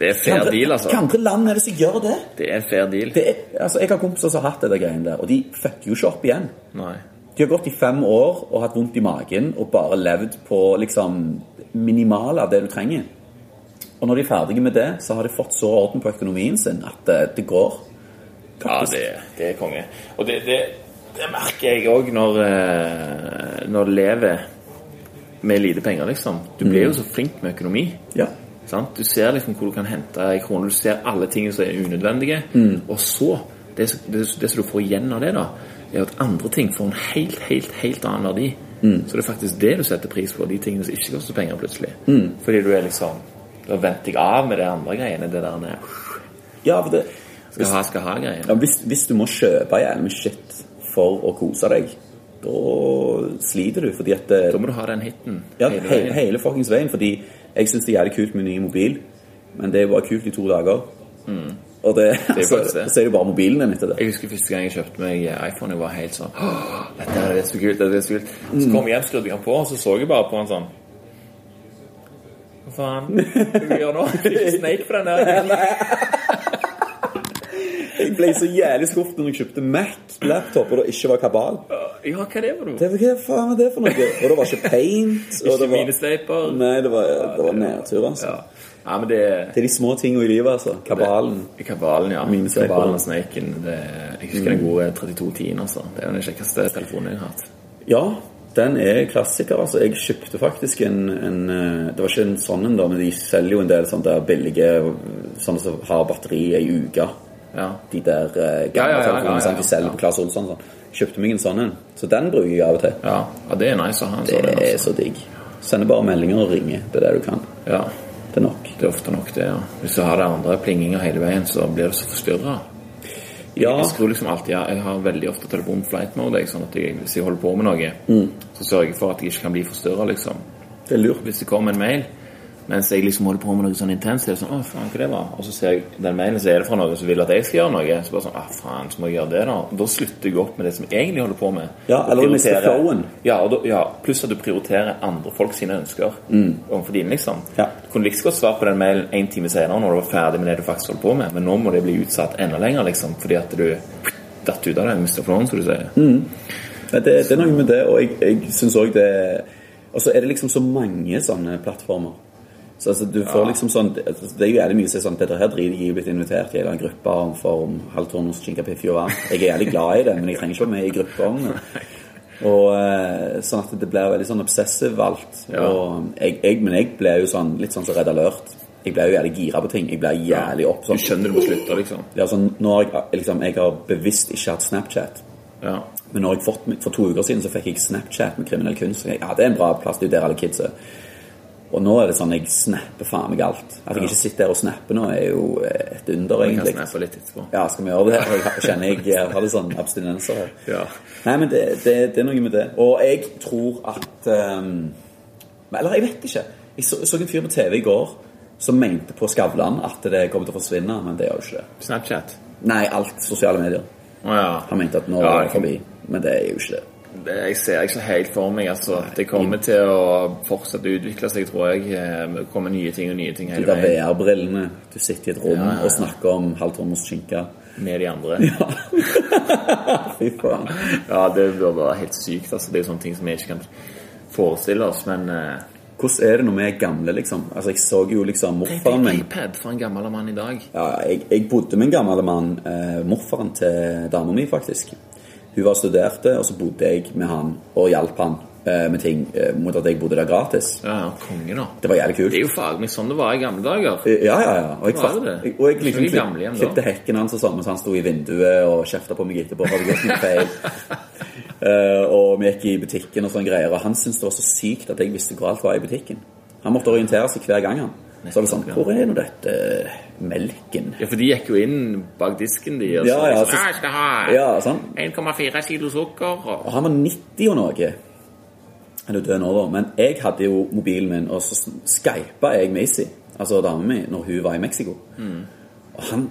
Det er fair deal, altså.
Hva andre land er det som gjør det?
Det er fair deal.
det er, altså, jeg har kompiser som har hatt det der greiene der, og de fucker jo ikke opp igjen.
Nei.
De har gått i fem år og hatt vondt i magen og bare levd på liksom minimale av det du trenger. Og når de er ferdige med det, så har de fått så orden på økonomien sin at det, det går.
Ja, det, det er konge. Og det, det, det merker jeg òg når, eh, når du lever med lite penger, liksom. Du blir
Mm.
jo så flink med økonomi.
Ja.
Sant? Du ser liksom hvor du kan hente ei krone. Du ser alle tingene som er unødvendige.
Mm.
Og så det, som- det, det som du får igjen av det, da, er at andre ting får en helt, helt, helt annen verdi.
Mm.
Så det er faktisk det du setter pris på, de tingene som ikke koster penger, plutselig.
Mm.
Fordi du er liksom Da venter jeg av med de andre greiene. Det der med
ja for det,
skal ha, skal ha-greiene.
ja, hvis, hvis du må kjøpe jævlig mye shit for å kose deg, da sliter du. Fordi at det,
Da må du ha den hiten.
Ja,
hele
hele,
veien.
hele fuckings veien. Fordi jeg syns det er jævlig kult med ny mobil, men det er bare kult i to dager. Og det, *laughs*
er
så,
faktisk Mm. det.
så er det bare mobilen din etter det.
Jeg husker første gang jeg kjøpte meg iPhone. Jeg var helt sånn «Åh, Dette er det så kult, dette er så kult. Så
Mm.
kom jeg hjem, skrudde jeg den på, og så så jeg bare på den sånn Hva faen? Hva skal vi gjøre
*laughs*
nå? Jeg fikk ikke Snake på den der.
Jeg ble så jævlig skuffet når jeg kjøpte Mac-laptop og det ikke var kabal.
Ja, hva er det for noe?
Det, hva faen er det for noe? Og det var ikke paint. Og
Ikke
det var,
minesveiper?
nei, det var, det var nedtur, altså.
Ja. ja, men det er
Det er de små tingene i livet, altså. Kabalen.
Kabalen, ja.
Minesveiper.
Kabalen og Snaken. Det, jeg husker
Mm.
den gode 3210-en, altså. Det er jo den kjekkeste telefonen jeg har hatt.
Ja, den er klassiker. altså. Jeg kjøpte faktisk en, en eh, Det var ikke en sånn en, da, men de selger jo en del sånne der billige sånne som har batteri i ei uke.
Ja.
De der eh, gamle
Ja, ja, ja, ja, ja,
telefonene sant, de selger
ja.
på Claes Olsson. og Sånn. Kjøpte meg en sånn en. Så den bruker jeg av og til.
Ja. ja, det er nice å ha en
Det
sånn. en,
er
Altså.
så digg. Sender bare meldinger og ringer. Det er det du kan.
Ja.
Det er nok.
Det er ofte nok det, ja. Hvis du har det andre plinginger hele veien, så blir du så forstyrra.
Ja,
Jeg skrur liksom alltid av. Jeg har veldig ofte telefonen på flight mode. Jeg, sånn at jeg, hvis jeg holder på med noe, så sørger jeg for at jeg ikke kan bli forstyrra, liksom.
det er lurt.
Hvis det kommer en mail mens jeg liksom holder på med noe sånn intenst, så er det sånn Å, faen, hva det var? Og så ser jeg den mailen, så er det fra noen som vil at jeg skal gjøre noe. Så bare sånn Å, faen, så må jeg gjøre det, da. Og da slutter jeg opp med det som jeg egentlig holder på med.
Ja,
Og
eller du mister
prioriterer-
flowen.
Ja, og da, ja, pluss at du prioriterer andre folk sine ønsker overfor dine, liksom.
Mm. Ja.
Du kunne like så godt svart på den mailen en time senere når du var ferdig med det du faktisk holdt på med, men nå må det bli utsatt enda lenger, liksom, fordi at du datt
Mm.
ut av det, mister flowen, som du sier.
Nei, det, det er noe med det, og jeg, jeg syns òg det Og så er det liksom så mange sånne plattformer. Så altså, du får liksom sånn Det det er jo jævlig mye som er sånn Peter, her driter jeg i å bli invitert i en eller annen gruppe om for om halv turnus, skinke, piffi og vann. Jeg er jævlig glad i det, men jeg trenger ikke være med i gruppa *laughs* om det. Og eh, Sånn at det blir veldig sånn obsessive alt. Og jeg, jeg, men jeg blir jo sånn litt sånn som Redd Alert. Jeg blir jo jævlig gira på ting. Jeg blir jævlig opp
Du
sånn.
skjønner du må slutte, liksom.
Det er altså, nå har jeg, liksom, jeg har bevisst ikke hatt Snapchat.
Ja.
Men når jeg fått, for to uker siden så fikk jeg Snapchat med kriminell kunst. og Jeg, ja, det er en bra plass, det er jo der alle kids er. Og nå er det sånn jeg snapper faen meg alt. At jeg ikke sitter der og snapper nå, er jo eh, et under,
Jeg kan
egentlig.
snappe litt etterpå.
Ja, skal vi gjøre det? Jeg har- kjenner jeg eh, har litt sånn abstinenser her.
Ja.
Nei, men det, det, det er noe med det. Og jeg tror at ehm, men- Eller jeg vet ikke. Jeg så, så en fyr på TV i går som mente på Skavlan at det kommer til å forsvinne, men det gjør jo ikke det.
Snapchat.
Nei, alt sosiale medier.
Å ja.
Han mente at nå
Ja,
er det
jeg kan-
forbi, men det er jo ikke det.
Det, jeg ser ikke helt for meg. altså. Det kommer til å fortsette å utvikle seg, tror jeg. Eh, Det kommer nye ting og nye ting
De
hele
der
veien
VR-brillene. Du sitter i et rom
Ja, ja, ja.
og snakker om halvtormos skinke.
med de
*laughs*
andre.
Fy faen.
Ja, det burde være helt sykt. altså. Det er jo sånne ting som vi ikke kan forestille oss. Men eh,
Hvordan er det når vi er gamle, liksom? Altså, Jeg så jo liksom
tenk deg
morfaren min.
iPad for en gammel mann i dag.
Ja, jeg, jeg bodde med en gammel mann, eh, morfaren til dama mi, faktisk. Hun var studerte, og så bodde jeg med han og hjalp han eh, med ting eh, mot at jeg bodde der gratis.
Ja, ja, Konge, da.
Det var jævlig kult.
Det er jo faglig sånn det var i gamle dager.
Ja, ja, ja. Og jeg,
Var det
fatt-
det?
jeg- og jeg liksom
Ikke gamle igjen
klipp-
da.
klippte hekken hans og sånn mens han sto i vinduet og kjefta på meg etterpå. Hadde gjort noe
*laughs*
feil. Eh, og vi gikk i butikken og sånne greier, og han syntes det var så sykt at jeg visste hvor alt var i butikken. Han måtte orientere seg hver gang, han. Så var det sånn Hvor er nå dette melken?
Ja, For de gikk jo inn bak disken, de. Og så,
Ja, ja,
liksom,
så-
«Ja, jeg skal ha
Ja, sånn.
1,4 kilo sukker og
Og han var 90 og noe. Han er jo død nå, da. Men jeg hadde jo mobilen min, og så skypa jeg med Issy, altså dama mi, når hun var i Mexico. Og han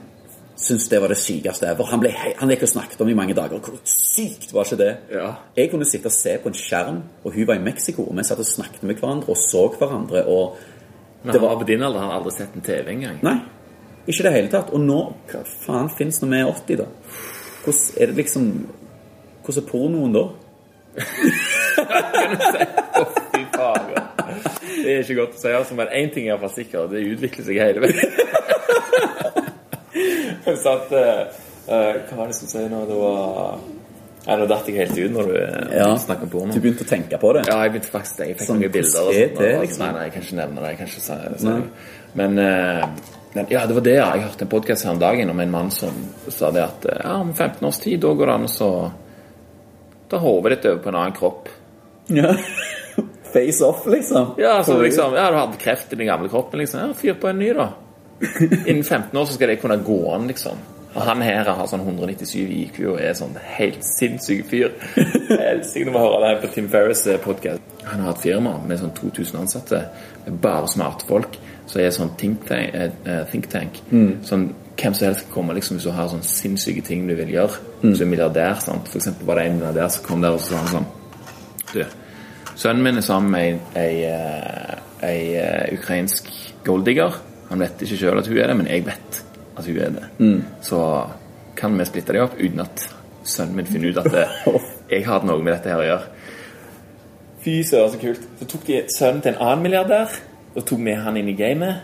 syntes det var det sykeste ever. Han, ble, hei- han gikk og snakket om det i mange dager. Hvor sykt var ikke det?
Ja.
Jeg kunne sitte og se på en skjerm, og hun var i Mexico, og vi satt og snakket med hverandre og så hverandre, og
Men
Det
han
var-
var på din alder, han hadde aldri sett en TV engang.
Nei, ikke i det hele tatt. Og nå Hva faen fins når vi er 80, da? Hvordan er det liksom Hvordan er pornoen da?
Fy faen, ja. Det er ikke godt å si, altså, men én ting er iallfall sikker, det utvikler seg hele veien. *laughs* Jeg satt eh, eh, Hva var det jeg skulle si nå? Det var Nei, nå datt jeg helt ut når du eh, snakket om porno.
Du begynte å tenke på det?
Ja, jeg begynte faktisk det. Jeg fikk
Sånn,
noen bilder. og
hvordan er
sånt,
det,
og-
liksom?
Nei, nei, jeg kan ikke nevne det. Jeg kan ikke si det. så- Men, eh, men ja, det var det. ja. Jeg hørte en podkast her om dagen om en mann som sa det at eh, ja, om 15 års tid, da går det an å så ta hodet ditt over på en annen kropp.
Ja. *laughs* Face off, liksom.
Ja, så liksom, ja, du hadde kreft i den gamle kroppen, liksom. Ja, fyr på en ny, da. Innen 15 år så skal det kunne gå an, liksom. Og han her har sånn 197 i IQ og er sånn helt sinnssyk fyr. Helsike, du må høre det her på Tim Ferriss podkast. Han har et firma med sånn 2000 ansatte, med bare smartfolk, som er sånn think tank. eh, eh, think tank. Sånn, hvem som helst kan komme liksom, hvis du har sånn sinnssyke ting du vil gjøre. Hvis du er milliardær, sant. For eksempel var det en milliardær som kom der og så sa han sånn du, sønnen min er sammen med ei- ei, eh, ei eh, ukrainsk golddigger. Han vet ikke sjøl at hun er det, men jeg vet at hun er det. Så kan vi splitte dem opp uten at sønnen min finner ut at det, jeg har noe med dette her å gjøre. Fy søren, så kult. Så tok de sønnen til en annen milliardær og tok med han inn i gamet.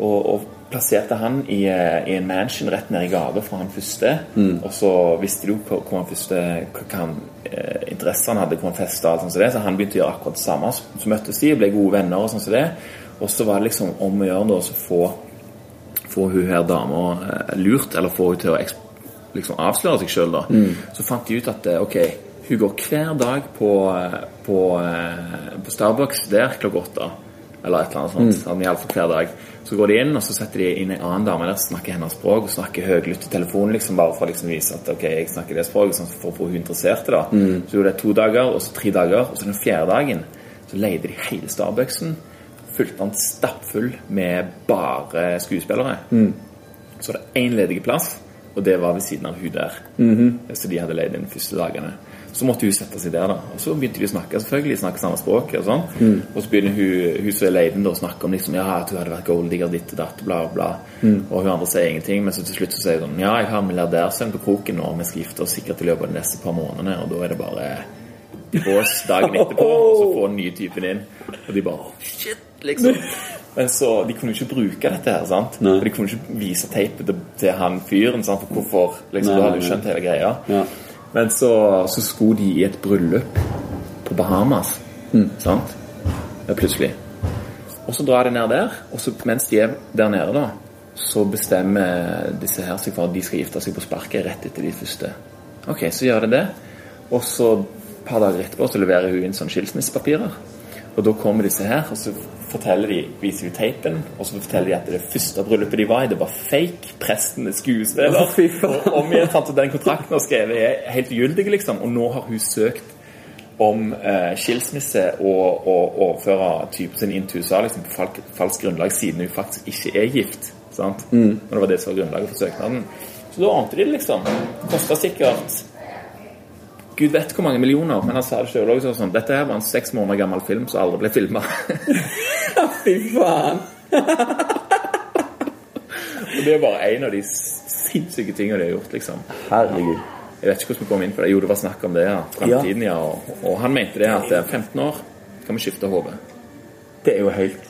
Og, og plasserte han i, eh, i en mansion rett ned i gata fra han første. Og så visste de jo hvor, hvor han første hva han, eh, interesser han hadde, hvor han festa og alt sånt som det. Så han begynte å gjøre akkurat det samme. Så, så møttes de og ble gode venner og sånn som det. Og så var det liksom om å gjøre da å få få hun her dama eh, lurt, eller få hun til å eks- liksom avsløre seg sjøl, da. Så fant de ut at eh, ok, hun går hver dag på, eh, på, eh, på Starbucks der klokka åtte. Eller et eller annet sånt. sånn, i alle fall hver dag. Så går de inn, og så setter de inn en annen dame der som snakker hennes språk, og snakker høylytt i telefonen, liksom, bare for å liksom vise at ok, jeg snakker det språket, sånn, for å få hun interessert i det. Så gjorde det to dager, og så tre dager, og så den fjerde dagen så leide de hele Starbucksen fulgte han stappfull med bare skuespillere. Så var det én ledig plass, og det var ved siden av hun der. Så de hadde leid inn de første dagene. Så måtte hun sette seg der, da. Og så begynte de å snakke, selvfølgelig. Snakke samme språk og sånn. Og så begynner hun, hun som er leid inn, da, å snakke om liksom, ja, at hun hadde vært golddigger ditt og datt, bla, bla. Og hun andre sier ingenting, men så til slutt så sier hun ja, jeg har en milliardærsønn på kroken nå, og vi skal gifte oss sikkert i løpet av de neste par månedene, og da er det bare i bås dagen etterpå, og så få den nye typen inn. Og de bare Shit, liksom. Men så, De kunne jo ikke bruke dette her. sant?
Nei.
Og De kunne ikke vise teipet til, til han fyren. sant? For hvorfor? liksom,
Nei,
Da hadde de
nei.
skjønt hele greia.
Ja.
Men så, så skulle de i et bryllup på Bahamas.
Mm.
Sant? Ja, plutselig. Og så drar de ned der, og så mens de er der nede, da, så bestemmer disse her seg for at de skal gifte seg på sparket rett etter de første. Ok, så gjør de det. Og så et par dager etterpå så leverer hun inn sånn skilsmissepapirer. Og da kommer disse her, og så forteller de, viser de teipen, og så forteller de at det første bryllupet de var i, det var fake. Presten er skuespiller.
Å, fy faen.
Og om igjen fant ut den kontrakten hun har skrevet, er helt gyldig, liksom. Og nå har hun søkt om eh, skilsmisse og å overføre typen sin inn til USA liksom, på falsk, falsk grunnlag, siden hun faktisk ikke er gift. Sant? Og det var det som var grunnlaget for søknaden. Så da ante de det, liksom. Det kosta sikkert Gud vet hvor mange millioner, men han sa det sjøl òg. Sånn, Dette her var en seks måneder gammel film som aldri ble filma.
Fy faen!
*laughs* det er bare en av de sinnssyke tingene de har gjort, liksom.
Herregud.
Jeg vet ikke hvordan vi kom inn på det. Jo, det var snakk om det, ja. Fremtiden, ja. Og, og han mente det at eh, 15 år kan vi skifte hode.
Det er jo helt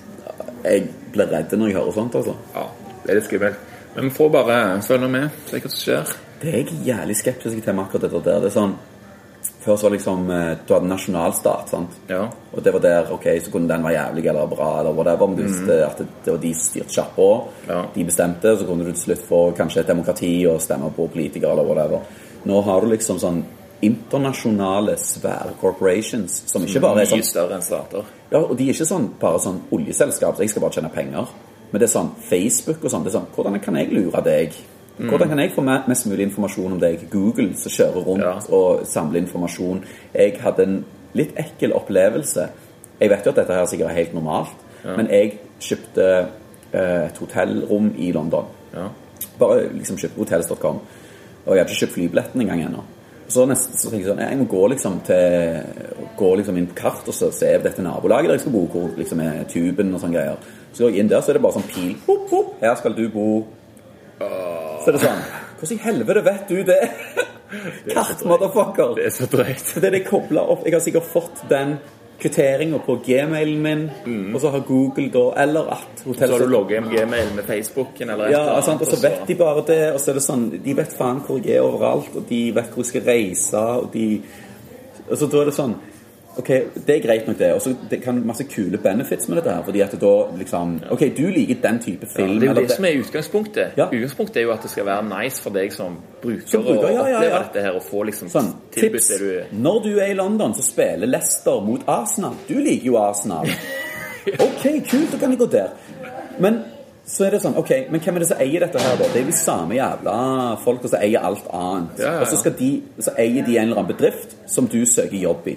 Jeg blir redd når jeg hører sånt, altså.
Ja, det er litt skummelt. Men vi får bare følge med, se hva som skjer.
Det er jeg jævlig skeptisk til med akkurat dette der. Det er sånn Før så var det liksom eh, Du hadde nasjonalstat, sant?
Ja.
Og det var der, ok, så kunne den være jævlig eller bra eller whatever, men du visste at det, det var de som styrte kjappa.
Mm. Ja.
De bestemte, så kunne du til slutt få kanskje et demokrati og stemme på politikere eller whatever. Nå har du liksom sånn internasjonale svære corporations som ikke bare er
Mye
sånn
større enn stater.
Ja, og de er ikke sånn bare sånn oljeselskap, så jeg skal bare tjene penger. Men det er sånn Facebook og sånn. Det er sånn Hvordan kan jeg lure deg? Hvordan kan jeg få me- mest mulig informasjon om deg? Google som kjører rundt
Ja.
og samler informasjon. Jeg hadde en litt ekkel opplevelse. Jeg vet jo at dette her sikkert er helt normalt, men jeg kjøpte eh, et hotellrom i London.
Ja.
Bare liksom kjøpte hotels.com. Og jeg hadde ikke kjøpt flybilletten engang ennå. Så, nesten, så tenkte jeg sånn, jeg må gå liksom til Gå liksom inn på kart og så se dette nabolaget der jeg skal bo, hvor liksom er tuben og sånne greier. Så går jeg inn der, så er det bare sånn pil. Hopp, hopp, her skal du bo. Så er det sånn Hvordan i helvete vet du
*laughs*
det? Kart, motherfucker!
Det er så drøyt.
Fordi det er koblet opp Jeg har sikkert fått den kvitteringen på gmailen min, og så har Google da Eller at
Mm. Så har
hotellet
du logget med gmail med Facebooken eller et eller
ja,
annet,
sant? og så vet de bare det, og så er det sånn De vet faen hvor jeg er overalt, og de vet hvor jeg skal reise, og de Og så da er det sånn OK, det er greit nok, det. Og så det kan masse kule benefits med dette her, fordi at da liksom OK, du liker den type
Ja,
film,
Det er jo
eller
det som er utgangspunktet.
Ja.
Utgangspunktet er jo at det skal være nice for deg som bruker,
Som bruker,
å
ja, ja, ja.
oppleve dette her og få liksom
Sånn,
tilbudt
tips.
det du
Når du er i London, så spiller Leicester mot Arsenal. Du liker jo
*laughs*
Arsenal. Ok, kult, da kan de gå der. Men så er det sånn, ok, men hvem er det som eier dette her, da? Det er jo de samme jævla folka som eier alt annet.
Ja, ja, ja.
Og så, skal de, så eier de en eller annen bedrift som du søker jobb i.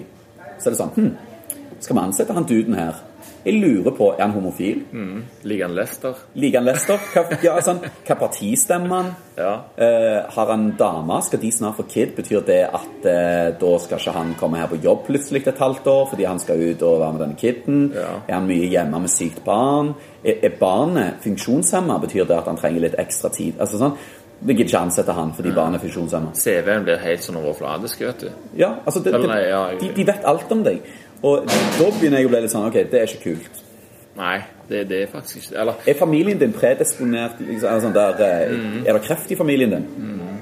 Så er det sånn, hm, skal vi ansette han duden her? Jeg lurer på, er han homofil?
Mm. Ligger an Lester.
Liker han Leicester? Hva, ja, sånn, hva parti stemmer han?
Ja.
Eh, har han dame? Skal de snart få kid? Betyr det at eh, da skal ikke han komme her på jobb plutselig et halvt år fordi han skal ut og være med denne kiden?
Ja.
Er han mye hjemme med sykt barn? Er, er barnet funksjonshemma? Betyr det at han trenger litt ekstra tid? Altså sånn, Vi gidder ikke ansette han fordi barnet er funksjonshemma.
CV-en blir helt sånn overfladisk, vet du.
Ja, altså det,
Eller nei, ja,
det, de, de vet alt om deg. Og da begynner jeg å bli litt sånn OK, det er ikke kult.
Nei, det, det er faktisk ikke Eller
Er familien din predisponert liksom, er, det sånn der, eh,
Mm.
er det kreft i familien din?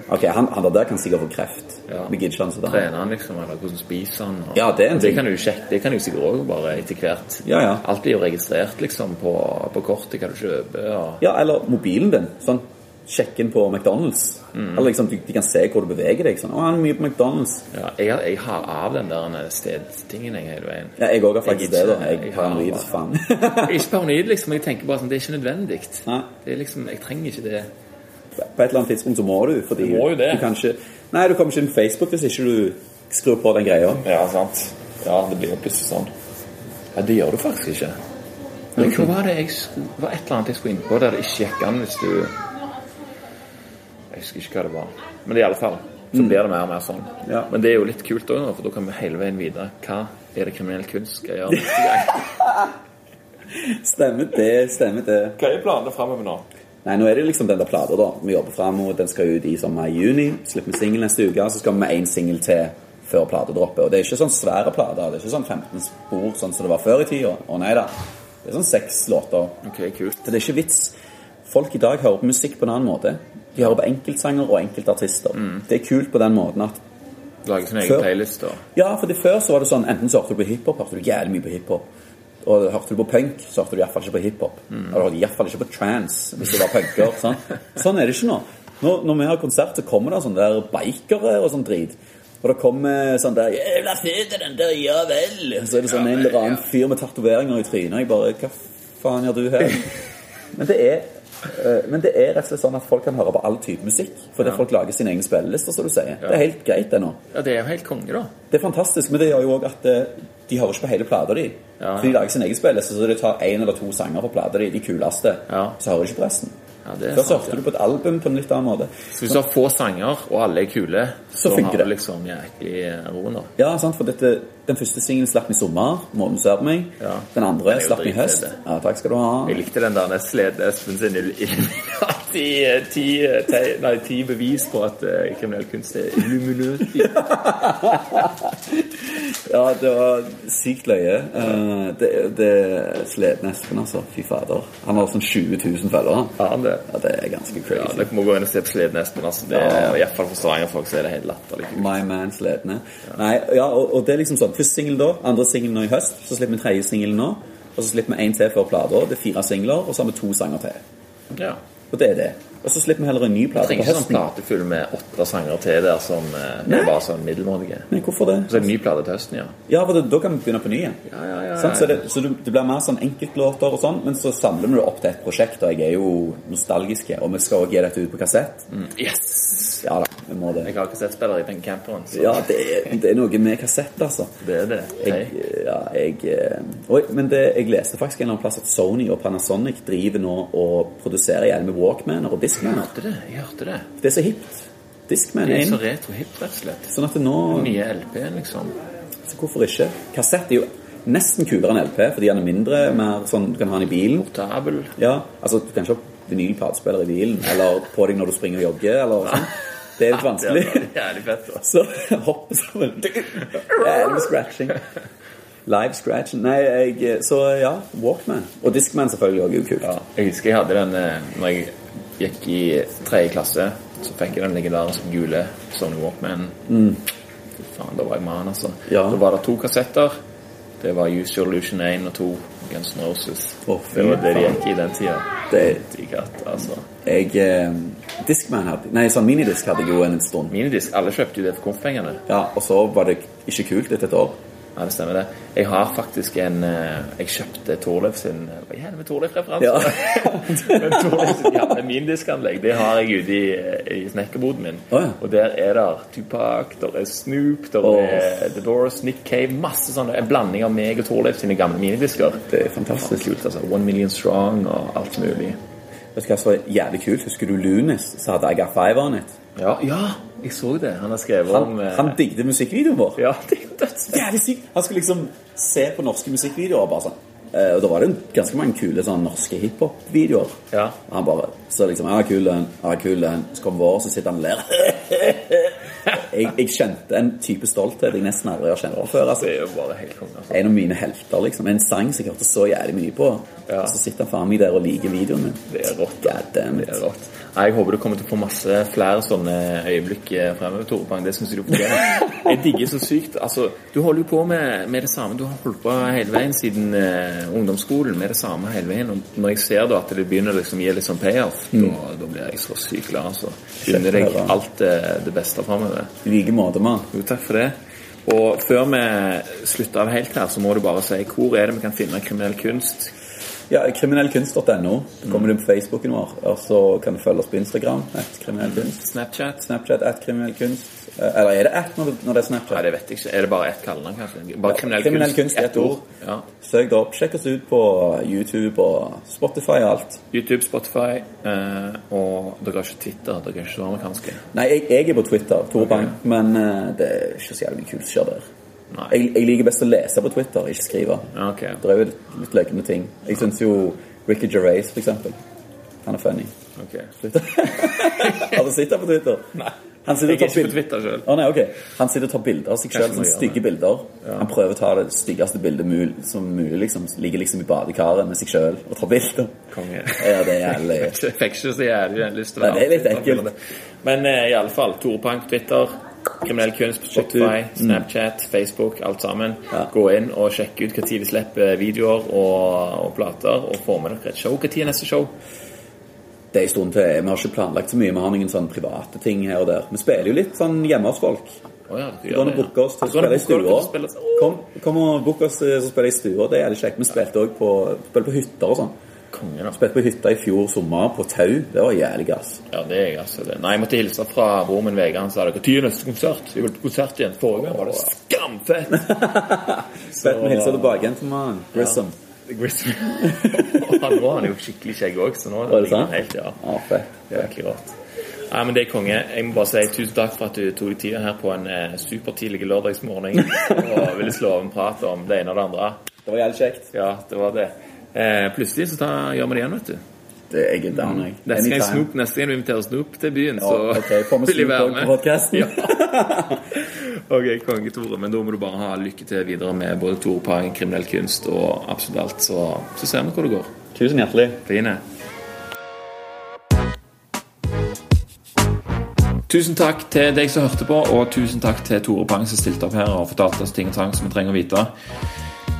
Ok, han, han der kan sikkert få kreft.
Ja.
Vi gidder ikke ansette han.
trener han, liksom, eller hvordan spiser han? Og...
Ja, det er en
Og det
ting.
kan du jo sjekke, det kan du sikkert òg bare etter hvert.
Ja, ja.
Alt blir jo registrert, liksom, på, på kortet hva du kjøper og
Ja, eller mobilen din. Sånn, Sjekk inn på McDonald's.
Mm.
Eller liksom, du, De kan se hvor du beveger deg. Sånn. 'Å, han er mye på McDonald's.'
ja, jeg, har- jeg har av den der stedtingen jeg hele veien.
Ja, jeg òg har faktisk
Jeg
det.
gidder
da.
ikke.
Jeg
Jeg
er
har
paranoid
bare-
som faen. *laughs*
Jeg er ikke paranoid, liksom. Jeg tenker bare sånn, det er ikke nødvendig.
Nei.
Det er liksom, Jeg trenger ikke det.
på et eller annet tidspunkt så må du. Fordi
Du må jo det.
Du kan ikke, nei, du kommer ikke inn på Facebook hvis ikke du skrur på den greia.
Ja, sant. Ja, det blir jo plutselig sånn. Ja, det gjør du faktisk ikke. Men hva var det jeg skulle, det var et eller annet jeg skulle inn på der det ikke gikk an hvis du Jeg husker ikke hva det var. Men i alle fall så blir det mer og mer sånn.
Ja.
Men det er jo litt kult òg, for da kan vi hele veien videre. Hva er det kriminell kunst skal *laughs* gjøre neste gang?
Stemmer det. Stemmer det.
Hva er planene framover nå?
Nei, nå er det jo liksom den der plata, da. Vi jobber fram, og den skal ut i sånn mai-juni. Slipper vi singel neste uke, så skal vi med én singel til før platedroppet. Og det er ikke sånn svære plater. Det er ikke sånn 15 spor sånn som det var før i tida. Å nei da. Det er sånn seks låter.
Ok, kult.
For det er ikke vits. Folk i dag hører på musikk på en annen måte. De hører på enkeltsanger og enkeltartister. Det er kult på den måten at
Lage sin
Før-
egen playlist, da.
Ja, fordi før så var det sånn Enten så hørte du på hiphop, hørte du jævlig mye på hiphop. Og hørte du på punk, så hørte du iallfall ikke på hiphop. Og du hørte iallfall ikke på trans hvis du var punker. Sånn. sånn er det ikke nå. nå. Når vi har konsert, så kommer det sånne der bikere og sånn drit. Og det kommer sånn der 'Jævla fet er den der, ja vel'. Så er det sånn en eller annen fyr med tatoveringer i trynet. Jeg bare 'Hva faen gjør du her?' Men det er eh, men det er rett og slett sånn at folk kan høre på all type musikk. Fordi folk lager sine egne spillelister, som du sier. Det er helt greit, det nå.
Ja, det er jo helt konge, da.
Det er fantastisk, men det gjør jo òg at eh, de hører ikke på hele plata di.
Ja.
For de lager sin egen spilleliste, så de tar én eller to sanger på plata di, de kuleste.
Ja.
Så hører de ikke på resten.
Ja, det er
Før så
sant,
hørte
ja.
du på et album på en litt annen måte.
Så hvis du har få sanger, og alle er kule, så,
funker
har du
det.
liksom jæklig eh, roen, da.
Ja, sant, for dette, Den første singelen slapp vi i sommer, 'Månen ser på meg'.
Ja.
Den
Den
andre
er jo
slapp vi i høst.
dritfet.
Ja, takk skal du ha.
Jeg likte den der Slede Espen sin Illuminati ti, ti, Nei, ti bevis på at eh, kriminell kunst er *laughs* illuminati.
Ja, Det var sykt løye. Eh, det, det er sleden Espen, altså. Fy fader. Han har sånn 20 000 følgere.
Ja, det.
Ja, det er ganske
Ja,
crazy.
Dere må gå inn og se på Sleden Espen. Altså, det er, I hvert fall for Stavanger-folk så er det helt latterlig.
My man sledende. Nei, ja, og, og det er liksom sånn. Første singel da, andre singel nå i høst, så slipper vi tredje singel nå. Og så slipper vi én til før plata. Det er fire singler, og så har vi to sanger til.
Ja.
Og det er det. Og så slipper vi heller en ny plate på
Trenger ikke sånn
høsten.
plate full med åtte sanger til der som eh, er bare sånn middelmådige.
Nei, hvorfor det?
Så er det en ny plate til høsten, ja.
Ja, for det, da kan vi begynne på ny igjen.
Ja, ja, ja,
Sant?
ja,
Så, det, så du, det blir mer sånn enkeltlåter og sånn, men så samler vi det opp til et prosjekt, og jeg er jo nostalgisk, og vi skal også gi dette ut på kassett.
Yes!
Ja da, vi må det.
Jeg har kassettspiller i den camperen, så
Ja, det er, det er noe med kassett, altså.
det er det.
Jeg,
Hei.
ja, jeg eh, Oi, men det, jeg leste faktisk en eller annen plass at Sony og Panasonic driver nå og produserer igjen med Walkmaner og Discmaner.
Hørte det, jeg hørte det.
Det er så hipt. Discman
Det
er
er så
inn.
retro-hip, rett og slett.
Sånn at det nå
Nye LP-en, liksom.
Så hvorfor ikke? Kassett er jo nesten kulere enn LP, fordi den er mindre, mer sånn du kan ha den i bilen.
Portabel.
Ja, altså du kan ikke ha vinylplatespiller i bilen, eller på deg når du springer og jogger, eller sånn. Det *laughs* er litt vanskelig.
Jævlig fett, altså. da.
Så hopper sammen. Jævlig scratching. Live scratching. Nei, jeg Så ja, Walkman. Og Discman selvfølgelig også er jo kult.
Ja, jeg husker jeg hadde den eh, Når jeg gikk i eh, tredje klasse Så fikk jeg den legendariske gule Sony Walkman Fy faen, da var jeg mann altså
Mm. Ja.
Da var det to kassetter Det var Use Your Illusion 1 og 2 Guns N' Roses
Å, fy
Det var det de
faen.
gikk i den tiden
Det-
Digg at, altså
Jeg eh, Discman hadde Nei, sånn minidisk hadde jeg jo en stund.
Minidisk, alle kjøpte jo det for kompengene
Ja, Og så var det ikke kult etter et år.
Ja, det stemmer det Jeg har faktisk en eh, Jeg kjøpte Torleif sin eh, Hva er det med Torleif-referanse?
*laughs* Ja.
Men Torleif sitt gamle mindiskanlegg Det har jeg ute i, i snekkerboden min.
Å, ja.
Og der er der Tupac, der er Snoop, der er The Doors, Nick Cave Masse sånne En blanding av meg og Torleif sine gamle minidisker.
Det er fantastisk.
Kult, altså. One Million Strong og alt mulig.
Vet du hva som var jævlig kult? Husker du Lunis, som hadde Agar Five on it?
Ja, ja, jeg så det. Han har skrevet
Han,
om eh,
han digget musikkvideoen vår.
Ja, det er jo dødsfett.
Jævlig sykt! Han skulle liksom se på norske musikkvideoer. bare sånn. Eh, og da var det ganske mange kule sånn norske hiphop-videoer.
Ja.
Og han bare så liksom Ja, kul den. Ja, kul den. Så kom vår, så sitter han og ler. *laughs* jeg, jeg kjente en type stolthet jeg nesten aldri har kjent før. altså.
Det er jo bare helt konge. Altså.
En av mine helter, liksom. En sang som jeg hørte så jævlig mye på.
Ja.
Og så sitter han faen meg der og liker videoen min.
Det er rått.
God damn
Det er
it.
rått. Nei, Jeg håper du kommer til å få masse flere sånne øyeblikk eh, fremover, Tore Bang. Det syns jeg du fortjener. Jeg digger så sykt. Altså, du holder jo på med, med det samme. Du har holdt på hele veien siden eh, ungdomsskolen med det samme hele veien. Og når jeg ser da at det begynner liksom å gi litt sånn payoff, da, da blir jeg så sykt glad, altså. Unner
Kjekt å
deg
høre.
alt eh, det beste fremover.
I like måte, mann.
Jo, takk for det. Og før vi slutter av helt her, så må du bare si hvor er det vi kan finne kriminell kunst?
Ja, kriminellkunst.no. Så
Mm.
kommer du på Facebooken vår. Og så kan du følge oss på Instagram. At kriminellkunst.
Snapchat?
Snapchat at kriminellkunst. Eh, Eller er det at når det- når det er
Nei,
Snapchat?
det vet jeg ikke. Er det bare ett kallenavn, kanskje? Bare kriminell,
kriminell kunst,
kunst,
ett
ett ord. Ja.
Søk det opp. Sjekk oss ut på YouTube og Spotify og alt.
YouTube, Spotify, eh, og dere har ikke Twitter, dere er ikke så amerikanske.
Nei, jeg, jeg er på Twitter, Tore Bang, men eh, det er ikke så jævlig mye kult som skjer der.
Nei.
Jeg, jeg liker best å lese på Twitter, ikke skrive.
Ja, ok.
Det er jo litt, litt løgne ting. Jeg syns jo Ricky Gervais, for eksempel. Han er funny. *laughs*
Ok.
Har du sett ham på Twitter? Nei. Han sitter og
Jeg
tar
er ikke
bilder
på Twitter selv.
Å, nei, ok. Han sitter og tar bilder av seg selv,
Kanskje
sånne
må gjøre
stygge bilder. Han prøver å ta det styggeste bildet mul som mulig, liksom. Ligger liksom i badekaret med seg selv og tar bilder.
*laughs*
Konge.
*laughs* Ja, det er jævlig.
*laughs* Jeg fikk ikke så jævlig lyst til å
Nei, det er litt ekkelt.
Men eh, i alle fall, Tore Pank, Twitter, Kriminell Kunst, Spotify,
mm.
Snapchat, Facebook, alt sammen. Gå inn og sjekk ut når vi slipper videoer og, og plater, og få med dere et show. Når er neste show?
Det er en stund til. Vi har ikke planlagt så mye. Vi har noen sånne private ting her og der. Vi spiller jo litt sånn hjemme hos folk.
Å ja, dere
Du kan booke oss til å
Dere kan
spille i
booke dere til å
stua.
spille- Å,
Kom, kom og book oss eh, til å spille i stua. Det er jævlig kjekt. Vi spilte òg på, spilte på hytter og sånn.
Konge, altså. da.
Spilte på hytta i fjor sommer, på Tau. Det var jævlig gass.
Ja, det er jeg, altså. Det. Nei, jeg måtte hilse fra broren min Vegard. Han sa det. Når er neste konsert? Jeg vil på konsert igjen. Forrige gang var det skamfett!
Fett vi hilser tilbake igjen til mann. Grissom.
*laughs* Grissom. han nå er jo skikkelig skjegg òg, så nå
Var det sant?
Helt, ja.
Ja, fett.
Det er Virkelig rart. Nei, men det er konge. Jeg må bare si tusen takk for at du tok deg tida her på en eh, supertidlig lørdagsmorgen og ville slå av en prat om det ene og det andre.
Det var jævlig kjekt.
Ja, det var det. Eh, plutselig så tar, gjør vi det igjen, vet du.
Det er good down, jeg.
Neste gang,
Anytime.
Snoop, neste gang du inviterer Snoop til byen,
Ja,
så
ok, får vi
*laughs* vil jeg
Snoop
være
Dogg på
med.
podcasten?
Ok, konge Tore. Men da må du bare ha lykke til videre med både Tore Pang, kriminell kunst og absolutt alt. Så, så ser vi hvor det går.
Tusen hjertelig.
Fine. Tusen takk til deg som hørte på, og tusen takk til Tore Pang som stilte opp her og fortalte oss ting og tang som vi trenger å vite.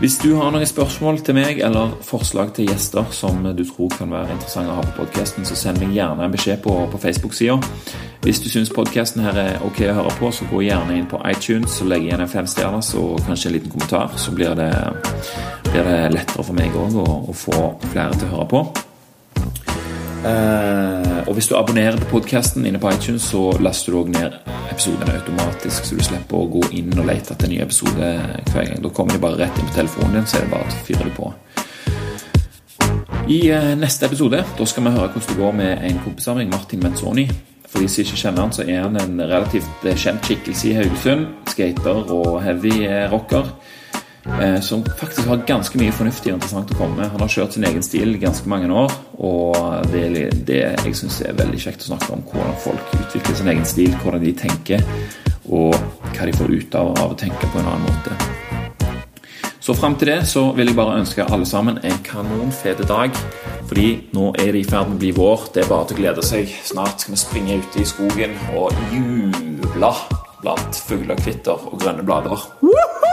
Hvis du har noen spørsmål til meg eller forslag til gjester som du tror kan være interessante å ha på podkasten, så send meg gjerne en beskjed på, på Facebook-sida. Hvis du syns podkasten her er ok å høre på, så gå gjerne inn på iTunes og legg igjen en femstjerners og kanskje en liten kommentar. Så blir det, blir det lettere for meg òg å, å få flere til å høre på. Eh, og hvis du abonnerer på podkasten inne på iTunes, så laster du òg ned episodene automatisk, så du slipper å gå inn og lete etter en ny episode hver gang. Da kommer de bare rett inn på telefonen din, så er det bare å fyre det på. I eh, neste episode da skal vi høre hvordan det går med en kompis av meg, Martin Menzoni. For de som ikke kjenner han, så er han en relativt eh, kjent skikkelse i Haugesund. Skater og heavy eh, rocker. eh, Som faktisk har ganske mye fornuftig og interessant å komme med. Han har kjørt sin egen stil i ganske mange år, og det er li- det jeg syns er veldig kjekt å snakke om. Hvordan folk utvikler sin egen stil, hvordan de tenker, og hva de får ut av, av å tenke på en annen måte. Så frem til det så vil jeg bare ønske alle sammen en kanonfete dag. Fordi nå er det i ferd med å bli vår. Det er bare til å glede seg. Snart skal vi springe ute i skogen og juble blant fuglekvitter og grønne blader. Woohoo!